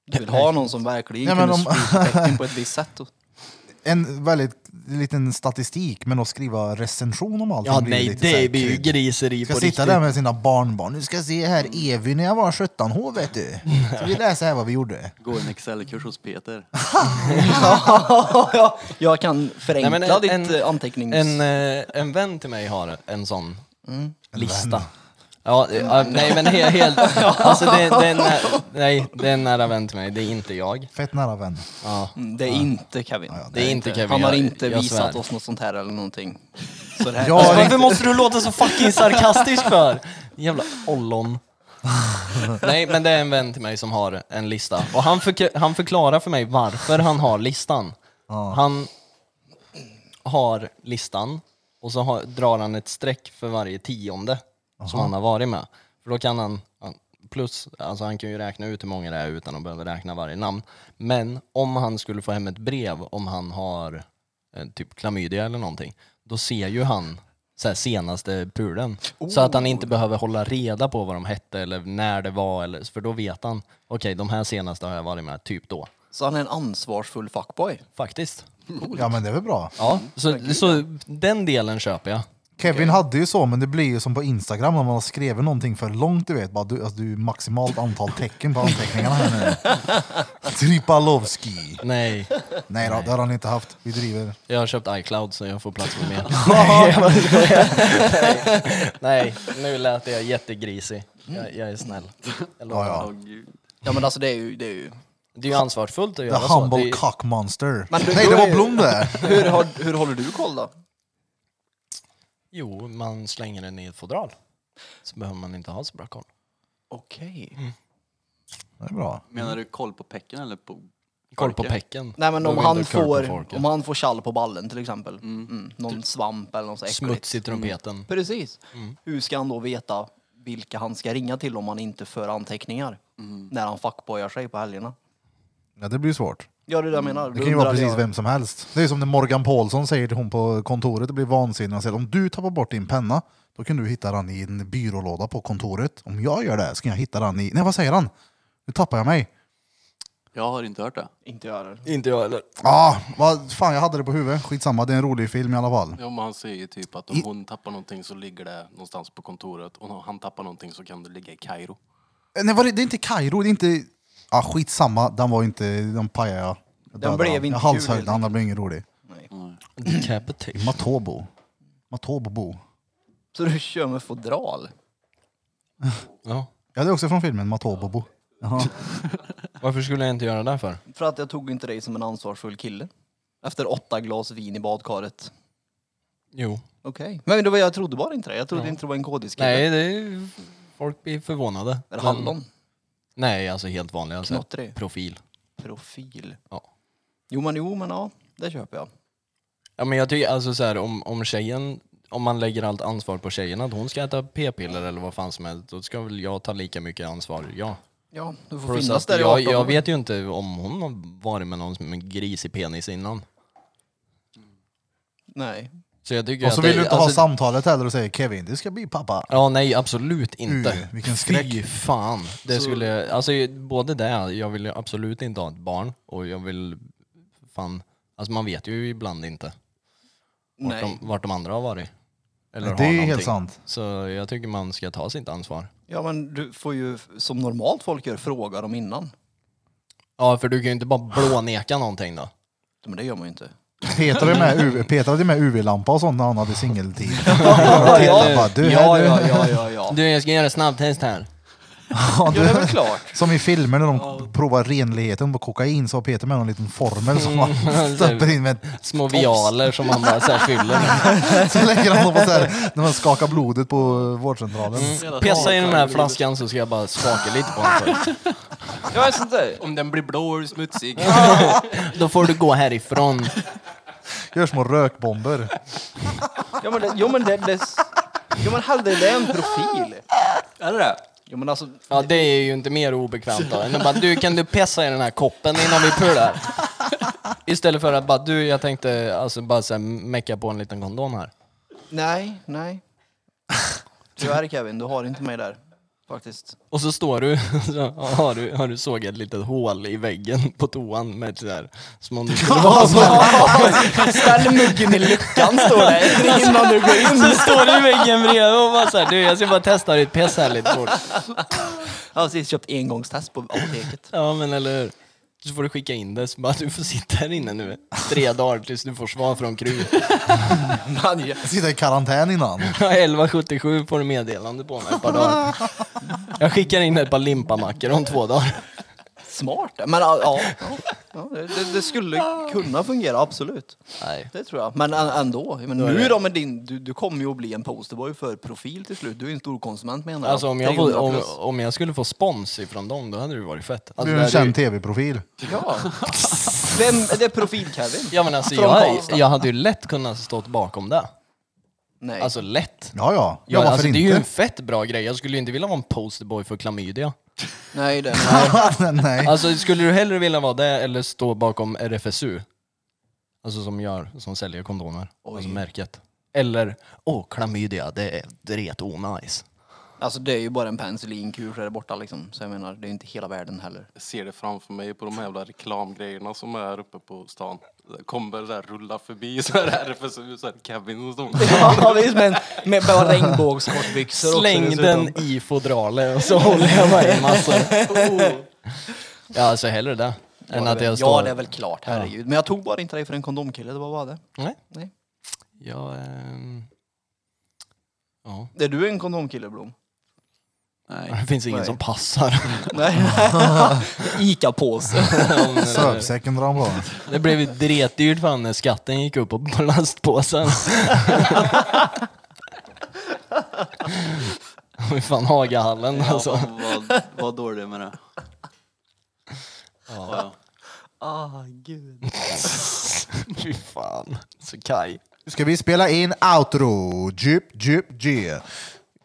Du vill ha någon som verkligen
Nej, men
kunde
om-
skriva teckning på ett visst sätt. Och...
En väldigt liten statistik, men att skriva recension om allting
Ja
blir
nej,
lite så här
det blir ju
krydd.
griseri på
Ska
riktigt.
sitta där med sina barnbarn. Nu ska se här, Evy när jag var 17 H vet du. Ska vi läsa här vad vi gjorde?
Gå en Excel-kurs hos Peter.
ja, jag kan förenkla
Nej, men
ditt
en-
eh, antecknings...
En, eh, en vän till mig har en sån
Mm.
lista. Ja, eh, ja, nej men helt, helt alltså det, det, är en, nä- nej, det är en nära vän till mig, det är inte jag.
Fett nära vän.
Ja,
Mm, Det är inte Kevin.
det är inte Kevin.
Han har
jag-
inte
jag
visat
svär.
oss något sånt här eller någonting. Så det här...
Jag har
Alltså, Varför
inte,
måste du låta så fucking sarkastisk för? Jävla ollon. Nej, men det är en vän till mig som har en lista. Och han, förk- han förklarar för mig varför han har listan. Han har listan och så har, drar han ett streck för varje tionde som han har varit med. För då kan han, han- plus, alltså han kan ju räkna ut hur många det är utan att behöva räkna varje namn. Men om han skulle få hem ett brev, om han har eh, typ klamydia eller någonting, då ser ju han så här, senaste pulen. Så att han inte behöver hålla reda på vad de hette eller när det var, eller, för då vet han, okej de här senaste har jag varit med typ då.
Så han är en ansvarsfull fuckboy.
Faktiskt.
ja men det är väl bra.
Ja, så, så den delen köper jag.
Kevin hade ju så, men det blir ju som på Instagram när man har skrivit någonting för långt, du vet. Bara, du, alltså, du är maximalt antal tecken på anteckningarna här nu. Tripalovski.
Nej,
Nej då, det har han inte haft. Vi driver.
jag har köpt iCloud så jag får plats med mer. Nej, nu lät jag jättegrisig. Jag, jag är snäll. Jag lovar.
Ja, ja.
Ja men alltså det är ju... Det är ju...
Det är ju ansvarsfullt att
The
göra så. Det
humble
är,
cock monster.
Men du-
Nej,
då
det
är-
var Blom det!
Hur, har, hur håller du koll då?
jo, man slänger den i ett fodral. Så behöver man inte ha så bra koll.
Okej.
Det är bra.
Menar du koll på pecken eller på...
Koll på
Folket?
pecken.
Nej men
Då
om
går
han,
inte curl på
får,
folket.
om han får kall på ballen till exempel. Mm. Någon svamp eller något så äckligt.
Smuts i trumpeten.
Precis.
Mm.
Hur ska han då veta vilka han ska ringa till om han inte för anteckningar?
Mm.
När han fuckboyar sig på helgerna.
Ja, det blir ju svårt.
Ja det är det jag
Mm.
menar.
Det kan ju vara precis vem som helst. Det är som när Morgan Paulsson säger till hon på kontoret, det blir vansinnigt. Han säger om du tappar bort din penna, då kan du hitta den i en byrålåda på kontoret. Om jag gör det, ska jag hitta den i... Nej, vad säger han? Nu tappar jag mig.
Jag har inte hört det.
Inte jag heller.
Inte jag heller.
Ah, vad fan, jag hade det på huvudet. Skitsamma, det är en rolig film i alla fall.
Ja, men han säger ju typ att om hon tappar någonting så ligger det någonstans på kontoret. Och om han tappar någonting så kan det ligga i Kairo.
Eh, Nej, var det, det är inte Kairo, det är inte... Ah, skitsamma, den var ju inte... Den pajade jag. jag. dödade
blev
han.
inte
Jag
kul,
halshögg
helt
den, den blev ingen rolig.
Decapitation.
Matobo. Matobobo.
Så du kör med fodral?
Ja.
Ja, det är också från filmen Matobobo. Jaha.
Varför skulle jag inte göra det för?
För att jag tog inte dig som en ansvarsfull kille. Efter åtta glas vin i badkaret.
Jo.
Okej. Men det var, jag trodde bara inte det. Jag trodde inte det var en kodiskille.
Nej, Mm. det är ju... Folk blir förvånade.
Eller
Men-
hallon.
Nej, alltså helt vanliga. Alltså,
Knottrig.
profil.
Profil.
Ja.
Jo men jo men ja, det köper jag.
Ja, men jag tycker alltså så här, om, om tjejen, om man lägger allt ansvar på tjejen att hon ska äta p-piller eller vad fan som helst, då ska väl jag ta lika mycket ansvar, ja.
Ja, du får
Plus
finnas
att
där i
jag,
18
jag vet ju inte om hon har varit med någon som en gris i penis innan.
Nej.
Så jag tycker
Och så
att det-
vill du inte ha
alltså-
samtalet heller och säger Kevin, du ska bli pappa.
Ja, nej absolut inte.
Uy, vilken skräck.
Fy fan. Det skulle, jag- alltså både det, jag vill ju absolut inte ha ett barn och jag vill, fan, alltså man vet ju ibland inte vart,
Nej.
De, vart de andra har varit. Eller
Det är
har
ju helt
någonting.
sant.
Så jag tycker man ska ta sitt ansvar.
Ja men du får ju som normalt folk gör fråga dem innan.
Ja, för du kan ju inte bara blåneka någonting då.
Men det gör man ju inte.
Peter hade med, UV, Peter hade med UV-lampa och sånt när han hade singeltid.
eller-
Bara, du,
Ja,
här, du.
ja, ja, ja, ja.
Du, jag ska göra snabbtest här.
Ja,
Ja, det är
du.
väl klart.
Som i filmer när de provar renligheten på kokain så har Peter med någon liten formel som man stöper in med.
Små vialer som man bara så här fyller.
Så lägger han dem på så här, när man skakar blodet på vårdcentralen.
Pessa i den här flaskan så ska jag bara skaka lite på den. först.
Ja, sånt där.
Om den blir blå och smutsig.
Då får du gå härifrån.
Gör små rökbomber.
Ja, men det, jo, men det, det, Jo men hellre det är en profil.
Är det det?
Jo men alltså,
Ja, det är ju inte mer obekvämt då än att bara, du kan du pissa i den här koppen innan vi pular? Istället för att bara, du jag tänkte alltså bara så här, mecka på en liten kondom här.
nej, nej. Tyvärr Kevin, du har inte mig där. Faktiskt.
Och så står du, så har du, har du sågat ett litet hål i väggen på toan med ett sådär, som om du skulle vara så
Ställ muggen i luckan står det
Alltså-
innan du går in.
Så alltså, står du i väggen bredvid och bara såhär, du jag ska bara testa ditt piss här lite fort.
Jag har precis köpt engångstest på apoteket.
Ja men eller hur. Så får du skicka in det, så bara du får sitta här inne nu tre dagar tills du får svar från Kry.
Man, ja.
Jag sitter i karantän innan.
1177 får du meddelande på mig ett par dagar. Jag skickar in ett par limpamackor om två dagar.
Smart. Men ja, ja, ja det, det skulle kunna fungera absolut.
Nej.
Det tror jag. Men ä- ändå. Men
är
nu
det-
då med din, du, du kommer ju att bli en posterboy för profil till slut. Du är en stor konsument menar jag.
Alltså om jag, får,
300
om,
plus.
om jag skulle få spons ifrån dem, då hade det ju varit fett. Alltså,
Du är
det
en
hade ju-
känd tv-profil.
Ja. Vem, är det profil-Kevin?
Ja men alltså
Från
jag,
Karlstad.
jag hade ju lätt kunnat stått bakom det.
Nej.
Alltså lätt.
Ja, ja. Ja,
Ja,
varför
alltså, det
inte?
är ju en fett bra grej. Jag skulle ju inte vilja vara en posterboy för klamydia.
Nej, det,
Nej.
Alltså skulle du hellre vilja vara det eller stå bakom RFSU? Alltså som gör, som säljer kondomer. Alltså märket. Eller, åh klamydia, det är ret onajs.
alltså, det är ju bara en penicillinkur så är det borta liksom. Så jag menar, det är ju inte hela världen heller.
Jag ser det framför mig på de jävla reklamgrejerna som är här uppe på stan. Det Kommer där rulla förbi så här RFSU, så här Kevin och så.
Ja, visst, men med bara regnbågskortbyxor också
Släng
dessutom.
den i fodralet och så håller jag mig i massor. Ja, alltså hellre det. Än att jag står...
Oh. Ja, det är väl klart, herregud. Men jag tog bara inte dig för en kondomkille, det var bara det.
Nej.
Nej.
Jag, ehm, ja.
Är du en kondomkille, Blom?
Nej.
Det finns ingen
Nej.
som passar.
Nej. Ica-påse.
Ja, men det-
Söpsäcken drar han på.
det blev ju dretdyrt fan när skatten gick upp på lastpåsen. Fy fan Hagahallen alltså.
Ja, vad, vad dålig med det. Ja.
Ah, gud.
Fy fan. Så Kaj.
Ska vi spela in outro? Djup, djup, djup.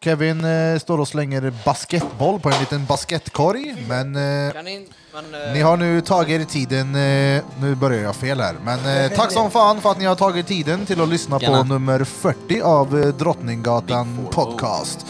Kevin eh, står och slänger basketboll på en liten basketkorg, men eh,
Kan ni, men,
ni har nu tagit er tiden... Eh, nu börjar jag fel här, men eh, tack som fan för att ni har tagit tiden till att lyssna på
Gärna.
nummer 40 av eh, Drottninggatan Podcast.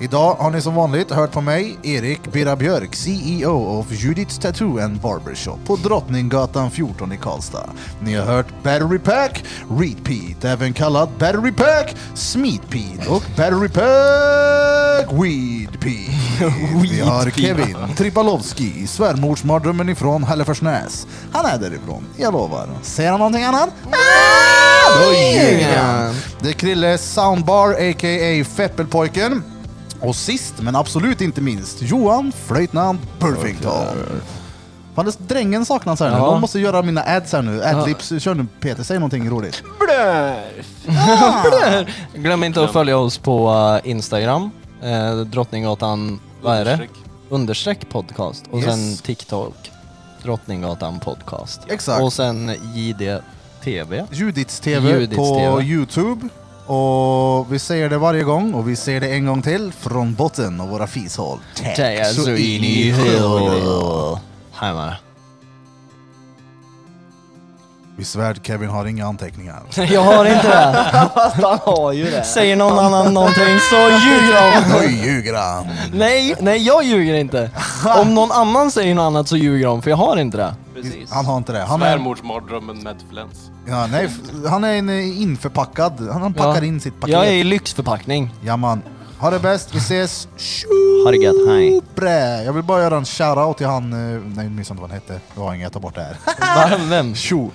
Idag har ni som vanligt hört på mig, Erik Birra Björk, CEO of Judith's Tattoo and Barbershop på Drottninggatan 14 i Karlstad. Ni har hört Battery Pack, Reed Pete, även kallad Battery Pack, Smeet Pete och Battery Pack, Weed Pete. Vi har Kevin Tripalovski, svärmorsmardrömmen ifrån Hälleforsnäs. Han är därifrån, jag lovar. Säger han någonting annat? Ah, då ljuger han. Det är Krilles soundbar, a.k.a. Feppelpojken. Och sist men absolut inte minst, Johan Flöjtnant Burfington. Fan, det- drängen saknas här nu.
Ja.
De måste göra mina ads här nu. Adlibs, kör nu Peter, säg någonting roligt.
Glöm inte att följa oss på eh, Instagram. Eh, Drottninggatan, vad är det?
Understreck.
Understreck podcast. Och
Yes.
sen TikTok. Drottninggatan podcast.
Exakt.
Och sen JDTV.
Judits TV
Judits
på
TV.
Youtube. Och vi säger det varje gång och vi säger det en gång till från botten av våra fishål.
Tack så in i helvete. Hej med
Vi svär Kevin har inga anteckningar.
Jag har inte det.
Fast han har ju det.
Säger någon annan någonting så ljuger de.
Nu ljuger han!
Nej, nej jag ljuger inte. Om någon annan säger något annat så ljuger de för jag har inte det.
Precis.
Han har inte det. Han är,
Svärmorsmardrömmen med Flens.
ja, nej, f- han är en eh, införpackad. Han- Han packar in sitt paket.
Jag är i lyxförpackning.
Ja man. Ha det bäst, vi ses!
Ha det gött, hej.
Tjobre!
Ah.
Jag vill bara göra en shoutout till han... eh, Nej, jag minns inte vad han hette. Det var inget, jag tar bort det här.
Vem?
Tjo!